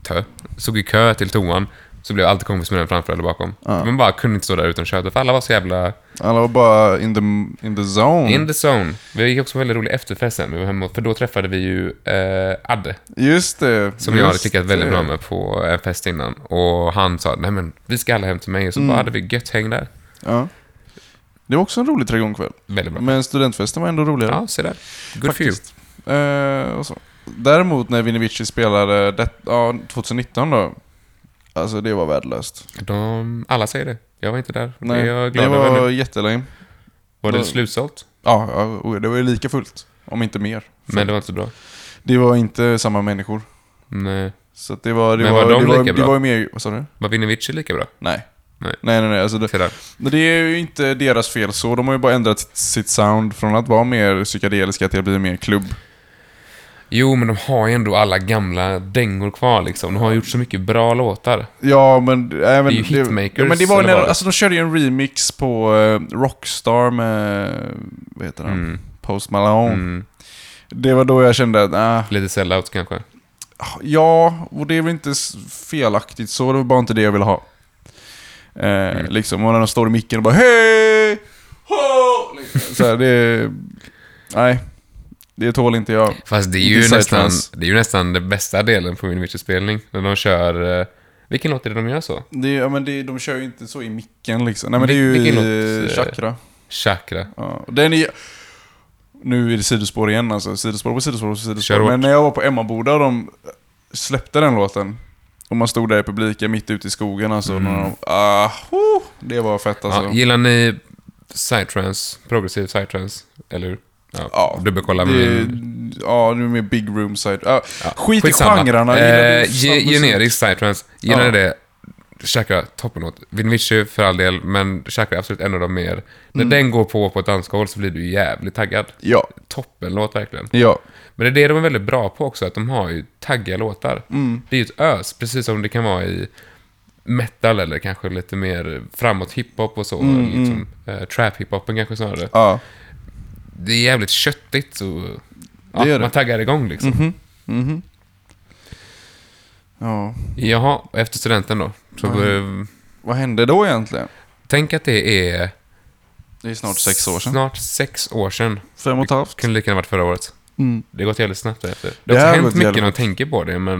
A: tö, såg i kö till toan så blev jag alltid kompis med den framför eller bakom.
B: Ja.
A: Man bara kunde inte stå där utan tjöta, för alla var så jävla
B: Alla var bara in the, in the zone.
A: in the zone. Vi gick också på en väldigt rolig efterfest sen, vi var hemma, för då träffade vi ju eh, Adde,
B: Just det.
A: som jag hade
B: just
A: klickat väldigt
B: det.
A: bra med på en fest innan. Och han sa, nej men vi ska alla hem till mig, och så
B: Mm.
A: bara hade vi gött häng där.
B: Ja. Det var också en rolig trädgårdskväll.
A: Väldigt bra.
B: Men studentfesten var ändå roligare.
A: Ja, se där. Good for you.
B: Mm. Faktiskt. Eh, och så. Däremot när Vinovici spelade det, ja, 2019 då. Alltså det var värdelöst.
A: De, alla säger det. Jag var inte där.
B: Nej,
A: det är jag glad
B: det
A: över
B: var
A: nu.
B: jättelame.
A: Var det
B: var-
A: slutsålt?
B: Ja, ja, och det var ju lika fullt. Om inte mer.
A: Men det var inte så bra.
B: Det var inte samma människor.
A: Nej.
B: Så att det var... Det
A: Men
B: var,
A: var de
B: det var,
A: lika
B: det
A: bra?
B: var ju mer... Vad sa du?
A: Var Vinovici lika bra?
B: Nej.
A: Nej.
B: Nej, nej, nej. Alltså det,
A: Se där.
B: men det är ju inte deras fel så. De har ju bara ändrat sitt, sitt sound från att vara mer psykedeliska till att bli mer klubb.
A: Jo, men de har ju ändå alla gamla dängor kvar liksom. De har gjort så mycket bra låtar.
B: Ja, men... Äh, men
A: Det är ju hitmakers,
B: ja, men det var
A: eller
B: när,
A: vad?
B: alltså de körde ju en remix på eh, Rockstar med... Vad heter han?
A: Mm.
B: Post Malone.
A: Mm.
B: Det var då jag kände att, ah,
A: Lite sellouts kanske.
B: ja, och det är väl inte s- felaktigt så, det var bara inte det jag ville ha. Eh,
A: Mm.
B: Liksom, och när de står i micken och bara hej! Ho! Liksom, Så här, det... Nej, det tål inte jag.
A: Fast det är
B: Inte
A: ju, nästan,
B: Psytrance.
A: det är ju nästan den bästa delen på Vinovicis spelning. När de kör... eh, Vilken låt är det de gör så?
B: Det, ja, men det, de kör ju inte så i micken liksom. Nej men det är
A: Vil-
B: ju
A: vilken
B: i
A: låt, eh,
B: Chakra.
A: Chakra.
B: Ja, och den är Nu är det sidospår igen alltså. Sidospår på sidospår på
A: Kör
B: sidospår.
A: hårt.
B: Men när jag var på Emmaboda och de släppte den låten. Och man stod där i publiken mitt ute i skogen alltså.
A: Mm.
B: Några, ah, ho, det var fett alltså.
A: Ja, gillar ni psytrance, progressiv psytrance? Eller hur? Ja,
B: Ja,
A: dubbelkolla med
B: det,
A: min...
B: ja, nu med big room side. Ah,
A: Ja,
B: skit i
A: skitsamma.
B: genrerna. gillar du
A: Eh,
B: snabb
A: ge,
B: musik?
A: generisk psytrance. Gillar
B: Ja.
A: ni det? Käka toppenåt. Vinvichu för all del, men käka absolut en av dem mer. När
B: Mm.
A: den går på på ett dansgolv så blir du jävligt taggad.
B: Ja,
A: Toppenlåt verkligen.
B: ja.
A: Men det är det de är väldigt bra på också, att de har ju taggiga låtar.
B: Mm.
A: Det är ju ett ös, precis som det kan vara i metal eller kanske lite mer framåt hiphop och så.
B: Mm,
A: liksom, eh, trap hiphopen kanske snarare.
B: ja.
A: Det är jävligt köttigt och ja,
B: Det är det.
A: man taggar igång liksom.
B: Mhm. Mhm. Ja,
A: Jaha, och efter studenten då? Så, eh,
B: vad hände då egentligen?
A: Tänk att det är...
B: Det är snart sex år sedan.
A: Snart sex år sedan.
B: Fem och ett halvt.
A: Kunde lika gärna varit förra året.
B: Mm.
A: Det har gått jävligt snabbt därefter. Det
B: Det
A: har
B: här
A: också
B: har
A: hänt
B: gått
A: mycket när
B: jävligt-
A: man tänker på det, men...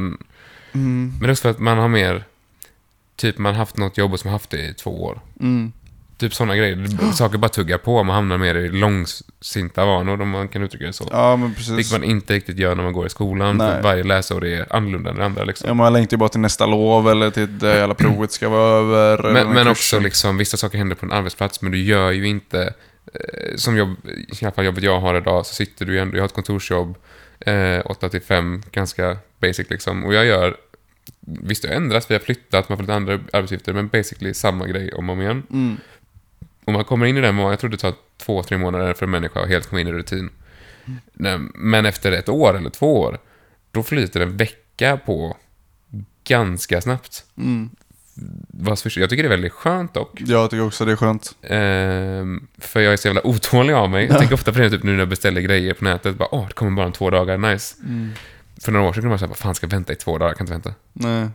B: Mm.
A: Men det är också för att man har mer... Typ man har haft något jobb och som har haft det i två år.
B: Mm.
A: Typ sådana grejer. Saker bara tuggar på. Man hamnar mer i långsinta vanor, om man kan uttrycka det så.
B: Ja, men
A: Vilket
B: precis.
A: man inte riktigt gör när man går i skolan. För
B: Nej.
A: att varje läsår är annorlunda än det andra. Liksom.
B: Ja, man längtar ju bara till nästa lov eller till det hela provet ska vara över. eller
A: Men,
B: den
A: men
B: kursen.
A: också liksom, vissa saker händer på en arbetsplats, men du gör ju inte... Eh, som jobb, i alla fall jobbet jag har idag, så sitter du ju ändå... Jag har ett kontorsjobb, eh, 8 till 5, ganska basic liksom. Och jag gör... Visst, det har ändrats, vi har flyttat, man får lite andra arbetsuppgifter, men basically samma grej om och om igen.
B: Mm.
A: Om man kommer in i den månaden, jag tror det tar två, tre månader för en människa att helt komma in i rutin. Nej, Men efter ett år eller två år, då flyter en vecka på ganska snabbt.
B: Mm.
A: Vad som- Jag tycker det är väldigt skönt dock.
B: Jag tycker också det är skönt.
A: Ehm, för jag är så jävla otålig av mig.
B: <laughs>
A: Jag tänker ofta på det typ nu när jag beställer grejer på nätet. Bara, åh, det kommer bara om två dagar, nice.
B: Mm.
A: För några år sedan kunde man säga, vad fan ska jag vänta i två dagar? Jag kan inte vänta.
B: Nej.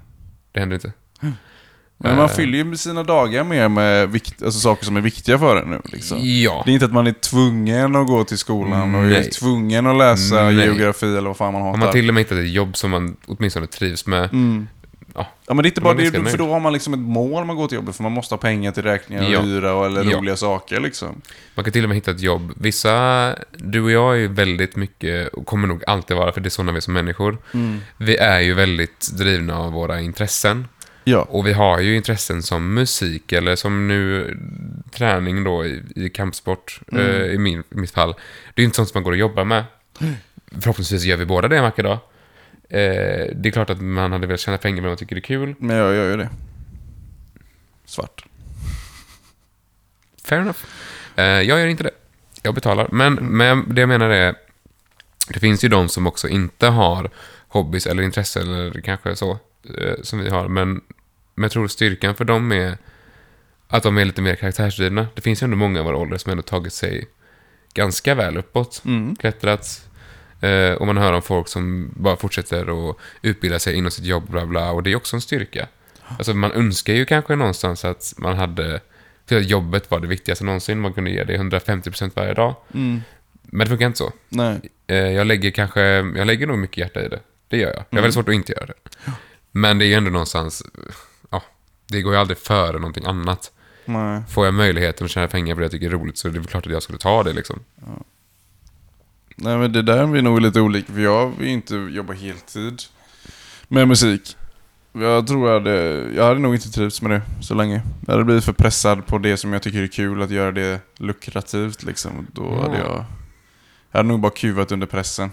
A: Det händer inte.
B: Men man
A: Eh.
B: fyller ju sina dagar mer med vikt, alltså saker som är viktiga för en nu. Liksom.
A: Ja.
B: Det är inte att man är tvungen att gå till skolan och
A: Nej.
B: är tvungen att läsa
A: Nej.
B: geografi eller vad fan man hatar.
A: Om man till och med hittat ett jobb som man åtminstone trivs med.
B: mm.
A: Ja.
B: Ja, men det är inte
A: Man
B: bara
A: är
B: det,
A: ganska nöjd.
B: för då har man liksom ett mål man går till jobbet för man måste ha pengar till räkningar och
A: Ja.
B: hyra och, eller
A: Ja.
B: roliga saker liksom.
A: Man kan till och med hitta ett jobb. Vissa, du och jag är ju väldigt mycket, och kommer nog alltid vara, för det är sådana vi är som människor.
B: Mm.
A: Vi är ju väldigt drivna av våra intressen.
B: Ja.
A: Och vi har ju intressen som musik eller som nu träning då i, i kampsport eh, i, min, i mitt fall. Det är ju inte sånt som man går och jobbar med. Förhoppningsvis gör vi båda det en vacker dag. Eh, det är klart att man hade velat tjäna pengar men man tycker det är kul.
B: Men jag gör ju det. Svart.
A: Fair enough. Eh, jag gör inte det. Jag betalar. Men, men det jag menar är, det finns ju de som också inte har hobbys eller intressen eller kanske så, eh, som vi har. Men, men jag tror styrkan för dem är att de är lite mer karaktärsdrivna. Det finns ju ändå många av våra åldrar som ändå tagit sig ganska väl uppåt.
B: Mm.
A: Klättrat. Eh, och man hör om folk som bara fortsätter och utbilda sig inom sitt jobb, bla bla. Och det är också en styrka. Alltså man önskar ju kanske någonstans att man hade... För att jobbet var det viktigaste någonsin. Man kunde ge det 150% varje dag.
B: Mm.
A: Men det funkar inte så.
B: Nej.
A: Eh, Jag lägger kanske... Jag lägger nog mycket hjärta i det. Det gör jag. Jag har väldigt svårt att inte göra det. Men det är ju ändå någonstans... Ja, det går ju aldrig före någonting annat.
B: Nej.
A: Får jag möjligheten att tjäna pengar på det jag tycker är roligt så är det väl klart att jag skulle ta det liksom.
B: Nej men det där är vi nog lite olika för jag vill inte jobba heltid med musik. Jag tror jag hade, jag hade nog inte trivts med det så länge. Jag hade blivit för pressad på det som jag tycker är kul, att göra det lukrativt liksom. Då
A: Ja.
B: hade jag, jag hade nog bara kuvat under pressen.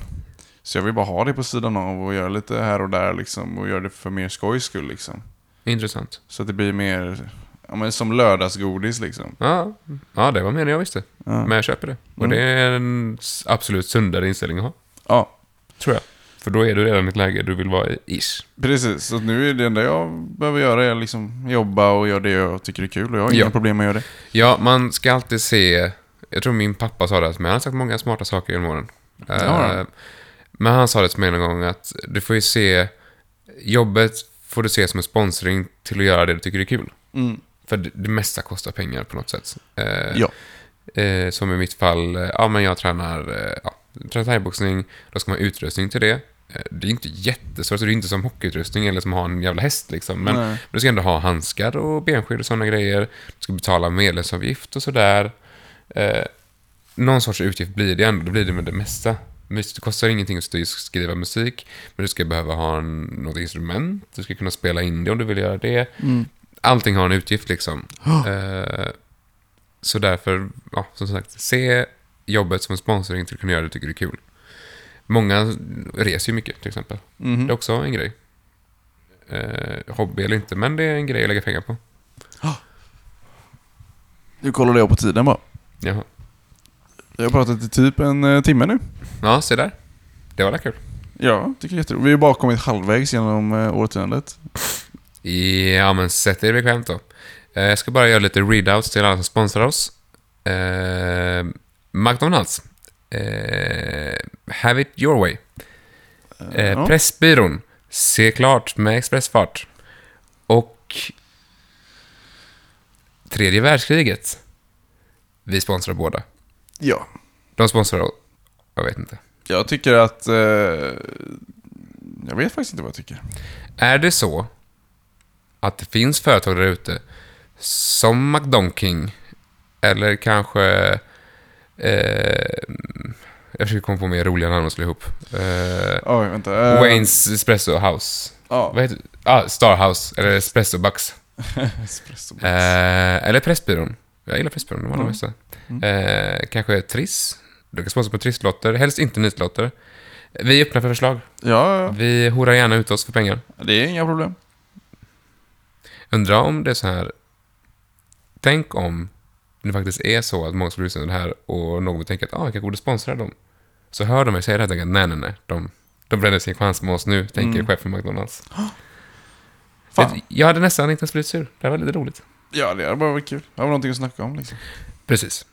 B: Så jag vill bara ha det på sidan av och göra lite här och där liksom och göra det för mer skojs skull liksom.
A: Intressant.
B: Så att det blir mer, ja men som lördagsgodis liksom.
A: Ja, ja det var meningen jag visste.
B: Ja.
A: Men jag köper det. Och
B: Mm.
A: det är en s- absolut sundare inställning att ha.
B: ja.
A: Tror jag. För då är du redan i ett läge du vill vara i. Ish.
B: Precis, så att nu är det enda jag behöver göra är liksom jobba och göra det jag tycker är kul och jag har inga
A: Ja.
B: problem med att göra det.
A: Ja, man ska alltid se... Jag tror min pappa sa det, här till mig. han har sagt många smarta saker genom åren. Eh,
B: Ja.
A: Men han sa det till mig någon gång att du får ju se... Jobbet får du se som en sponsring till att göra det du tycker är kul.
B: Mm.
A: För det, det mesta kostar pengar på något sätt. Eh,
B: Ja.
A: eh, som i mitt fall, eh, ja men jag tränar, eh, ja, tränar thaiboxning, då ska man ha utrustning till det. Eh, det är inte jättesvårt, så det är inte som hockeyutrustning eller som att ha en jävla häst liksom. Men
B: Nej.
A: du ska ändå ha handskar och benskydd och sådana grejer. Du ska betala medlemsavgift och sådär. Eh, någon sorts utgift blir det ändå, det blir det med det mesta. mys- det kostar ingenting att st- skriva musik, men du ska behöva ha en, något instrument, du ska kunna spela in det om du vill göra det.
B: Mm.
A: Allting har en utgift liksom. Eh, så därför, ja, som sagt, se jobbet som en sponsring till att kunna göra det du tycker det är kul. Många reser ju mycket till exempel.
B: Mhm.
A: Det är också en grej. Eh, hobby eller inte, men det är en grej att lägga pengar på.
B: Nu kollade jag på tiden bara.
A: Jaha.
B: Jag har pratat i typ en eh, timme nu.
A: Ja, se där. Det var väl kul.
B: Ja, tycker jag är jätteroligt. Vi är bara kommit halvvägs genom eh, årtiondet.
A: Ja, men sätt er bekvämt då. Eh, Jag ska bara göra lite readouts till alla som sponsrar oss. Eh, McDonalds. Eh, have it your way. Eh,
B: Ja.
A: Pressbyrån. Se klart med expressfart. Och... Tredje världskriget. Vi sponsrar båda.
B: Ja.
A: De sponsrar... Jag vet inte.
B: Jag tycker att... Eh, jag vet faktiskt inte vad jag tycker.
A: Är det så att det finns företag där ute som McDonking eller kanske... Eh, jag försöker komma på mer roliga namn att slå ihop. Eh,
B: Oj, vänta. eh,
A: Waynes Espresso House.
B: Ja.
A: Vad heter ah, Star House eller Espresso Bucks.
B: <laughs> Espresso.
A: Eh, eller Pressbyrån. Jag gillar Pressbyrån, de har de
B: Mm.
A: bästa. Eh, kanske Triss. Du kan sponsra på Trisslotter, helst inte nitlotter. Vi är öppna för förslag.
B: Ja, ja,
A: Vi horar gärna ut oss för pengar.
B: ja. det är inga problem.
A: Undrar om det är så här... Tänk om det faktiskt är så att många skulle lyssna på det här och någon tänker att ah, jag kanske borde sponsra dem. Så hör de mig säga det här och tänker att nej, nej, nej. De, de bränner sin chans med oss nu, tänker
B: Mm.
A: chefen på
B: <gasps>
A: McDonalds.
B: Fan.
A: Jag- Jag hade nästan inte ens blivit sur. Det här var lite roligt.
B: Ja, det hade bara varit kul. Det var någonting att snacka om liksom.
A: Precis.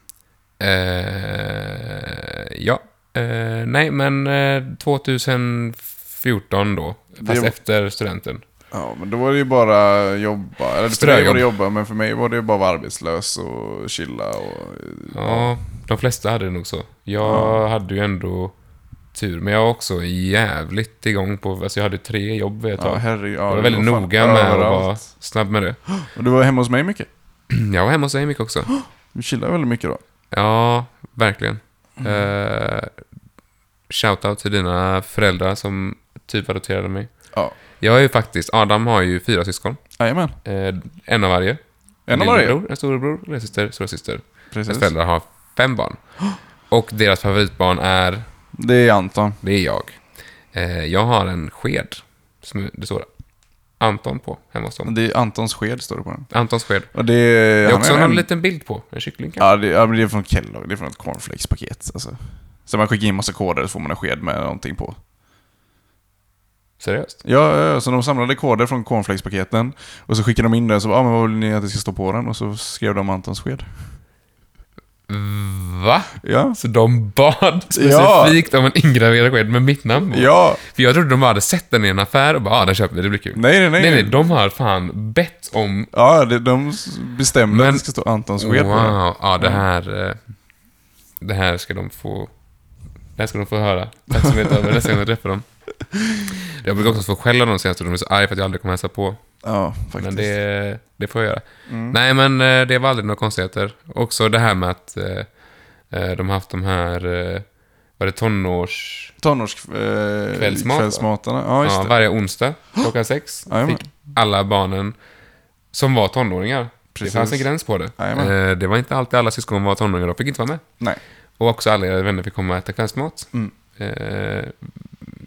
A: Eh, ja. Eh, nej, men eh, 2014 då. Fast
B: var-
A: efter studenten.
B: Ja, men då var det ju bara jobba. Eller för dig
A: Ströjobb.
B: var det jobba, men för mig var det ju bara att vara arbetslös och chilla och...
A: Ja, de flesta hade det nog så. Jag
B: Ja.
A: hade ju ändå tur, men jag var också jävligt igång på... Alltså jag hade tre jobb vid ett
B: Ja,
A: tag.
B: herregud. Ja,
A: jag var
B: det
A: väldigt
B: fan
A: noga med att
B: överallt.
A: vara snabb med det. <clears throat>
B: Och du var hemma hos mig mycket.
A: Jag var hemma hos Amy
B: <gasps>
A: också.
B: Du chillade väldigt mycket då.
A: Ja, verkligen.
B: Mm.
A: Eh, Shoutout till dina föräldrar som typ adopterade mig.
B: Ja.
A: Jag är ju faktiskt... Adam har ju fyra syskon.
B: Jajamän.
A: Eh, en av varje.
B: En av
A: Lillebror,
B: varje.
A: En storebror, lillasyster, storasyster. Hennes
B: Precis.
A: föräldrar har fem
B: <gasps>
A: barn. Och deras favoritbarn är...
B: Det är Anton.
A: Det är jag. Eh, jag har en sked. Som det står Anton på hemma hos dem.
B: Det är Antons sked står det på den.
A: Antons sked.
B: Och det är...
A: Det är
B: han
A: också
B: är
A: någon
B: en-
A: liten bild på. En kyckling kanske.
B: Ja, det, ja, men det är från Kellogg. Det är från ett cornflakespaket. Alltså. Så man skickar in massa koder så får man en sked med någonting på.
A: Seriöst.
B: Ja, ja, ja, så de samlade koder från cornflakespaketen och så skickade de in den så ah, men vad vill ni att det ska stå på den? Och så skrev de Antons sked.
A: Va?
B: Ja.
A: Så de bad specifikt om en ingraverad sked med mitt namn på.
B: Ja.
A: För jag trodde de bara hade sett den i en affär och bara, ja ah, den köper vi, det blir kul.
B: Nej, nej, nej.
A: nej, nej de har fan bett om...
B: Ja, det, de s- bestämde
A: Men-
B: att det ska stå Antons sked på den.
A: Wow, ja
B: Mm.
A: det här... eh, Det här ska de få... Det här ska de få höra. Tack så mycket över nästa gång jag träffar dem. Jag brukar också få skäll av dem senast, de är så arga för att jag aldrig kommer hälsa på.
B: Ja, faktiskt.
A: Men
B: Mm.
A: det, det får jag göra. Nej, men eh, det var aldrig några konstigheter. Också det här med att eh, eh, de har haft de här, eh, var det tonårs... Kvällsmat, va?
B: Tonårskvällsmatarna. eh, ja, just
A: Ja,
B: det.
A: varje onsdag klockan sex
B: Jajamän.
A: fick alla barnen som var tonåringar.
B: Precis.
A: Det fanns en gräns på det.
B: Jajamän.
A: Eh, det var inte alltid alla syskon var tonåringar, de fick inte vara med.
B: Nej.
A: Och också alla era vänner fick komma och äta kvällsmat.
B: Mm.
A: Eh,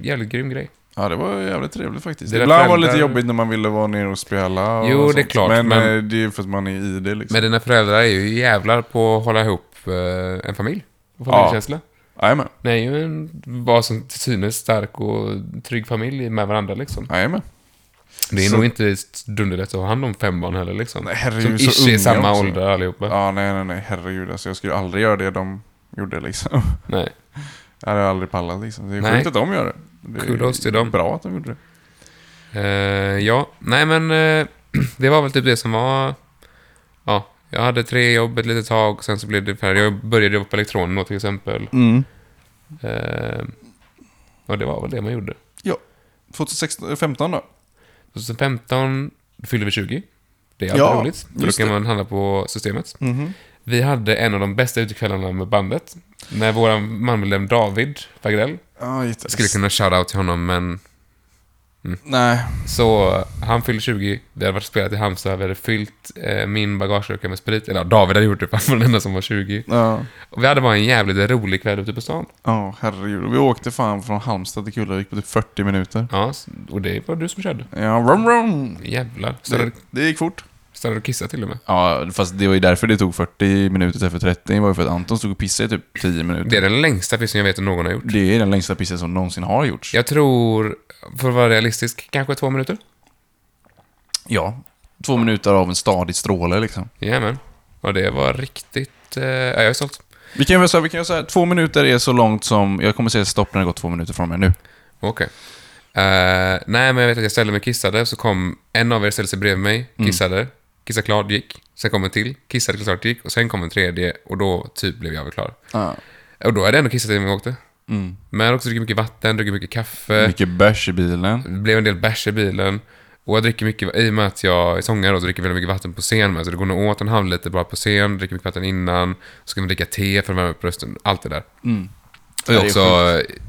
A: jävligt grym grej.
B: Ja, det var jävligt trevligt faktiskt.
A: Dina
B: Ibland var det lite
A: föräldrar-
B: jobbigt när man ville vara nere och spela. Och
A: Jo, det är
B: sånt.
A: klart,
B: Men,
A: men-
B: eh, det är ju för att man är i det liksom.
A: Men dina föräldrar är ju jävlar på att hålla ihop eh, en familj. Och familjekänsla.
B: Jajamän,
A: Nej, ju en vad som till synes stark och trygg familj med varandra liksom.
B: jajammen.
A: Det är
B: Så-
A: nog inte dunderlätt att ha hand om fem barn heller liksom.
B: Nej,
A: som
B: herregud, så
A: ish är
B: unga
A: i samma
B: också.
A: ålder allihopa.
B: Ja, nej, nej, nej, herregud. Alltså, jag skulle aldrig göra det de gjorde liksom. <laughs>
A: Nej.
B: Jag hade aldrig pallat liksom. Det är
A: Nej.
B: sjukt att de gör det. det är
A: Kudos till dem.
B: Bra att de gjorde det.
A: Eh, ja, nej men eh, <clears throat> det var väl typ det som var... Ja, jag hade tre jobb ett litet tag, sen så blev det färre. Jag började jobba på elektronen då till exempel. Eh, och det var väl det man gjorde.
B: 2015 då?
A: 2015 fyllde vi 20. Det är alltid
B: Ja,
A: roligt. För då
B: just
A: kan
B: det.
A: man handla på systemet. Vi hade en av de bästa utekvällarna med bandet. När vår manmedlem David Fagrell,
B: Ja, just
A: jag skulle kunna shout-out till honom, men
B: Nej.
A: så han fyllde 20, vi hade varit och spelat i Halmstad, vi hade fyllt eh, min bagagelucka med sprit. Eller ja, David hade gjort det, <laughs> för han var den enda som var 20.
B: Ja,
A: Och vi hade bara en jävligt rolig kväll ute på stan.
B: Ja, herregud. Vi åkte fan från Halmstad till Kullavik på typ 40 minuter.
A: Ja, s- och det var du som körde.
B: Ja, rum rum.
A: Jävlar.
B: Det,
A: Stannade
B: det gick fort.
A: stannade och kissade till och med.
B: Ja, fast det var ju därför det tog 40 minuter istället för 30. Det var ju för att Anton stod och pissade i typ 10 minuter.
A: Det är den längsta pissen jag vet att någon har gjort.
B: Det är den längsta pissen som någonsin har gjorts.
A: Jag tror, för att vara realistisk, kanske två minuter.
B: Ja. Två minuter av en stadig stråle liksom.
A: Jajamän. Och det var riktigt... Eh, ja, jag är sålt.
B: Vi kan ju säga, vi kan ju säga, två minuter är så långt som... Jag kommer säga stopp när det gått två minuter från mig nu.
A: Okej. Eh, nej, men jag vet att jag ställde mig och kissade, så kom en av er ställde sig bredvid mig,
B: Mm.
A: kissade, kissade klart, gick. Sen kom en till, kissade klart, gick. Och sen kom en tredje och då typ blev jag väl klar.
B: Ja.
A: Och då hade jag ändå kissat innan jag åkte.
B: Ah. Mm.
A: Men jag hade också druckit mycket vatten, druckit mycket kaffe.
B: Mycket bärs i bilen.
A: Det blev en del bärs i bilen. Och jag dricker mycket, i och med att jag är sångare då, så dricker jag väldigt mycket vatten på scen med. Så det går nog åt en halv liter bara på scen, dricker mycket vatten innan. Så kan man dricka te för att värma upp rösten. Allt det där. Och
B: Ja,
A: jag
B: det är
A: är också eh,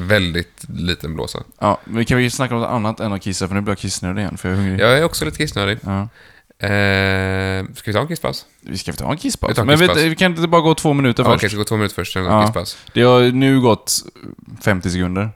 A: väldigt liten blåsa.
B: Ja, men kan vi snacka om något annat än att kissa? För nu blir jag kissnödig igen, för jag är hungrig.
A: Jag är också lite kissnödig.
B: Ja.
A: Eh, ska vi ta en kisspaus?
B: Vi ska ta en
A: Vi
B: kisspaus.
A: tar en
B: Men vet,
A: kisspaus.
B: vi kan inte bara gå två minuter
A: Ja, Okej,
B: först?
A: ska gå två minuter först, sen går
B: Ja.
A: en kisspaus.
B: Det har nu gått 50 sekunder.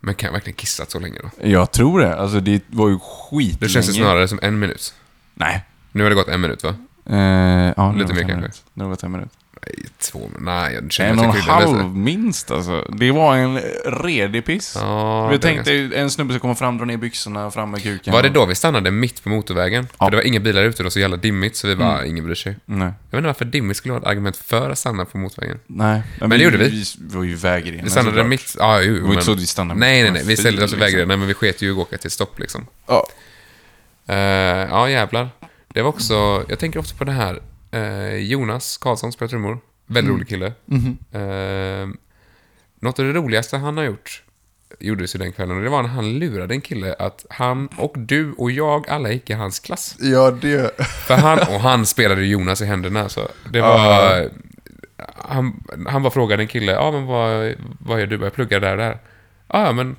A: Men kan jag verkligen kissat så länge då?
B: Jag tror det. Alltså det var ju skitlänge.
A: Det känns det snarare som en minut.
B: Nej.
A: Nu har det gått en minut va?
B: Eh, ja,
A: Lite mer kanske.
B: kanske. Nu har det gått en minut.
A: Nej, två minuter. Nej, jag känner typ
B: En
A: att
B: och en
A: jag kryddar lite.
B: halv minst alltså. Det var en redig piss.
A: Ja,
B: jag
A: det är
B: tänkte en snubbe ska komma fram, dra ner byxorna, fram med kuken.
A: Var det då vi stannade mitt på motorvägen?
B: Ja. Mm.
A: För det var inga bilar ute då, så jävla dimmigt, så vi bara, ingen bryr sig.
B: Nej.
A: Jag vet inte varför dimmigt skulle vara ett argument för att stanna på motorvägen.
B: Nej. Men,
A: det gjorde vi.
B: Vi var ju vägrena
A: Vi stannade
B: såklart.
A: mitt... Ja, jo,
B: Det var inte så att vi stannade
A: Nej, nej,
B: mitt på
A: nej.
B: en
A: Vi ställde oss
B: fil,
A: vid
B: liksom.
A: vägrenen, men vi sket ju i att åka till stopp liksom.
B: Ja.
A: Eh, ja, jävlar. Det var också... Jag tänker ofta på det här. eh, Jonas Karlsson spelar trummor. Väldigt rolig kille. Eh, något av det roligaste han har gjort gjordes ju den kvällen och det var när han lurade en kille att han och du och jag alla gick i hans klass.
B: Ja, det...
A: För han, och han spelade ju Jonas i händerna så Det var... Han, han bara frågade en kille, ja ah, men vad, vad gör du? Jag pluggar där och där. Ja, ah, men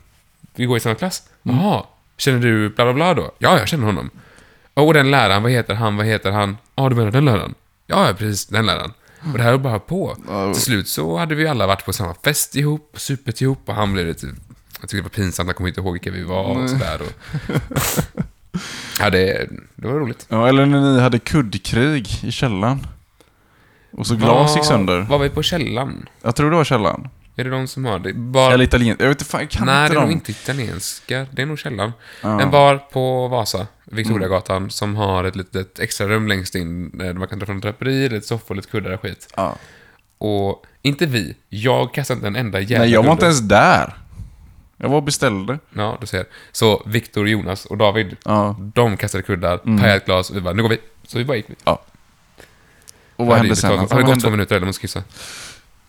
A: vi går i samma klass. Jaha, känner du bla bla bla då? Ja, jag känner honom. Och den läraren, vad heter han, vad heter han? Ja, ah, du menar den läraren? Ja, ja, precis, den läraren. Och det här var bara på.
B: Ja.
A: Till slut så hade vi alla varit på samma fest ihop, supit ihop och han blev lite... Jag tyckte det var pinsamt, han kom inte ihåg vilka vi var och sådär. Och... ja, det, det var roligt.
B: Ja, eller när ni hade kuddkrig i källaren. Och så glas gick
A: Ja,
B: sönder.
A: Var vi på källan?
B: Jag tror det var källaren.
A: Är det de som har det? Bar...
B: Eller italiensk. Jag vet inte, fan, jag kan
A: Nej, det
B: inte
A: är
B: dem.
A: nog inte italienska. Det är nog källan.
B: Ja. Mm.
A: En bar på Vasa, Victoriagatan, som har ett litet extra rum längst in eh, där man kan dra fram draperier, lite soffor, lite kuddar och skit.
B: Ja.
A: Och inte vi. Jag kastade inte en enda jävla
B: Nej, jag var
A: kudde.
B: inte ens där. Jag var och beställde.
A: Ja, du ser. Så Viktor, Jonas och David,
B: Ja.
A: de kastade kuddar,
B: Mm.
A: pajade ett glas och vi bara, nu går vi. Så vi bara gick.
B: ja. Och vad
A: Ja,
B: hände
A: det-
B: sen?
A: Har
B: Vad
A: det gått
B: hände?
A: två minuter eller måste kissa?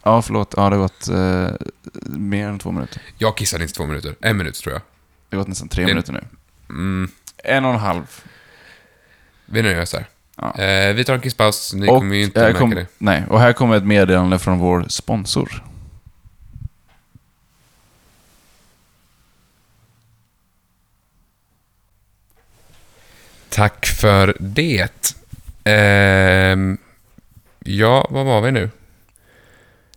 B: Ja, förlåt. Ja, det har gått eh, mer än två minuter.
A: Jag kissade inte två minuter. En minut tror jag.
B: Det har gått nästan tre
A: Det-
B: minuter nu.
A: Mm.
B: En och en halv.
A: Vi nöjer oss där.
B: Ja.
A: Eh, vi tar en kisspaus, ni
B: och,
A: kommer ju inte
B: här
A: märka
B: kom-
A: det.
B: Nej, och här kommer ett meddelande från vår sponsor.
A: Tack för det. Ehm, ja, vad var vi nu?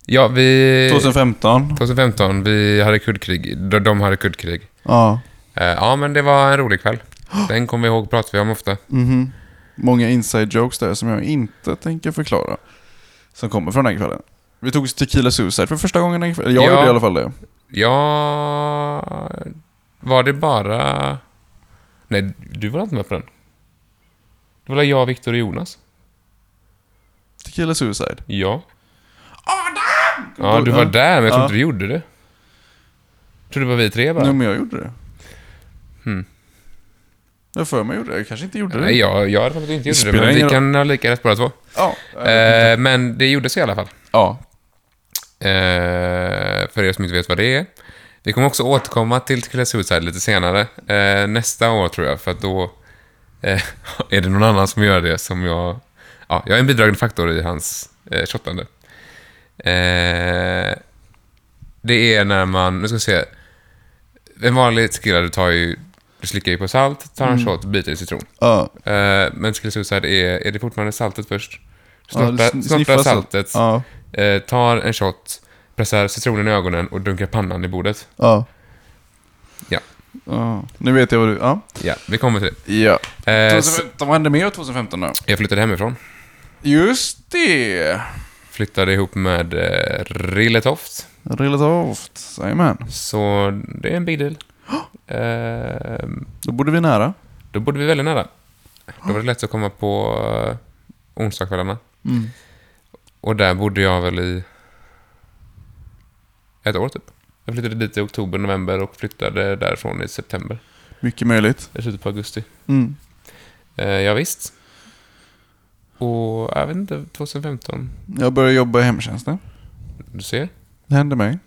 A: Ja, vi...
B: 2015.
A: 2015, vi hade kuddkrig. De, de hade kuddkrig.
B: Ja.
A: Eh, ja, men det var en rolig kväll. Den kommer vi ihåg, pratar vi om ofta.
B: Mhm. Många inside jokes där som jag inte tänker förklara. Som kommer från den här kvällen. Vi tog Tequila Suicide för första gången den kvällen. Jag
A: Ja.
B: gjorde i alla fall det.
A: Ja... Var det bara... Nej, du var inte med på den? Det var väl jag, Viktor och Jonas?
B: Tequila Suicide.
A: Ja. Ja, du var där, men jag tror
B: Ja.
A: inte du gjorde det. Jag tror det var vi tre bara.
B: Nej, men jag gjorde det.
A: Hmm.
B: Jag för mig gjorde det. Jag kanske inte gjorde det.
A: Nej, jag, jag hade faktiskt inte
B: Det
A: gjort det,
B: spelar
A: men vi
B: ingen
A: kan ha lika rätt båda två.
B: Ja.
A: Eh, men det gjordes i alla fall.
B: ja.
A: Eh, för er som inte vet vad det är. Vi kommer också återkomma till Tequila Suicide lite senare. <laughs> Eh, nästa år tror jag, för att då eh, är det någon annan som gör det som jag ja, jag är en bidragande faktor i hans eh, shottande. Eh, det är när man, nu ska vi se. En vanlig tequila, du tar ju, du slickar ju på salt, tar en
B: Mm.
A: shot, biter i citron.
B: Ja.
A: Eh, men skulle jag säga, är, är det fortfarande saltet först?
B: Ja, du
A: Snorta,
B: sn-
A: snorta
B: sniffar salt.
A: saltet,
B: Ja.
A: eh, tar en shot, pressar citronen i ögonen och dunkar pannan i bordet.
B: Ja.
A: Ja.
B: ja. Nu vet jag vad du... Ja.
A: Ja, vi kommer till det.
B: ja.
A: Eh, s-
B: 2015, vad hände mer 2015 då?
A: jag flyttade hemifrån.
B: Just det!
A: Flyttade ihop med eh, Rilletoft.
B: Relativt. Jajamän.
A: Så det är en big deal. <gasps> Eh,
B: Då bodde vi nära.
A: då bodde vi väldigt nära. Då var det lätt att komma på eh, onsdagskvällarna.
B: Mm.
A: Och där bodde jag väl i ett år typ. Jag flyttade dit i oktober, november och flyttade därifrån i september.
B: Mycket möjligt.
A: I slutet på augusti.
B: Mm.
A: Eh, ja, visst. Och jag vet inte, 2015.
B: Jag började jobba i hemtjänsten.
A: Du ser.
B: Det hände mig.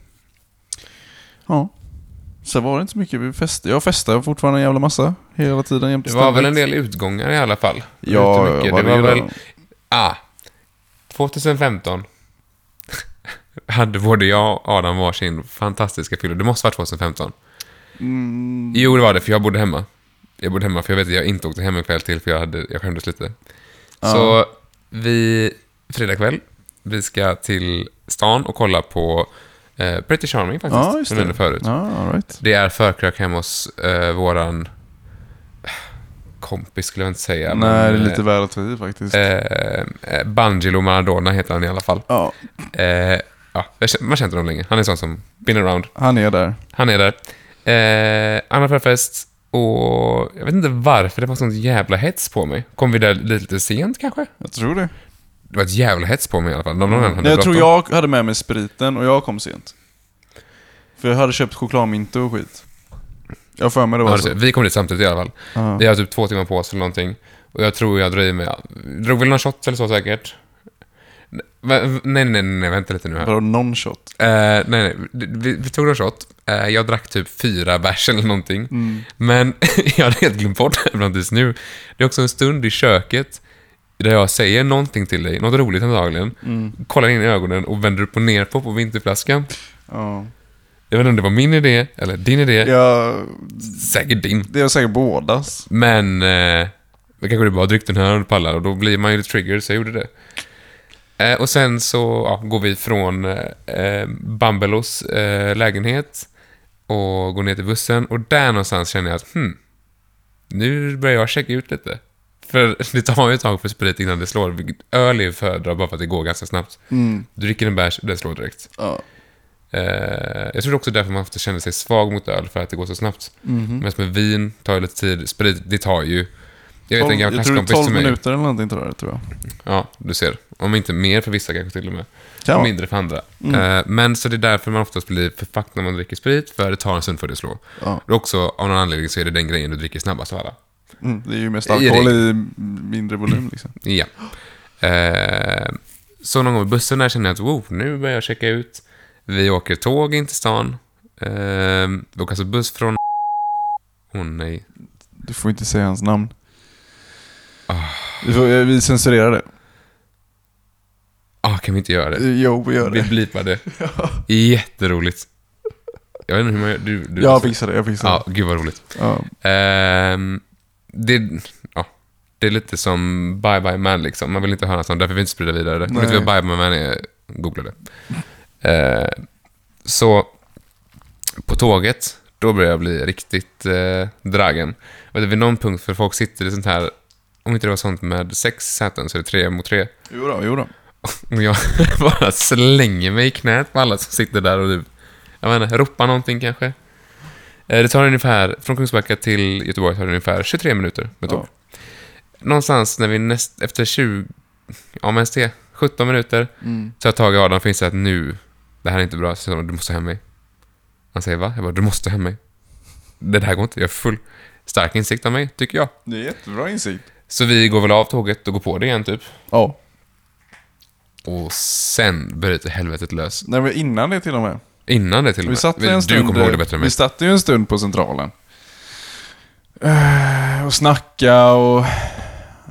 B: Ja. Sen var det inte så mycket vi festade. Jag festade fortfarande en jävla massa. Hela tiden jämt
A: Det
B: och
A: var väl en
B: ständigt.
A: del utgångar i alla fall.
B: Ja,
A: Inte mycket.
B: jag
A: Det var
B: varierar.
A: väl... Ah. 2015 <laughs> hade både jag och Adam varsin fantastiska fylla. Det måste vara 2015.
B: Mm,
A: Jo, det var det, för jag bodde hemma. Jag bodde hemma, för jag vet att jag inte åkte hem en kväll till, för jag, hade, jag skämdes lite. Så vi, fredag kväll, vi ska till stan och kolla på eh, Pretty Charming faktiskt,
B: Ja, just
A: som
B: det.
A: jag nämnde förut.
B: ja, all right.
A: Det är förkrök hemma hos eh, våran eh, kompis, skulle jag inte säga.
B: Nej, det är
A: men,
B: lite väl att vi faktiskt.
A: eh, eh, Bangelo Maradona heter han i alla fall.
B: ja,
A: Eh, ja, jag känner- man känner inte honom länge. Han är sån som been around.
B: han är där.
A: Han är där. Eh, andra förfest och jag vet inte varför det var sånt jävla hets på mig. Kom vi där lite sent kanske?
B: Jag tror det.
A: Det var ett jävla hets på mig i alla fall. Någon annan hade
B: Nej, Mm. jag tror
A: bråttom.
B: jag hade med mig spriten och jag kom sent. För jag hade köpt chokladminte och skit. Jag har för mig det
A: Ja,
B: var
A: det ser-
B: så.
A: vi kom dit samtidigt i alla fall.
B: Ja.
A: Vi har typ två timmar på oss eller någonting. Och jag tror jag drog i mig... Drog väl någon shot eller så säkert. Nej, nej, nej, nej vänta lite nu här.
B: Vadå, någon shot?
A: Eh, nej, nej. Vi, vi tog en shot. Eh, jag drack typ fyra bärs eller någonting.
B: Mm.
A: Men <laughs> jag hade helt glömt bort det här fram tills nu. Det är också en stund i köket där jag säger någonting till dig, något roligt antagligen. Kollar in i ögonen och vänder upp och ner på, på vinterflaskan.
B: Ja.
A: Jag vet inte om det var min idé, eller din idé.
B: Jag,
A: Säkert din.
B: det är säkert bådas.
A: Men eh, men kanske det bara dryck den här och pallar och då blir man ju lite triggered, så jag gjorde det. Eh, och sen så ja, går vi från eh, Bambelos eh, lägenhet och går ner till bussen och där någonstans känner jag att hmm, nu börjar jag checka ut lite. För <laughs> det tar ju ett tag för sprit innan det slår. vilket Öl är ju föredra bara för att det går ganska snabbt. Du dricker en bärs, det slår direkt.
B: Mm. Ja.
A: Eh, jag tror det är också därför man ofta känner sig svag mot öl, för att det går så snabbt.
B: Mm-hmm.
A: Medan med vin tar ju lite tid, sprit, det tar ju... Jag vet en
B: Tolv-
A: gammal
B: jag tror det
A: klasskompis till
B: är 12
A: mig.
B: minuter eller någonting tror jag. Tror jag.
A: Ja, du ser. Om inte mer för vissa kanske till och med.
B: Kan
A: Och
B: vara.
A: mindre för andra.
B: Mm.
A: Eh, men så det är därför man oftast blir för fucked när man dricker sprit, för det tar en stund för det slår.
B: Ja.
A: Och också, av någon anledning, så är det den grejen du dricker snabbast av alla.
B: Mm, det är ju mest
A: I
B: alkohol i mindre volym liksom.
A: Ja. Eh, så någon gång i bussen där kände jag att wow, nu börjar jag checka ut. Vi åker tåg in till stan. Eh, vi åker alltså buss från... Åh nej.
B: Du får inte säga hans namn. Ah. Vi, får, eh, vi censurerar det.
A: Ah, kan vi inte göra det?
B: Jo, vi gör
A: Vi
B: det.
A: blipar det. Jätteroligt. Jag vet inte hur man gör. Du, du,
B: Jag fixar det, jag fixar
A: Ja, gud vad roligt.
B: det. Ja.
A: Ehm, det, ja, det är lite som Bye Bye Man liksom. Man vill inte höra något sånt, därför vill vi inte sprida vidare det. Om du inte vet vad Bye Bye Man är, googla det. Ehm, så på tåget, då börjar jag bli riktigt eh, dragen. Och det är vid någon punkt, för folk sitter i sånt här, om inte det var sånt med sex säten så är det tre mot tre.
B: Jo då, jo då.
A: Och jag <laughs> bara slänger mig i knät på alla som sitter där och typ, jag vet inte, ropar någonting kanske. Eh, Det tar ungefär, från Kungsbacka till Göteborg tar det ungefär 23 minuter med tåg. Någonstans när vi näst, efter 20, ja men ens det, 17 minuter,
B: Mm.
A: så har jag tagit Adam och inser att nu, det här är inte bra, så jag bara, du måste hem mig. Han säger va? Jag bara, du måste hem mig. Det här går inte, jag är full. Stark insikt av mig, tycker jag.
B: Det är jättebra insikt.
A: Så vi går väl av tåget och går på det igen typ.
B: Ja.
A: Och sen bryter helvetet lös.
B: Nej, men innan det till och med.
A: Innan det till och
B: Vi
A: med.
B: satt ju
A: du
B: en stund,
A: kommer ihåg det bättre än mig.
B: Vi satt ju en stund på Centralen. Eh, Och snacka och...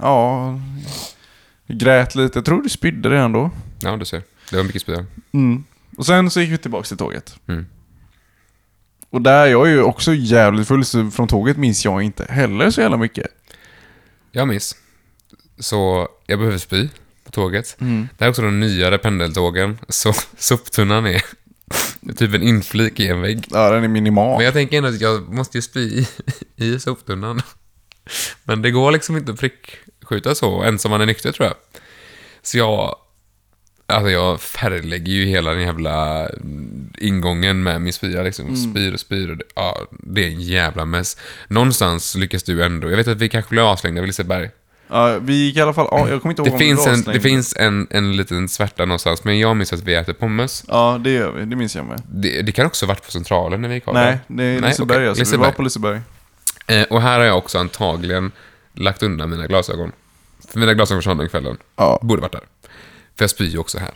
B: Ja... Grät lite. Jag tror du spydde redan då.
A: Ja, du ser. Det var mycket spya.
B: Mm. Och sen så gick vi tillbaka till tåget.
A: Mm.
B: Och där, jag är ju också jävligt full, så från tåget minns jag inte heller så jävla mycket.
A: Jag minns. Så jag behöver spy på tåget.
B: Mm.
A: Det här är också de nyare pendeltågen. Så <laughs> soptunnan är typ en inflik i en vägg.
B: Ja, den är minimal.
A: Men jag tänker ändå att jag måste ju spy i, i soptunnan. Men det går liksom inte att prickskjuta så, ens om man är nykter tror jag. Så jag... Alltså jag färglägger ju hela den jävla ingången med min spya liksom.
B: Mm.
A: Spyr och spyr och det, ja, det är en jävla mess. Någonstans lyckas du ändå. Jag vet att vi kanske blev avslängda vid Liseberg.
B: Ja, vi gick i alla fall, ja, jag kommer inte ihåg
A: Det
B: om vi
A: finns,
B: var
A: en, det
B: avstängda.
A: finns en, en liten svärta någonstans, men jag minns att vi äter pommes.
B: Ja, det gör vi. Det minns jag med.
A: Det, det kan också ha varit på Centralen när vi gick av
B: Nej,
A: där.
B: det är Liseberg
A: okej,
B: alltså.
A: Liseberg.
B: Vi var på Liseberg.
A: Eh, och här har jag också antagligen lagt undan mina glasögon. För mina glasögon försvann den kvällen.
B: Ja.
A: Borde varit där. För jag spyr ju också här.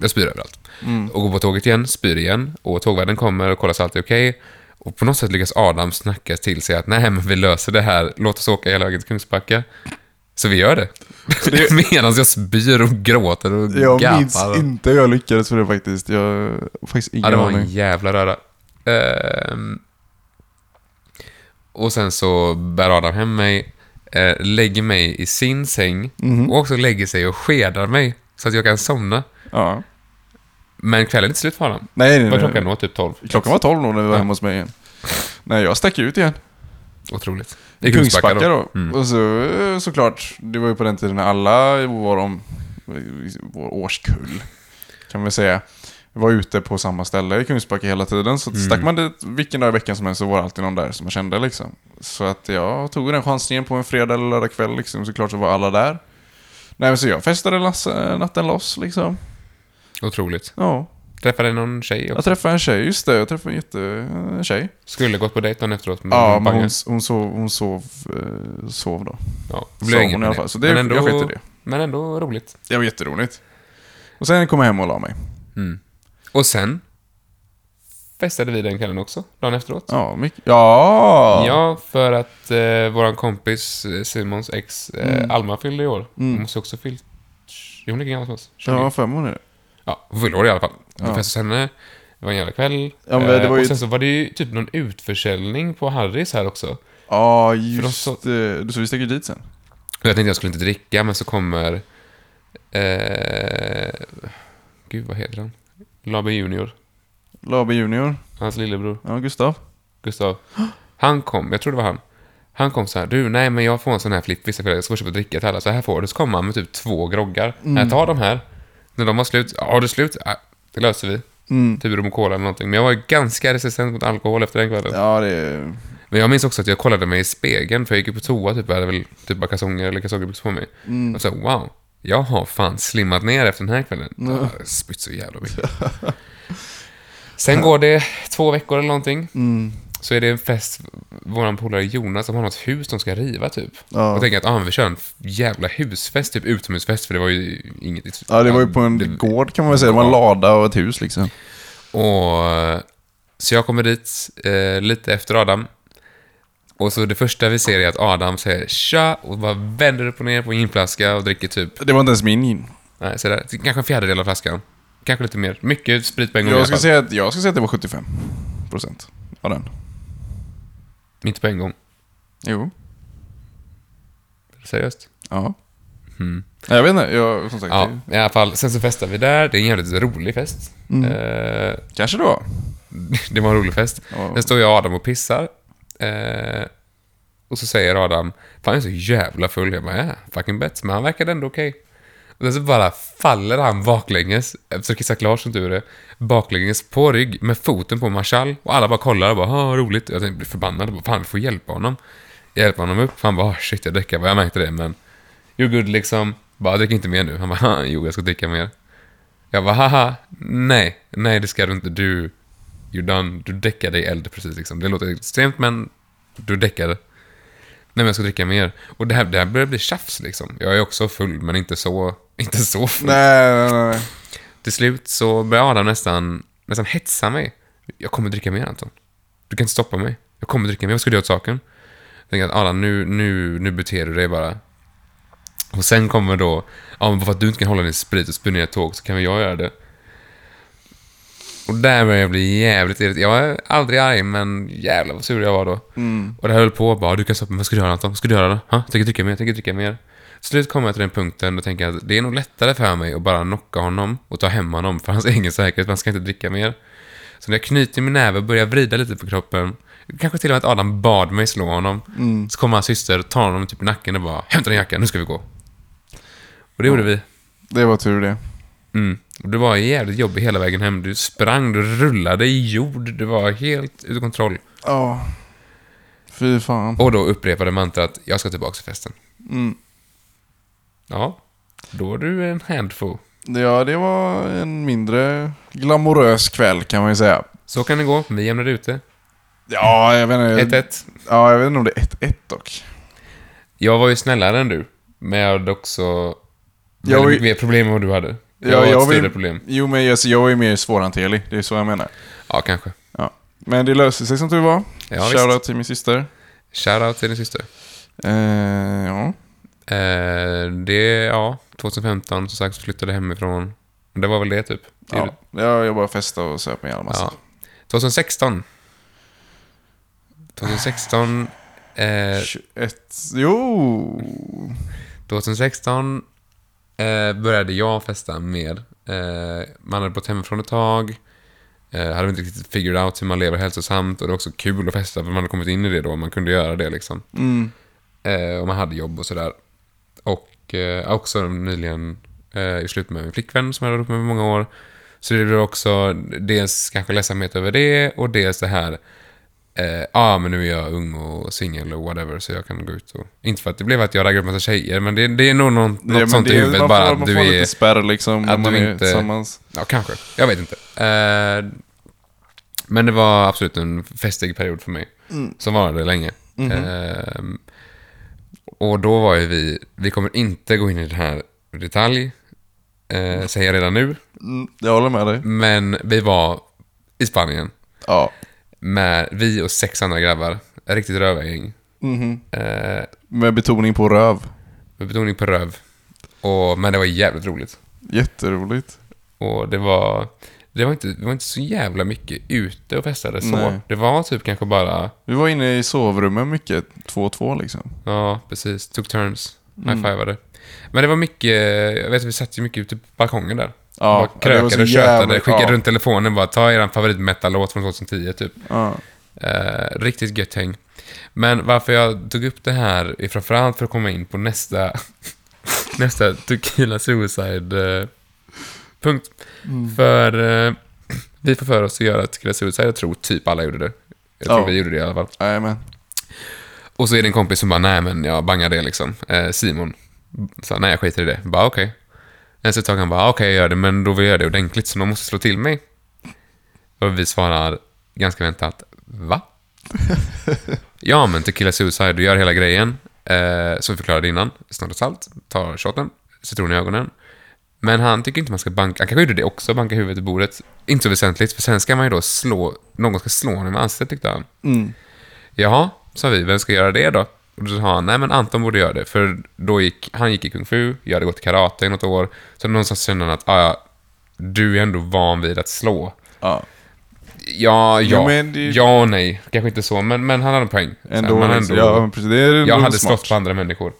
A: Jag spyr överallt.
B: Mm.
A: Och går på tåget igen, spyr igen. Och tågvärden kommer och kollar så allt är okej. Och på något sätt lyckas Adam snacka till sig att nej, men vi löser det här. Låt oss åka hela vägen till Kungsbacka. Så vi gör det. det... <laughs> Medan jag spyr och gråter och
B: Jag
A: gapar.
B: minns inte hur jag lyckades för det faktiskt. Jag har faktiskt
A: Ja,
B: ingen
A: det var en
B: aning.
A: jävla röra. Ehm, och sen så bär Adam hem mig, eh, lägger mig i sin säng
B: Mhm.
A: och också lägger sig och skedar mig så att jag kan somna.
B: Ja.
A: Men kvällen är inte slut för honom.
B: Nej, nej,
A: Vad
B: nej.
A: klockan då? Typ 12?
B: Eh, Klockan var tolv nog när vi var
A: Ja.
B: hemma hos mig igen. Nej, jag stack ut igen.
A: Otroligt.
B: I Kungsbacka, då.
A: Mm.
B: Och så eh, såklart, det var ju på den tiden när alla var om vår årskull, kan vi säga, var ute på samma ställe i Kungsbacka hela tiden. Så
A: Mm.
B: stack man dit vilken dag i veckan som helst så var det alltid någon där som man kände liksom. Så att jag tog den chansningen på en fredag eller lördag kväll liksom, såklart så var alla där. Nej men så jag festade lass- natten loss liksom.
A: Otroligt.
B: Ja.
A: Träffade någon tjej också.
B: Jag träffade en tjej, just det, jag träffade en jätte... en tjej.
A: Skulle gått på dejt dagen efteråt, men
B: Ja,
A: Mm, hon
B: men hon,
A: bangade.
B: hon, sov, hon sov, eh, sov då.
A: Ja, det blev
B: Sov
A: inget
B: hon i
A: med
B: alla
A: det.
B: fall. Så det,
A: men, ändå,
B: jag skiter i det.
A: men ändå roligt.
B: Det var jätteroligt. Och sen kom jag hem och la mig.
A: Mm. Och sen festade vi den kvällen också, dagen efteråt.
B: Ja, mycket. Ja!
A: Ja, för att eh, vår kompis eh, Simons ex eh,
B: Mm.
A: Alma fyllde i år. Hon måste också fyllt... Jo, hon är gammal som oss. 20.
B: Jag var
A: Ja.
B: fem månader.
A: hon fyllde år i alla fall. Vi
B: Ja.
A: festade hos henne. Det var en jävla kväll.
B: Ja, men det
A: Eh,
B: var ju-
A: Och sen så var det ju typ någon utförsäljning på Harrys här också.
B: Ja,
A: de
B: just
A: så-
B: det. Du Så vi stack ju dit sen.
A: Och jag tänkte jag skulle inte dricka, men så kommer... Eh, gud, vad heter han? Labe Junior.
B: Labe Junior.
A: Hans lillebror.
B: Ja, Gustav.
A: Gustav. Han kom, jag tror det var han. Han kom så här, du nej men jag får en sån här flipp vissa kvällar, jag ska bara köpa dricka till alla, så här får du. Så kom han med typ två groggar. Jag tar de här. När de var slut, ja har du slut? Ja, det löser vi.
B: Mm.
A: Typ rum och cola eller någonting. Men jag var ju ganska resistent mot alkohol efter den kvällen.
B: Ja, det...
A: Men jag minns också att jag kollade mig i spegeln, för jag gick ju på toa typ, och hade väl typ bara kalsonger eller kalsongerbyxor på mig. Och så wow, jag har fan slimmat ner efter den här kvällen. Jag har spytt så jävla mycket. Sen går det två veckor eller någonting
B: Mm.
A: så är det en fest, våran polare Jonas, som har något hus de ska riva typ.
B: Ja.
A: Och tänker att ah, men vi kör en f- jävla husfest, typ utomhusfest, för det var ju inget...
B: Ja, det var ju på en
A: det-
B: gård kan man väl säga. Det var en lada och ett hus liksom.
A: Och, så jag kommer dit eh, lite efter Adam. Och så det första vi ser är att Adam säger tja och bara vänder upp och ner på en ginflaska och dricker typ,
B: Det var inte ens min gin.
A: nej, så där, kanske en fjärdedel av flaskan. Kanske lite mer. Mycket sprit på en gång i alla
B: Jag ska,
A: fall.
B: säga att, jag ska säga att det var 75 procent av den.
A: Inte på en gång.
B: Jo.
A: Seriöst.
B: Ja. Nej, Jag vet inte. Jag, som sagt,
A: Ja,
B: det,
A: i alla fall. Sen så festar vi där. Det är en jävligt rolig fest. <laughs> Eh,
B: kanske det var.
A: Det var en rolig fest.
B: Ja.
A: Sen står jag och Adam och pissar. Eh, och så säger Adam, fan jag är så jävla full. Jag bara, ja, fucking bet. Men han verkade ändå okej. Och sen så bara faller han baklänges, efter att kissa klart som tur är, baklänges på rygg med foten på Marshall. Och alla bara kollar och bara, ha roligt. Jag tänkte bli förbannad. Jag bara, fan vi får hjälpa honom. Jag hjälper honom upp. Han bara, "Ah, shit jag däckar. Jag bara, Jag märkte det men, you're good liksom. Bara, drick inte mer nu. Han bara, "Ha, jo jag ska dricka mer. Jag bara, haha, nej, nej det ska du inte. Du, you're done. Du däckar dig i eld precis liksom. Det låter extremt men du däckade. Nej men jag ska dricka mer. Och det här, det här börjar bli tjafs liksom. Jag är också full men inte så, inte så full.
B: Nej, nej, nej.
A: Till slut så börjar Adam nästan, nästan hetsa mig. Jag kommer dricka mer Anton. Du kan inte stoppa mig. Jag kommer dricka mer. Vad ska du göra åt saken? Jag tänker att Adam, nu, nu, nu beter du dig bara. Och sen kommer då, ja men för att du inte kan hålla din sprit och spy ner ett tåg så kan väl jag göra det. Och där började jag bli jävligt irriterad. Jag var aldrig arg, men jävlar vad sur jag var då. Och det här höll på bara, du kan stoppa mig, ska du göra något då? Ska du göra det? Ha? Tänker dricka mer, tänker dricka mer. Till slut kommer jag till den punkten och tänker att det är nog lättare för mig att bara knocka honom och ta hem honom för hans <laughs> egen säkerhet, man ska inte dricka mer. Så när jag knyter min näve och börjar vrida lite på kroppen, kanske till och med att Adam bad mig slå honom, så kommer hans syster och tar honom typ i nacken och bara “Hämta din jacka, nu ska vi gå”. Och det gjorde vi.
B: Det var tur det.
A: Mm. Och det var jävligt jobbigt hela vägen hem. Du sprang, du rullade i jord. Det var helt ur kontroll.
B: Ja. Fy fan.
A: Och då upprepade mantrat, jag ska tillbaka till festen.
B: Mm.
A: Ja, då är du en handful.
B: Ja, det var en mindre glamorös kväll kan man ju säga.
A: Så kan det gå, vi jämnade ute.
B: Ja, jag vet inte.
A: 1-1.
B: Ja, jag vet inte om det är 1-1 dock.
A: Jag var ju snällare än du, men jag hade också
B: Jag
A: jag
B: var ju-
A: mycket mer problem än vad du hade. Jag
B: Ja,
A: var
B: jag
A: ett
B: var ju-
A: större problem.
B: Jo, men alltså, jag är ju mer svårhanterlig. Det är så jag menar.
A: Ja, kanske.
B: Ja. Men det löste sig som tur var.
A: Ja,
B: Shoutout till min syster.
A: Shoutout till din syster.
B: Eh, ja.
A: Eh, det, ja, 2015 som sagt flyttade hemifrån. Det var väl det typ.
B: ja. ja, jag bara festade och söp en jävla massa.
A: Ja. 2016. 2016. Eh,
B: 21... Jo!
A: 2016 eh, började jag festa mer. Eh, man hade bott hemifrån ett tag. Eh, hade inte riktigt figured out hur man lever hälsosamt och det var också kul att festa för man hade kommit in i det då. Man kunde göra det liksom.
B: Mm.
A: Eh, och man hade jobb och sådär. Och eh, också nyligen eh, jag slut med min flickvän som jag hade varit ihop med i många år. Så det blev också dels kanske ledsamhet över det och dels det här Ja, eh, ah, men nu är jag ung och singel och whatever så jag kan gå ut och... Inte för att det blev att jag raggade upp massa tjejer men det, det är nog någon,
B: Ja,
A: något
B: men
A: sånt
B: det
A: i
B: är-
A: huvudet
B: man får,
A: bara att
B: man
A: du
B: får
A: är...
B: lite spärr liksom. när
A: att
B: man
A: du
B: är
A: inte-
B: tillsammans.
A: Ja, kanske. Jag vet inte. Eh, men det var absolut en festig period för mig. Som varade länge. Eh, och då var ju vi, vi kommer inte gå in i det här i detalj, eh, säger jag redan nu.
B: Mm, jag håller med dig.
A: Men vi var i Spanien
B: Ja.
A: med vi och sex andra grabbar. Ett riktigt rövargäng.
B: Mhm.
A: Eh,
B: Med betoning på röv.
A: med betoning på röv. Och, men det var jävligt roligt.
B: Jätteroligt.
A: Och det var, det var, inte, det var inte så jävla mycket ute och festade så.
B: Nej.
A: Det var typ kanske bara,
B: Vi var inne i sovrummen mycket. Två och två liksom.
A: ja precis, tog turns,
B: Mm.
A: high-fivade. Men det var mycket, jag vet att vi satt ju mycket ute på balkongen där.
B: Ja,
A: bara
B: det var så
A: krökade och tjötade,
B: jävligt-
A: skickade
B: ja.
A: runt telefonen bara, ta er favoritmetallåt från 2010 typ.
B: Ja.
A: Eh, riktigt gött häng. Men varför jag tog upp det här är framförallt för att komma in på nästa, <laughs> nästa Tequila Suicide eh, punkt. För eh, <clears throat> vi får för oss att göra Tequila Suicide, jag tror typ alla gjorde det. Jag tror
B: Ja.
A: vi gjorde det i alla fall.
B: Jajamän.
A: Och så är det en kompis som bara, nej men jag bangar det liksom. Eh, Simon. Så, nej jag skiter i det. Bara okej. Okay. Så ett tag han bara, okej jag gör det, men då vill jag göra det ordentligt så någon måste slå till mig. Och vi svarar ganska väntat, va? <laughs> ja men Tequila Suicide, du gör hela grejen. Eh, som vi förklarade innan, snart och salt, tar shoten, citron i ögonen. Men han tycker inte man ska banka, han kanske gjorde det också, banka huvudet i bordet. Inte så väsentligt, för sen ska man ju då slå, någon ska slå honom i ansiktet tyckte han.
B: Mm.
A: Jaha, sa vi, vem ska göra det då? Och då sa han, nej men Anton borde göra det, för då gick, han gick i kung fu, jag hade gått i karate i något år, så någonstans kände han att, ah, ja, du är ändå van vid att slå.
B: Ja.
A: Ja,
B: Jo,
A: ja,
B: men det-
A: ja och nej, kanske inte så, men, men han hade en poäng. Så här,
B: Ändå,
A: man
B: ändå. Ja, men precis. Det är ändå
A: jag hade
B: smart.
A: slått på andra människor.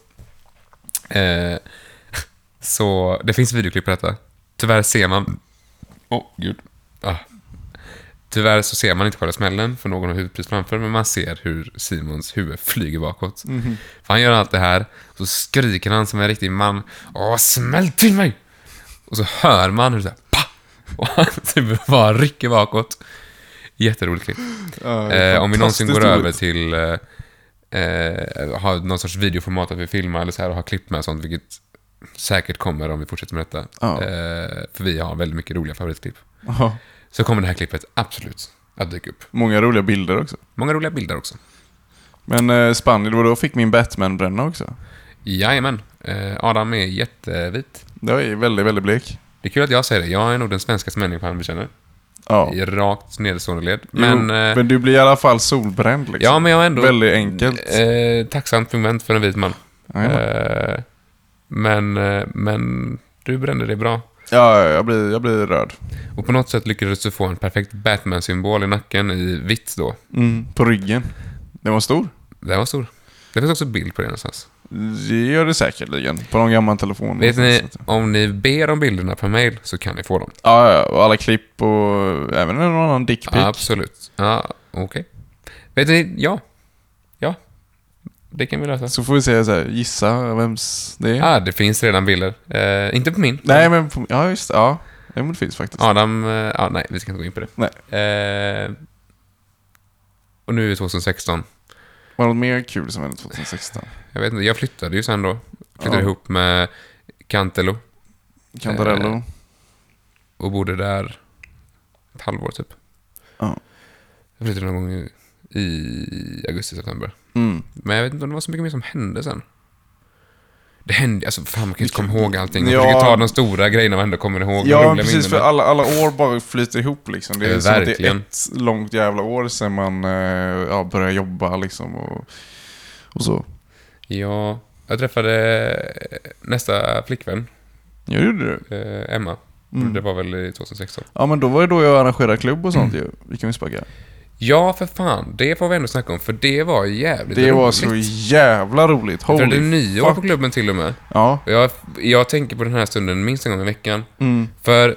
A: Eh, <laughs> så det finns videoklipp på detta. Tyvärr ser man... Åh, gud. Ah. Tyvärr så ser man inte själva smällen, för någon har huvudpris framför, men man ser hur Simons huvud flyger bakåt.
B: Mhm.
A: För han gör allt det här, och så skriker han som en riktig man. Åh, smäll till mig! Och så hör man hur det så här, pa! Och han <laughs> typ bara rycker bakåt. Jätteroligt klipp.
B: Ja,
A: Eh, om vi någonsin går
B: fantastiskt
A: över
B: roligt.
A: till eh, eh, ha någon sorts videoformat att vi filmar eller så här och har klipp med och sånt, vilket säkert kommer om vi fortsätter med detta.
B: Ja.
A: Eh, för vi har väldigt mycket roliga favoritklipp.
B: Ja.
A: Så kommer det här klippet absolut att dyka upp.
B: Många roliga bilder också.
A: Många roliga bilder också.
B: Men eh, Spanien, det var då jag fick min Batman-bränna också.
A: Jajamän. Eh, Adam är jättevit.
B: Jag är väldigt, väldigt blek.
A: Det är kul att jag säger det. Jag är nog den svenskaste människan vi känner.
B: Ja.
A: I rakt nedstående led.
B: Men,
A: Men, eh,
B: men du blir i alla fall solbränd liksom.
A: ja, men jag är ändå
B: Väldigt enkelt.
A: eh, tacksamt moment för en vit man.
B: Jajamän.
A: Eh, Men, eh, men du brände det bra.
B: Ja, ja, jag blir, jag blir rörd.
A: Och på något sätt lyckades du få en perfekt Batman-symbol i nacken i vitt då.
B: Mm. På ryggen. Den var stor.
A: Den var stor. Det finns också bild på det någonstans.
B: Det gör det säkerligen. På någon gammal telefon.
A: Vet ni,
B: någonstans.
A: om ni ber om bilderna per mail så kan ni få dem.
B: Ja, ja, och alla klipp och även någon annan dickpic.
A: Absolut. Ja, okej. Vet ni, ja. Ja. Det kan vi lösa.
B: Så får vi se, så här, gissa vems det är.
A: Ja, ah, det finns redan bilder. Eh, inte på min.
B: Nej, men på, ja just det. Ja, Ja, men det finns faktiskt.
A: Adam, eh, ja, nej, vi ska inte gå in på det. Eh, och nu är det 2016.
B: Var det något mer kul som hände 2016?
A: Jag vet inte, jag flyttade ju sen då. Flyttade
B: Ja.
A: ihop eh, med Cantelo
B: Cantarello?
A: och bodde där ett halvår typ.
B: Ja.
A: Jag flyttade någon gång i, i augusti, september.
B: Mm.
A: Men jag vet inte om det var så mycket mer som hände sen. Det hände, alltså fan man kan ju inte
B: Vilken-
A: komma ihåg allting. Man
B: Ja.
A: försöker ta de stora grejerna man ändå kommer ihåg. de
B: Ja,
A: roliga
B: precis. För
A: minnena.
B: alla, alla år bara flyter ihop liksom. Det är
A: Eh,
B: som att det är
A: verkligen.
B: ett långt jävla år sedan man eh, ja, började jobba liksom och, och så.
A: Ja, jag träffade eh, nästa flickvän,
B: Ja, det gjorde du.
A: eh, Emma.
B: Mm.
A: Det var väl i 2016.
B: Ja, men då var det då jag arrangerade klubb och
A: Mm.
B: sånt ju. Vi kan ju spagga.
A: Ja, för fan. Det får vi ändå snacka om, för det var jävligt
B: Det var
A: roligt.
B: så jävla roligt.
A: Jag tror det är
B: Holy
A: nyår på
B: fuck.
A: klubben till och med.
B: Ja.
A: Och Jag, jag tänker på den här stunden minst en gång i veckan.
B: Mm.
A: För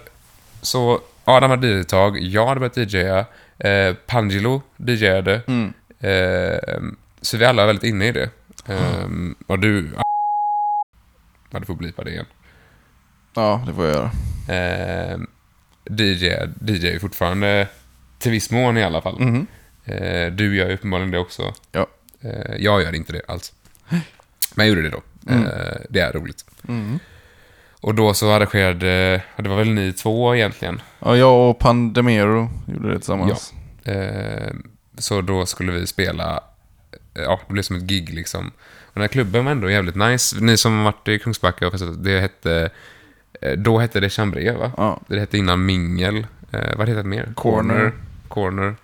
A: så Adam hade DJ-tag, jag hade börjat DJa, eh, Pangelo DJade.
B: Mm.
A: Eh, så vi alla var väldigt inne i det. Eh, och du... Ja, du får blipa det igen.
B: Ja, det får jag göra.
A: Eh, DJ, DJ är fortfarande till viss mån i alla fall.
B: Mhm.
A: Eh, du gör ju uppenbarligen det också.
B: Ja.
A: Eh, jag gör inte det alls. Men jag gjorde det då. Eh, det är roligt.
B: Mm.
A: Och då så arrangerade, det var väl ni två egentligen.
B: Ja, jag och Pandemero gjorde det tillsammans.
A: Eh, så då skulle vi spela, eh, ja, det blev som ett gig liksom. Och den här klubben var ändå jävligt nice. Ni som har varit i Kungsbacka och festat, det hette, eh, då hette det Chambré va?
B: Ja.
A: Det hette innan Mingel. Eh, vad hette det mer?
B: Corner.
A: Corner.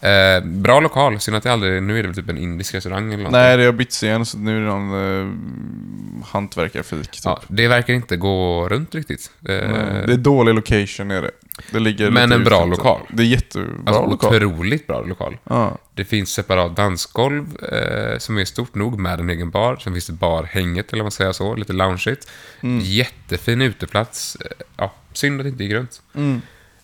A: Eh, bra lokal, synd att det aldrig... Nu är det väl typ en indisk restaurang eller något.
B: Nej, det har bytts igen så nu är det någon eh, hantverkarfik. Typ.
A: Ja, det verkar inte gå runt riktigt. Eh,
B: Nej, Det är dålig location är det. det ligger
A: Men
B: lite
A: en bra
B: ute.
A: lokal.
B: Det är jättebra
A: alltså,
B: lokal.
A: Otroligt bra lokal.
B: Ja.
A: Det finns separat dansgolv eh, som är stort nog med en egen bar. Sen finns det barhänget, eller vad man säger så, lite loungeigt. Jättefin uteplats. Eh, Ja, synd att det inte gick runt.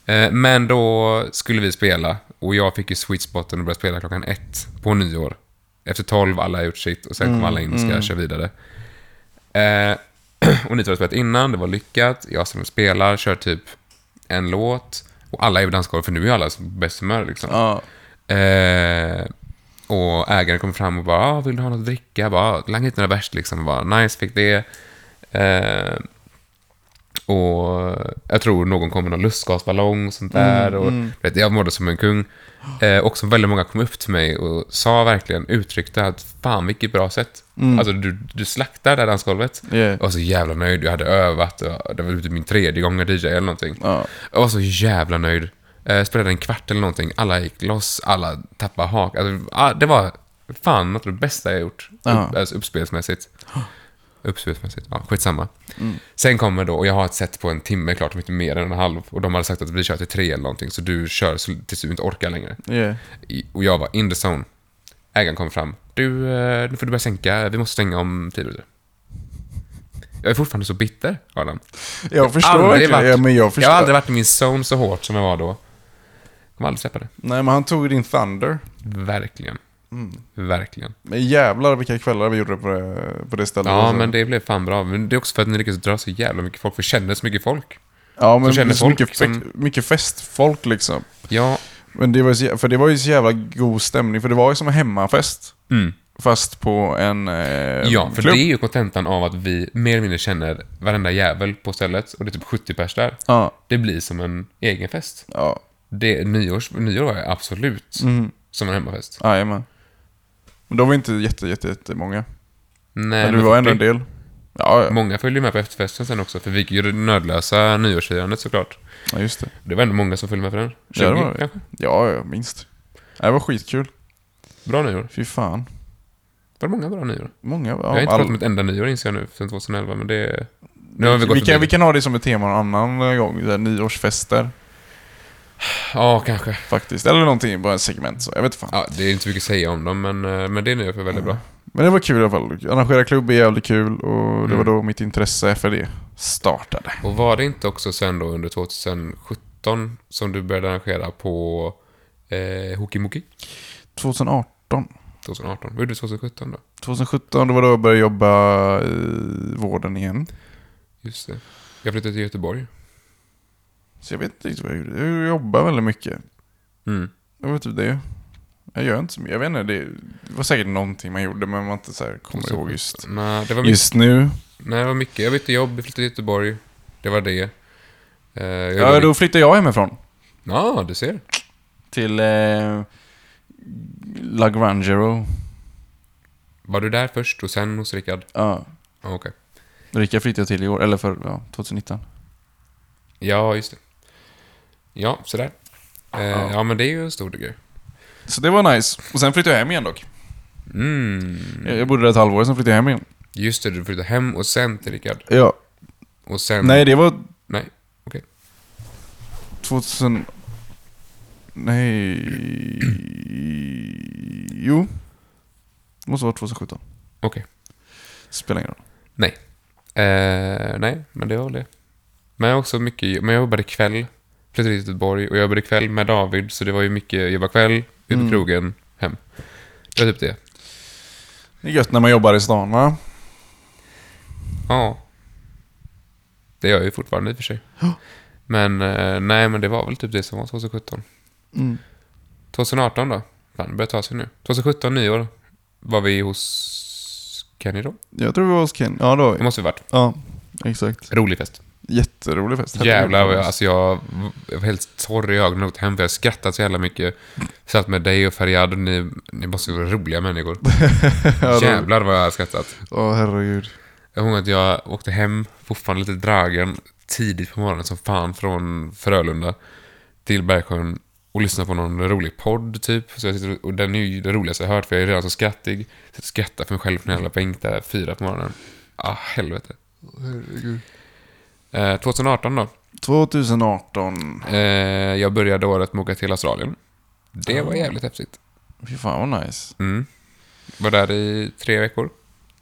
A: Eh, men då skulle vi spela och jag fick ju sweet spoten och började spela klockan ett på nyår. Efter tolv, alla har gjort sitt och sen kommer alla in och ska köra vidare. Eh, <clears throat> och ni två har spelat innan, det var lyckat. Jag som spelar, kör typ en låt. Och alla är på dansgolvet, för nu är alla på bäst humör liksom.
B: Ja.
A: Eh, och ägaren kom fram och bara, ah, vill du ha något att dricka? Jag bara, "Ah, langa hit några bärs liksom. Jag bara, nice, fick det. Eh, och jag tror någon kom med någon lustgasballong och sånt där.
B: Mm,
A: och, Vet, jag mådde som en kung. Eh, och som väldigt många kom upp till mig och sa verkligen, uttryckte att fan vilket bra sätt. Alltså du, du slaktar det här dansgolvet.
B: Mm. Yeah.
A: Jag var så jävla nöjd, jag hade övat. och Det var typ min tredje gång jag DJ eller någonting.
B: Ja.
A: Jag var så jävla nöjd. Eh, spelade en kvart eller någonting, alla gick loss, alla tappade hak. Alltså, ah, det var fan något av det bästa jag gjort.
B: Ja.
A: Upp, alltså uppspelsmässigt. Uppspelsmässigt, ja skitsamma.
B: Mm.
A: Sen kommer då, och jag har ett set på en timme klart, om inte mer än en halv. Och de hade sagt att vi kör till tre eller någonting, så du kör så- tills du inte orkar längre.
B: Yeah.
A: I- Och jag var in the zone. Ägaren kom fram. Du, eh, nu får du börja sänka, vi måste stänga om tio minuter. Jag är fortfarande så bitter, Adam.
B: Jag förstår
A: Aldrig
B: verkligen.
A: varit-
B: Ja, men jag förstår.
A: Jag har aldrig varit i min zone så hårt som jag var då. Kommer aldrig släppa det.
B: Nej, men han tog din thunder.
A: Verkligen.
B: Mm.
A: Verkligen.
B: Men jävlar vilka kvällar vi gjorde på det, på det stället.
A: Ja,
B: alltså.
A: men det blev fan bra. Men det är också för att ni lyckades dra så jävla mycket folk, för kände så mycket folk.
B: ja, men
A: så känner
B: så
A: folk liksom.
B: mycket,
A: som-
B: fe- mycket festfolk liksom.
A: Ja.
B: Men det var ju så, jä- för det var ju så jävla god stämning, för det var ju som en hemmafest.
A: Mm.
B: Fast på en eh,
A: Ja, för
B: klubb.
A: det är ju kontentan av att vi mer eller mindre känner varenda jävel på stället och det är typ 70 pers där.
B: Ja,
A: Det blir som en egen fest.
B: ja,
A: Det, nyårs, nyår var jag absolut
B: Mm.
A: som en hemmafest.
B: jajamän. Men de var inte jätte, jätte, jättemånga.
A: Nej,
B: Men
A: men
B: du var ändå en
A: 40.
B: del. Ja, ja.
A: Många följde ju med på efterfesten sen också, för vi gick ju det nödlösa nyårsfirandet såklart.
B: ja, just det.
A: Det var ändå många som följde med på den. 20
B: Ja, det var det.
A: kanske?
B: Ja, ja, minst. Det var skitkul.
A: Bra nyår.
B: Fy fan.
A: Var det många bra nyår?
B: Många,
A: jag har
B: ja,
A: inte pratat om
B: all...
A: ett enda nyår inser jag nu, sen 2011, men det... Nu har vi gått
B: vi, kan,
A: förbi
B: vi
A: det.
B: kan ha det som ett tema någon annan eh, gång, där nyårsfester
A: Ja, kanske.
B: faktiskt. Eller någonting, bara ett segment så. Jag vet inte fan.
A: Ja, det är inte så mycket att säga om dem, men, eh, men det är nu för
B: Mm.
A: väldigt bra.
B: Men det var kul i alla fall. Arrangera klubb är jävligt kul och det
A: Mm.
B: var då mitt intresse för det startade.
A: Och var det inte också sen då under 2017 som du började arrangera på eh, Hokimoki?
B: 2018.
A: 2018? Vad gjorde du 2017 då?
B: 2017, det var då jag började jobba i vården igen.
A: Just det. Jag flyttade till Göteborg.
B: Så jag vet inte riktigt vad jag gjorde. Jag jobbade väldigt mycket.
A: Mm.
B: Det var typ det. Jag gör inte så mycket. Jag vet inte, det var säkert någonting man gjorde men man inte så här kommer ihåg just,
A: Nej, det var mycket.
B: just nu.
A: Nej, det var mycket. Jag bytte jobb, jag flyttade till Göteborg. Det var det. Eh, jag
B: Ja,
A: jobbade-
B: då flyttade jag hemifrån.
A: Ja, du ser.
B: Till eh, La Grangero.
A: Var du där först och sen hos Rickard?
B: Ja.
A: Ja, Okej.
B: Rika flyttade jag till i år, eller för ja, 2019.
A: Ja, just det. Ja, sådär. Eh,
B: Ja.
A: ja. men det är ju en stor grej.
B: Så det var nice. Och sen flyttade jag hem igen dock.
A: Mm.
B: Jag- Jag bodde där ett halvår, sen flyttade jag hem igen.
A: Just det, du flyttade hem och sen till Rickard.
B: Ja.
A: Och sen...
B: Nej, det var
A: Ehm, Nej, okej.
B: 2000... Nej... Jo. Det måste vara 2017.
A: Okej.
B: Spelar ingen roll.
A: Eh, nej, men det var väl det. Men jag har också mycket... Men jag jobbade kväll. Flyttade till Göteborg och jag jobbade kväll med David, så det var ju mycket jobba kväll, ut på
B: Mm.
A: krogen, hem. Det var typ det.
B: Det är gött när man jobbar i stan va?
A: Ja. Det gör jag ju fortfarande i och för sig. Men eh, nej, men det var väl typ det som var 2017.
B: Mm.
A: 2018 då? Fan, det börjar ta sig nu. 2017, nyår, var vi hos Kenny då?
B: Jag tror vi var hos Ken. Ja, då.
A: Det måste vi varit.
B: Ja, exakt.
A: Rolig fest.
B: Jätterolig fest.
A: Jävlar vad jag, alltså jag jag var helt torr i ögonen åt hem för jag skrattade så jävla mycket. Satt med dig och Faryad och ni, ni måste vara roliga människor.
B: <laughs> Ja, då-
A: Jävlar vad jag har skrattat.
B: Åh, herregud.
A: Jag kommer ihåg att jag åkte hem, fortfarande lite dragen, tidigt på morgonen som fan från Frölunda till Bergsjön och lyssnade på någon rolig podd typ. Så jag sitter, och den är ju det roligaste jag har hört för jag är redan så skrattig. Så jag skrattar för mig själv på en jävla bänk där fyra på morgonen. Ah, helvete. Eh, 2018 då.
B: 2018.
A: Eh, jag började året med att åka till Australien. Det var
B: Ah.
A: jävligt häftigt.
B: Fy fan vad nice.
A: Mm. Var där i tre veckor.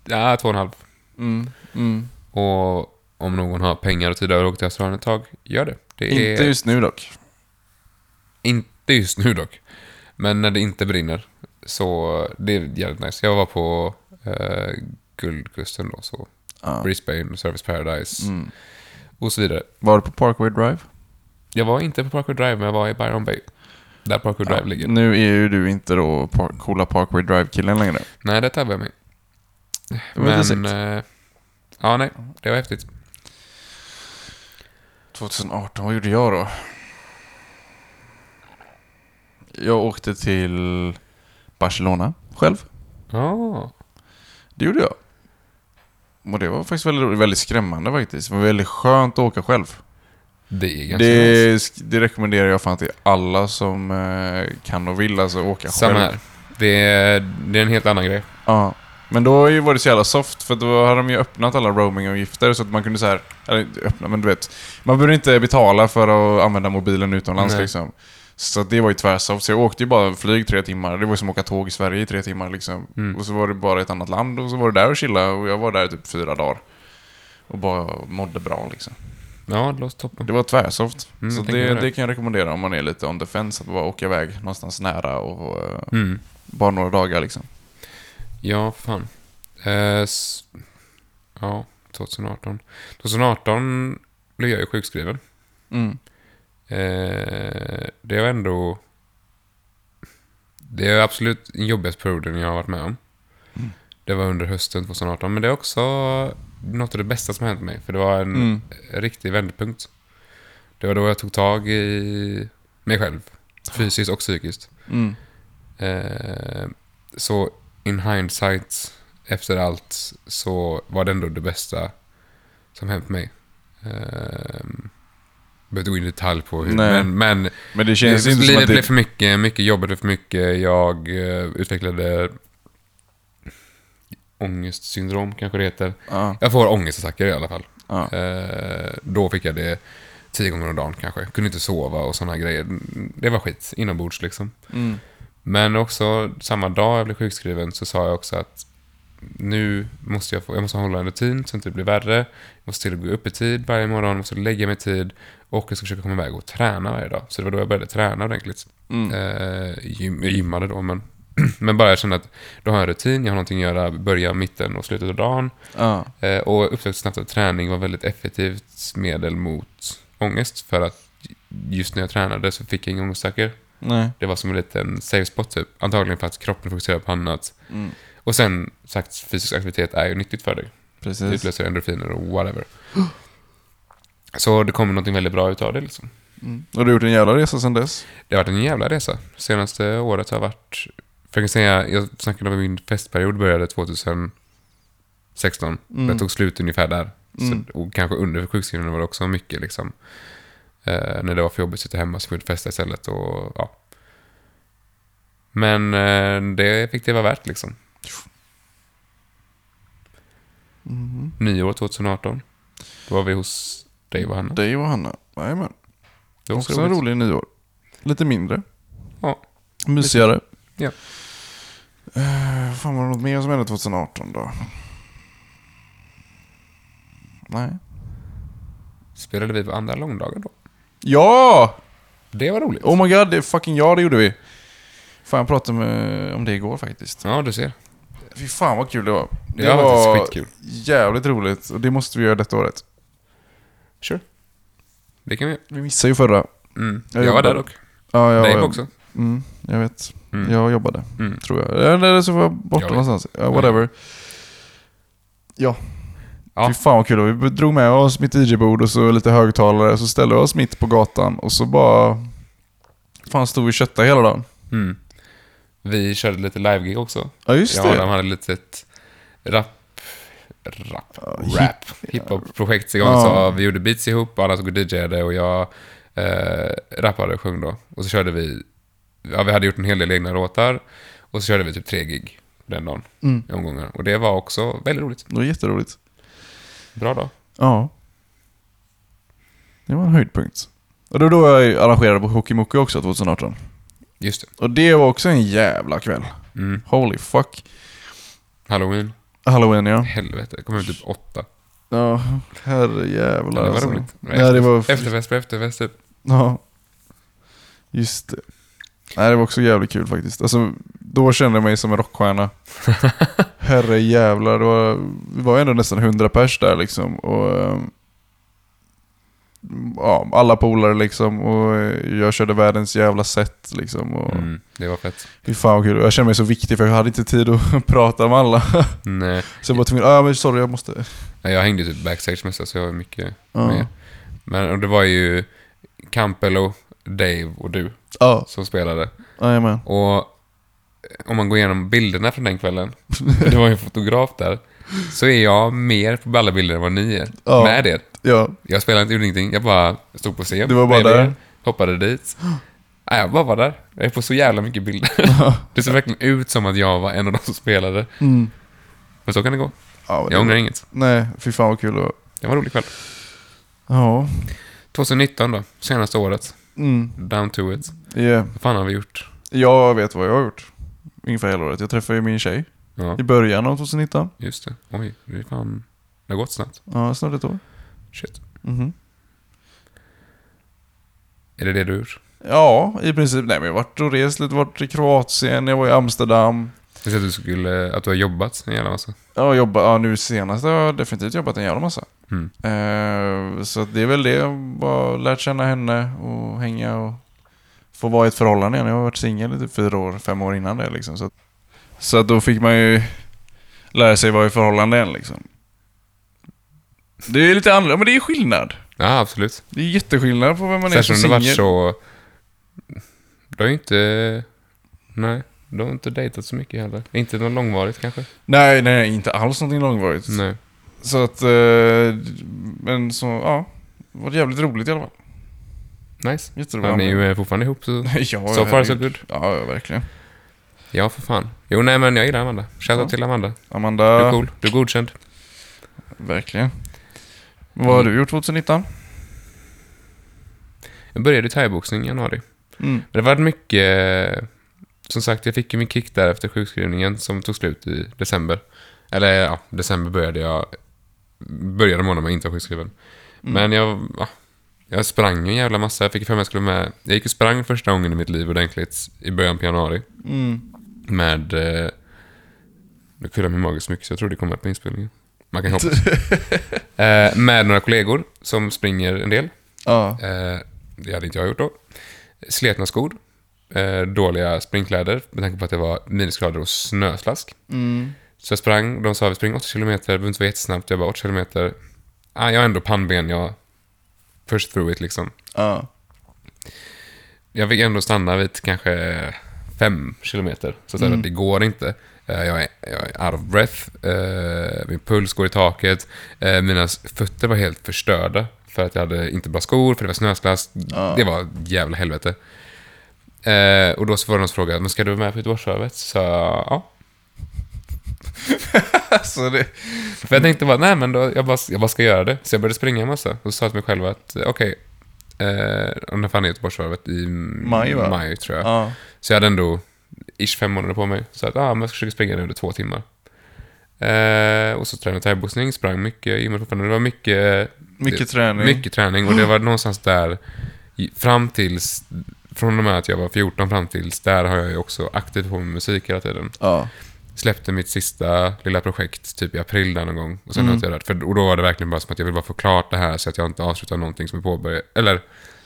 A: Ja, två och en halv.
B: Mm. Mm.
A: Och om någon har pengar och tid över och åker till Australien ett tag, gör det. det är...
B: Inte just nu dock.
A: Inte just nu dock. Men när det inte brinner. Så det är jävligt nice. Jag var på eh, Guldkusten då. Så
B: Ja.
A: Brisbane, Service Paradise
B: Mm.
A: och så vidare.
B: Var du på Parkway Drive?
A: Jag var inte på Parkour Drive, men jag var i Byron Bay. Där Parkour Drive ligger.
B: Nu är ju du inte då par- coola Parkway Drive-killen längre.
A: Nej, det tabbade jag mig.
B: Det var lite
A: Men... eh, ja, nej. Det var häftigt.
B: 2018, vad gjorde jag då? Jag åkte till Barcelona själv.
A: Ja.
B: Det gjorde jag. Och det var faktiskt väldigt, roligt, väldigt skrämmande faktiskt. Det var väldigt skönt att åka själv.
A: det är ganska nice.
B: Det, det rekommenderar jag fan till alla som eh, kan och vill alltså åka
A: Samma
B: själv.
A: här. Det är, det är en helt annan grej.
B: Ja. Men då var ju- var det så jävla soft för då hade de ju öppnat alla roamingavgifter så att man kunde så här, eller inte öppna men du vet. Man behövde inte betala för att använda mobilen utomlands
A: Nej.
B: liksom. Så att det var ju tvärsoft. Så jag åkte ju bara flyg tre timmar. Det var ju som att åka tåg i Sverige i tre timmar liksom.
A: Mm.
B: Och så var det bara ett annat land och så var det där och chilla och jag var där i typ fyra dagar. Och bara mådde bra liksom.
A: Ja, det låter toppen.
B: Det var tvärsoft.
A: Mm,
B: så
A: jag tänker
B: det,
A: det.
B: det kan jag rekommendera om man är lite on defense att bara åka iväg någonstans nära och eh,
A: Mm.
B: bara några dagar liksom.
A: Ja, för fan. Eh, s- ja, 2018. 2018 blev jag ju sjukskriven.
B: Mm.
A: Eh, det var ändå... Det är absolut den jobbigaste perioden jag har varit med om. Det var under hösten 2018, men det är också något av det bästa som har hänt mig. För det var en
B: Mm.
A: riktig vändpunkt. Det var då jag tog tag i mig själv, fysiskt och psykiskt.
B: Mm.
A: Eh, så in hindsight, efter allt, så var det ändå det bästa som hänt mig. Eh, behöver inte gå in i detalj på hur,
B: Nej.
A: men, men
B: Men det känns ju inte som
A: livet
B: att det...
A: blev för mycket, mycket jobbet blev för mycket, jag eh, utvecklade ångestsyndrom kanske det heter.
B: Ja,
A: Jag får ångestattacker i alla fall.
B: ja.
A: Eh, då fick jag det tio gånger om dagen kanske. Kunde inte sova och sådana grejer. Det var skit inombords liksom.
B: Mm.
A: Men också samma dag jag blev sjukskriven så sa jag också att nu måste jag, få, jag måste hålla en rutin så att det inte blir värre. Jag måste till och med gå upp i tid varje morgon, måste lägga mig i tid och jag ska försöka komma iväg och träna varje dag. Så det var då jag började träna ordentligt.
B: Mm.
A: Eh, gym, jag gymmade då, men, <clears throat> men bara jag kände att då har jag en rutin, jag har någonting att göra, börja, mitten och slutet av dagen.
B: Ja.
A: Eh, Och jag upptäckte snabbt att träning var väldigt effektivt medel mot ångest. För att just när jag tränade så fick jag inga ångestattacker.
B: Nej.
A: Det var som en liten safe spot typ. Antagligen för att kroppen fokuserar på annat.
B: Mm.
A: Och sen sagt, fysisk aktivitet är ju nyttigt för dig. Det
B: Precis.
A: utlöser endorfiner och whatever. Så det kommer någonting väldigt bra utav det liksom.
B: Mm. Har du gjort en jävla resa sedan dess?
A: Det har varit en jävla resa. Senaste året har varit... För jag kan säga, jag snackade om att min festperiod började 2016.
B: Mm.
A: Det tog slut ungefär där.
B: Mm.
A: Så, och kanske under sjukskrivningen var det också mycket liksom. Eh, när det var för jobbigt att sitta hemma så fick jag festa istället och ja. Men eh, det fick det vara värt liksom.
B: Mhm.
A: Nyår 2018. Då var vi hos dig och Hanna.
B: Dig och Hanna. Jajamän.
A: Det var
B: Också en rolig nyår. Lite mindre.
A: Ja.
B: Mysigare.
A: Ja.
B: Eh, fan var det något mer som hände 2018 då? Nej.
A: Spelade vi på andra långdagar då.
B: Ja!
A: Det var roligt.
B: Oh my god, det är fucking ja, det gjorde vi. Fan, jag pratade med, om det igår faktiskt.
A: Ja, du ser.
B: Fy fan vad kul det var.
A: Det, har varit skitkul.
B: jävligt roligt och det måste vi göra detta året.
A: Sure. Det kan vi göra.
B: Vi missade ju förra.
A: Mm.
B: Jag
A: Jag, var
B: jobbar.
A: där dock.
B: Ja, jag,
A: Dave också.
B: Mm, jag vet.
A: Mm.
B: Jag jobbade,
A: Mm.
B: tror jag. Eller så var jag borta
A: Jag vet.
B: någonstans. Ja, whatever. Ja.
A: Ja.
B: Fy fan vad kul det var. Vi drog med oss mitt DJ-bord och så lite högtalare. Så ställde vi oss mitt på gatan och så bara... Fan stod vi och köttade hela dagen.
A: Mm. Vi körde lite live-gig också.
B: Ja, just
A: jag och
B: det.
A: Adam hade lite ett rap, rap,
B: hip-
A: rap, hiphop-projekt igång.
B: Ja.
A: Så vi gjorde beats ihop, alla tog och DJade och jag eh, rappade och sjöng då. Och så körde vi, ja vi hade gjort en hel del egna låtar och så körde vi typ tre gig den dagen
B: Mm.
A: i omgångar. Och det var också väldigt roligt.
B: Det var jätteroligt.
A: Bra dag.
B: Ja. Det var en höjdpunkt. Och det var då jag arrangerade på Hockeymockey också 2018.
A: Just det.
B: Och det var också en jävla kväll.
A: Mm.
B: Holy fuck.
A: Halloween.
B: Halloween ja.
A: Helvete. Kom ut typ åtta.
B: Ja, herrejävlar
A: Ja, det var
B: alltså.
A: roligt.
B: Nej, det var...
A: Efterfest på efterfest typ.
B: Ja. Just det. Nej, det var också jävligt kul faktiskt. Alltså, då kände jag mig som en <laughs> rockstjärna. Herrejävlar, det var, vi var ju ändå nästan 100 pers där liksom. Och, ehm, ja, alla polare liksom. Och eh, jag körde världens jävla set liksom. Och,
A: Mm. Det var fett.
B: Fy fan vad kul. Och Jag kände mig så viktig för jag hade inte tid att <laughs> prata med alla.
A: Nej.
B: Så jag var tvungen, ah, men sorry jag måste...
A: Nej, Jag hängde typ backstage mest så jag var mycket
B: Ja.
A: med. Men och det var ju Campello, Dave och du
B: Ja,
A: som spelade.
B: jajamän.
A: Och eh, om man går igenom bilderna från den kvällen, <laughs> för det var ju en fotograf där, så är jag mer på alla bilder än vad ni är.
B: Ja.
A: Med er. <laughs>
B: Ja,
A: Jag spelade inte, gjorde ingenting. Jag bara stod på scen.
B: Du var bara
A: bredvid
B: där.
A: er, Hoppade dit. Nej, jag bara var där. Jag är på så jävla mycket bilder. <laughs> Det ser verkligen ut som att jag var en av de som spelade.
B: Mm.
A: Men så kan det gå.
B: Ja, men det-
A: Jag ångrar inget.
B: Nej, fy fan vad kul det var.
A: Det var en rolig kväll.
B: Ja.
A: 2019 då, senaste året.
B: Mm.
A: Down to it.
B: Yeah.
A: Vad fan har vi gjort?
B: Jag vet vad jag har gjort. Ungefär hela året. Jag träffade ju min tjej
A: Ja,
B: i början av 2019.
A: just det. Oj, det är fan... Det har gått snabbt.
B: Ja, snart ett år.
A: Shit.
B: Mhm.
A: Är det det du har gjort?
B: Ja, i princip. Nej, men jag har varit och rest lite. Varit i Kroatien, jag var i Amsterdam.
A: Jag ser att du skulle... Att du har jobbat en jävla massa.
B: Ja, jobba, ja nu senast har jag definitivt jobbat en jävla massa.
A: Mm.
B: Eh, så att det är väl det. Bara lärt känna henne och hänga och få vara i ett förhållande igen. Jag har varit singel i typ fyra år, fem år innan det liksom. Så att, så att då fick man ju lära sig vara i förhållande igen liksom. Det är lite annorlunda, men det är skillnad.
A: Ja, absolut.
B: Det är jätteskillnad på vem man är som
A: Särskilt om du har varit
B: singel.
A: så... Du har ju inte... Nej. Du har inte dejtat så mycket heller. Inte något långvarigt kanske?
B: Nej, nej, inte alls någonting långvarigt.
A: Nej.
B: Så att, eh, men så, ja. Det var jävligt roligt i alla fall.
A: Nice.
B: Jätteroligt.
A: Han är ju eh, fortfarande ihop så...
B: <laughs> ja,
A: So far so
B: herregud.
A: good.
B: Ja, ja, verkligen.
A: Ja, för fan. Jo, nej, men jag gillar Amanda. Shoutout
B: Ja.
A: till Amanda. Du är
B: Amanda,
A: cool. Du är godkänd.
B: verkligen. Vad har du gjort 2019?
A: Jag började i thaiboxning i januari.
B: Mm,
A: Men det var mycket... Som sagt, jag fick ju min kick där efter sjukskrivningen som tog slut i december. Eller ja, december började jag... Började månaden med att inte vara sjukskriven. Men jag... Ja, jag sprang en jävla massa. Jag fick för mig att jag skulle med... Jag gick och sprang första gången i mitt liv ordentligt i början på januari.
B: Mm.
A: Med... Eh, nu kullar min mage så mycket så jag tror det kommer på inspelningen. Man kan hoppas. eh, med några kollegor som springer en del.
B: Ja.
A: Eh, det hade inte jag gjort då. Sletna skor. Eh, dåliga springkläder med tanke på att det var minusgrader och snöslask.
B: Mm.
A: Så jag sprang. De sa vi springer 80 kilometer, det behöver inte vara jättesnabbt. Jag bara 80 kilometer. Ah, jag har ändå pannben, jag... First through it liksom.
B: Ja.
A: Jag fick ändå stanna vid kanske fem kilometer. Så att säga
B: Mm.
A: att det går inte. Eh, Jag är, jag är out of breath. Eh, Min puls går i taket. Eh, Mina s- fötter var helt förstörda. För att jag hade inte bra skor, för det var snöslask. Det var ett jävla helvete. Eh, Och då så var det någon som frågade, men ska du vara med på Göteborgsvarvet? Så ja.
B: Alltså det...
A: För jag tänkte bara, nej men då, jag, bara, jag bara ska göra det. Så jag började springa en massa. Och så sa jag till mig själv att, eh, okej. eh, och när fan är Göteborgsvarvet? I
B: Maj, va?
A: maj tror jag.
B: Ja.
A: Så jag hade ändå ish fem månader på mig. Så att, ah, men jag ska försöka springa nu under två timmar. Eh, och så tränade jag thaiboxning, sprang mycket, gymmade fortfarande. Det var mycket,
B: Mycket träning.
A: mycket träning och det var någonstans där i- fram tills, från och med att jag var 14 fram tills, där har jag ju också aktivt på med musik hela tiden.
B: Ja.
A: Släppte mitt sista lilla projekt typ i april där någon gång. Och sen har jag inte jag rört. För, och då var det verkligen bara som att jag vill bara få klart det här så att jag inte avslutar någonting som är påbörjat. Eller,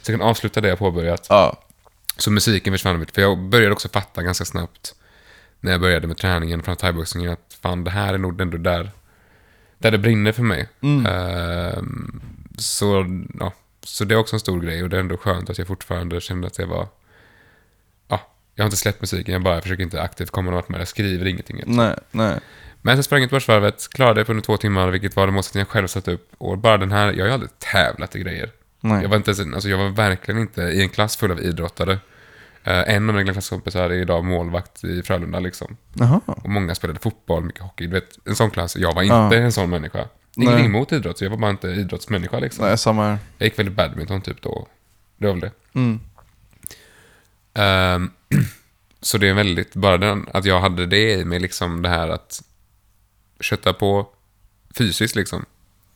A: så jag kan avsluta det jag påbörjat.
B: Ja.
A: Så musiken försvann lite, för jag började också fatta ganska snabbt när jag började med träningen från thaiboxningen att fan, det här är nog ändå där, där det brinner för mig. Ehm, så, ja, så det är också en stor grej och det är ändå skönt att jag fortfarande kände att jag var... Ja, jag har inte släppt musiken, jag bara försöker inte aktivt komma någon vart med det. Jag skriver ingenting.
B: Nej, nej.
A: Men sen sprang jag Göteborgsvarvet, klarade det på under två timmar, vilket var den målsättning jag själv satt upp. Och bara den här, jag har ju aldrig tävlat i grejer.
B: Nej.
A: Jag var, inte, ens- alltså jag var verkligen inte i en klass full av idrottare. Eh, en av mina klasskompisar är idag målvakt i Frölunda. Liksom.
B: Jaha.
A: Och många spelade fotboll, mycket hockey. Du vet, en sån klass. Jag var inte
B: Ja.
A: en sån människa. Ingenting
B: Nej.
A: emot idrott, så jag var bara inte idrottsmänniska. Liksom.
B: Nej, samma här.
A: Jag gick väl i badminton typ då. Det var väl det.
B: Mm.
A: Ehm, <clears throat> så det är väldigt, bara den, att jag hade det i mig, liksom det här att kötta på fysiskt liksom.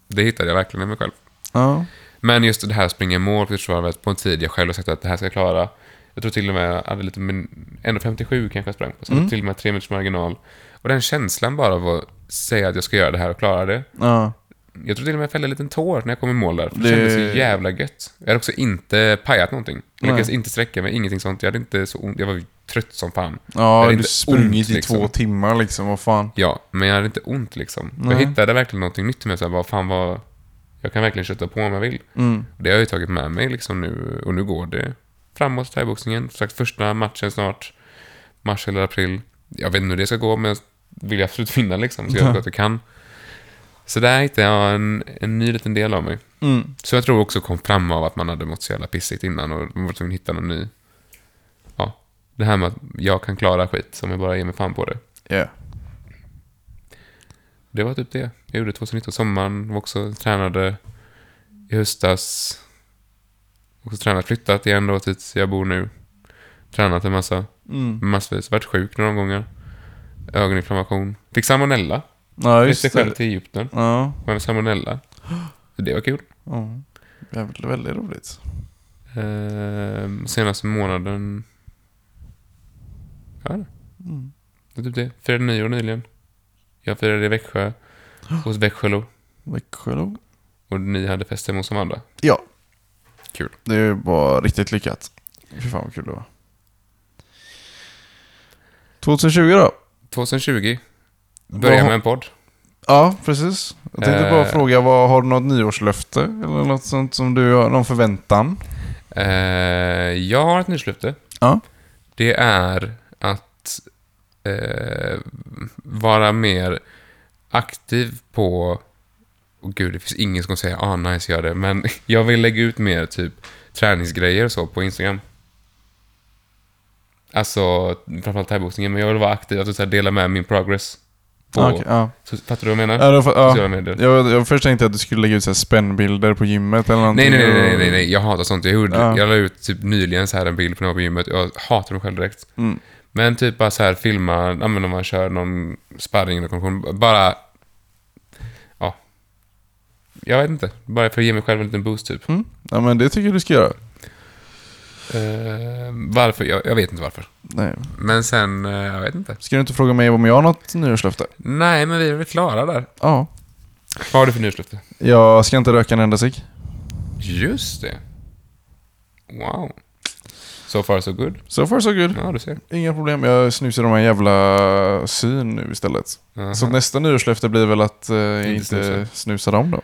A: Det hittade jag verkligen i mig själv.
B: Ja.
A: Men just det här springa i mål på Göteborgsvarvet på en tid jag själv har sagt att det här ska jag klara. Jag tror till och med jag hade lite, min- 1.57 kanske jag sprang på, så
B: Mm.
A: jag hade till och med tre minuters marginal. Och den känslan bara av att säga att jag ska göra det här och klara det.
B: Ja.
A: Jag tror till och med jag fällde en liten tår när jag kom i mål där, för det,
B: Det-
A: kändes så jävla gött. Jag hade också inte pajat någonting. Jag
B: Nej.
A: lyckades inte sträcka mig, ingenting sånt. Jag hade inte så ont, jag var trött som fan. Jag
B: Ja,
A: hade
B: du
A: inte
B: sprungit
A: ont,
B: i
A: liksom.
B: två timmar liksom, vad fan.
A: Ja, men jag hade inte ont liksom. Jag
B: Nej.
A: hittade verkligen någonting nytt med mig, så här, vad fan vad... Jag kan verkligen köta på om jag vill.
B: Mm.
A: Det har jag ju tagit med mig liksom nu och nu går det framåt i thaiboxningen. Som sagt, första matchen snart, mars eller april. Jag vet inte hur det ska gå, men jag vill absolut <laughs> vinna liksom, så jag
B: Ja.
A: gör att jag kan. Så där hittade jag en, en ny liten del av mig.
B: Mm.
A: Så jag tror också kom fram av att man hade mått så jävla pissigt innan och man var tvungen att hitta någon ny. Ja, det här med att jag kan klara skit om jag bara ger mig fan på det.
B: Yeah.
A: Det var typ det jag gjorde 2019. Sommaren var också tränade i höstas. Också tränat, flyttat igen då dit jag bor nu. Tränat en massa,
B: Mm.
A: massvis. Varit sjuk några gånger. Ögoninflammation. Fick salmonella.
B: Ja,
A: Reste
B: just
A: själv
B: det.
A: till Egypten.
B: Ja.
A: Var med
B: <gasps>
A: salmonella. Det var kul.
B: ja. Jävligt, väldigt roligt.
A: Ehm, senaste månaden... Ja,
B: Mm.
A: det är typ det. Firade nyår nyligen. Jag firade i
B: <gasps>
A: Växjö. Hos Växjölo.
B: Växjö då?
A: Och ni hade fest hemma hos Amanda.
B: Ja.
A: Kul.
B: Det var riktigt lyckat. Fy fan vad kul det var. 2020 då?
A: 2020. Börja med en podd.
B: Ja, precis. Jag tänkte bara
A: Eh.
B: fråga, vad, har du något nyårslöfte? Eller något sånt som du har, någon förväntan?
A: Eh, jag har ett nyårslöfte.
B: Ja.
A: Det är att eh, vara mer aktiv på... Åh gud, det finns ingen som kommer säga ah, nice, gör det. Men <laughs> jag vill lägga ut mer typ träningsgrejer och så på Instagram. Alltså, framförallt thaiboxningen, men jag vill vara aktiv, alltså så här, dela med min progress. På,
B: Ja, Ah, okej, ja.
A: så, fattar du vad jag menar?
B: Ja, då fa- ja.
A: Sociala medier.
B: Jag, jag först tänkte att du skulle lägga ut så här spännbilder på gymmet eller någonting.
A: Nej, nej, nej, nej, nej, nej, jag hatar sånt. Jag, gjorde,
B: Ja.
A: jag la ut typ nyligen så här en bild på någon på gymmet. Jag hatar mig själv direkt.
B: Mm.
A: Men typ bara så här filma, ja men om man kör någon sparring eller kondition, bara... Ja. Jag vet inte. Bara för att ge mig själv en liten boost typ.
B: Mm? Ja, men det tycker jag du ska göra.
A: Eh, varför? Jag, jag vet inte varför.
B: Nej.
A: Men sen, eh, jag vet inte.
B: Ska du inte fråga mig om jag har något nyårslöfte?
A: Nej, men vi är väl klara där.
B: Ja.
A: Vad har du för nyårslöfte?
B: Jag ska inte röka en enda cigg.
A: Just det. Wow. So far so good.
B: So far so good.
A: Ja, du ser.
B: Inga problem. Jag snusar de här jävla syn nu istället.
A: Aha.
B: Så nästa nyårslöfte blir väl att eh, jag inte
A: snusa.
B: snusa. dem då.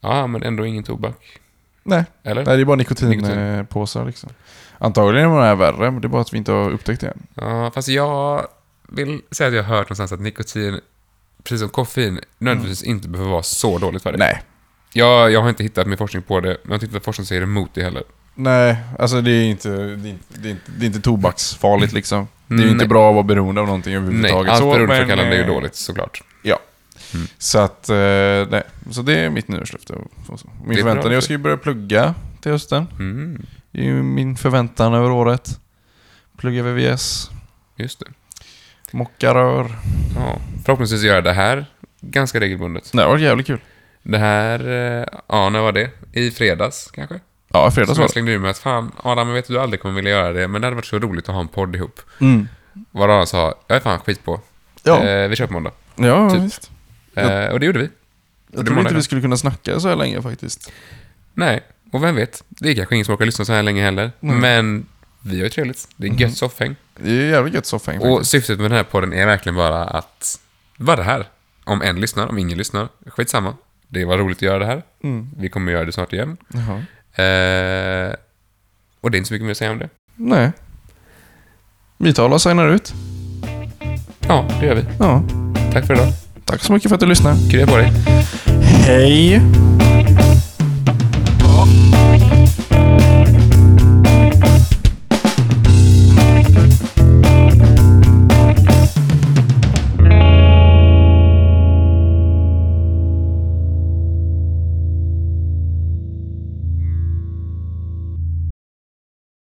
A: Ja, men ändå ingen tobak.
B: Nej.
A: Eller?
B: Nej, det är bara
A: Nikotin.
B: nikotinpåsar liksom. Antagligen är de här värre, men det är bara att vi inte har upptäckt det än.
A: Ja, fast jag vill säga att jag har hört någonstans att nikotin, precis som koffein, nödvändigtvis inte behöver vara så dåligt för dig.
B: Mm. Nej.
A: Jag, jag har inte hittat min forskning på det, men jag har inte hittat forskning som säger emot det heller.
B: Nej, alltså det är inte, det är inte, det är inte, det är inte tobaksfarligt liksom. Det är ju
A: Mm,
B: inte
A: nej.
B: bra att vara beroende av någonting
A: Nej,
B: överhuvudtaget.
A: allt
B: Så,
A: beroendeframkallande
B: men,
A: är ju
B: eh,
A: dåligt såklart.
B: Så att, eh, nej. Så det är mitt nyårslöfte. och så.
A: Det
B: Min
A: är bra.
B: förväntan, jag ska ju börja plugga till hösten.
A: Mm,
B: Det är ju min förväntan över året. Plugga VVS,
A: just det.
B: mocka rör.
A: Ja, förhoppningsvis gör jag det här ganska regelbundet.
B: Det här var jävligt kul.
A: Det här, eh, ja, när var det? I fredags kanske?
B: Ja, fredags
A: Som
B: var
A: jag slängde ur mig att fan, Adam, jag vet att du aldrig kommer vilja göra det, men det hade varit så roligt att ha en podd ihop.
B: det. Mm.
A: Vad Adam sa, jag är fan skit på.
B: Ja,
A: Eh, vi kör på måndag.
B: ja
A: typ.
B: visst.
A: Eh, och det gjorde vi.
B: Jag
A: det var
B: trodde inte
A: det.
B: vi skulle kunna snacka så här länge faktiskt.
A: Nej, och vem vet? Det är kanske ingen som orkar lyssna så här länge heller.
B: Nej. Mhm.
A: Men vi har ju trevligt. Det är gött soffhäng.
B: Det är jävligt gött soffhäng
A: Och
B: faktiskt.
A: syftet med den här podden är verkligen bara att vara det här. Om en lyssnar, om ingen lyssnar, skitsamma. Det var roligt att göra det här.
B: Mm.
A: Vi kommer göra det snart igen.
B: Jaha.
A: Eh, och det är inte så mycket mer att säga om det.
B: Nej. Vitala signar ut.
A: Ja, det gör vi.
B: Ja.
A: Tack för idag.
B: Tack så mycket för att du lyssnade.
A: Krya på dig.
B: Hej!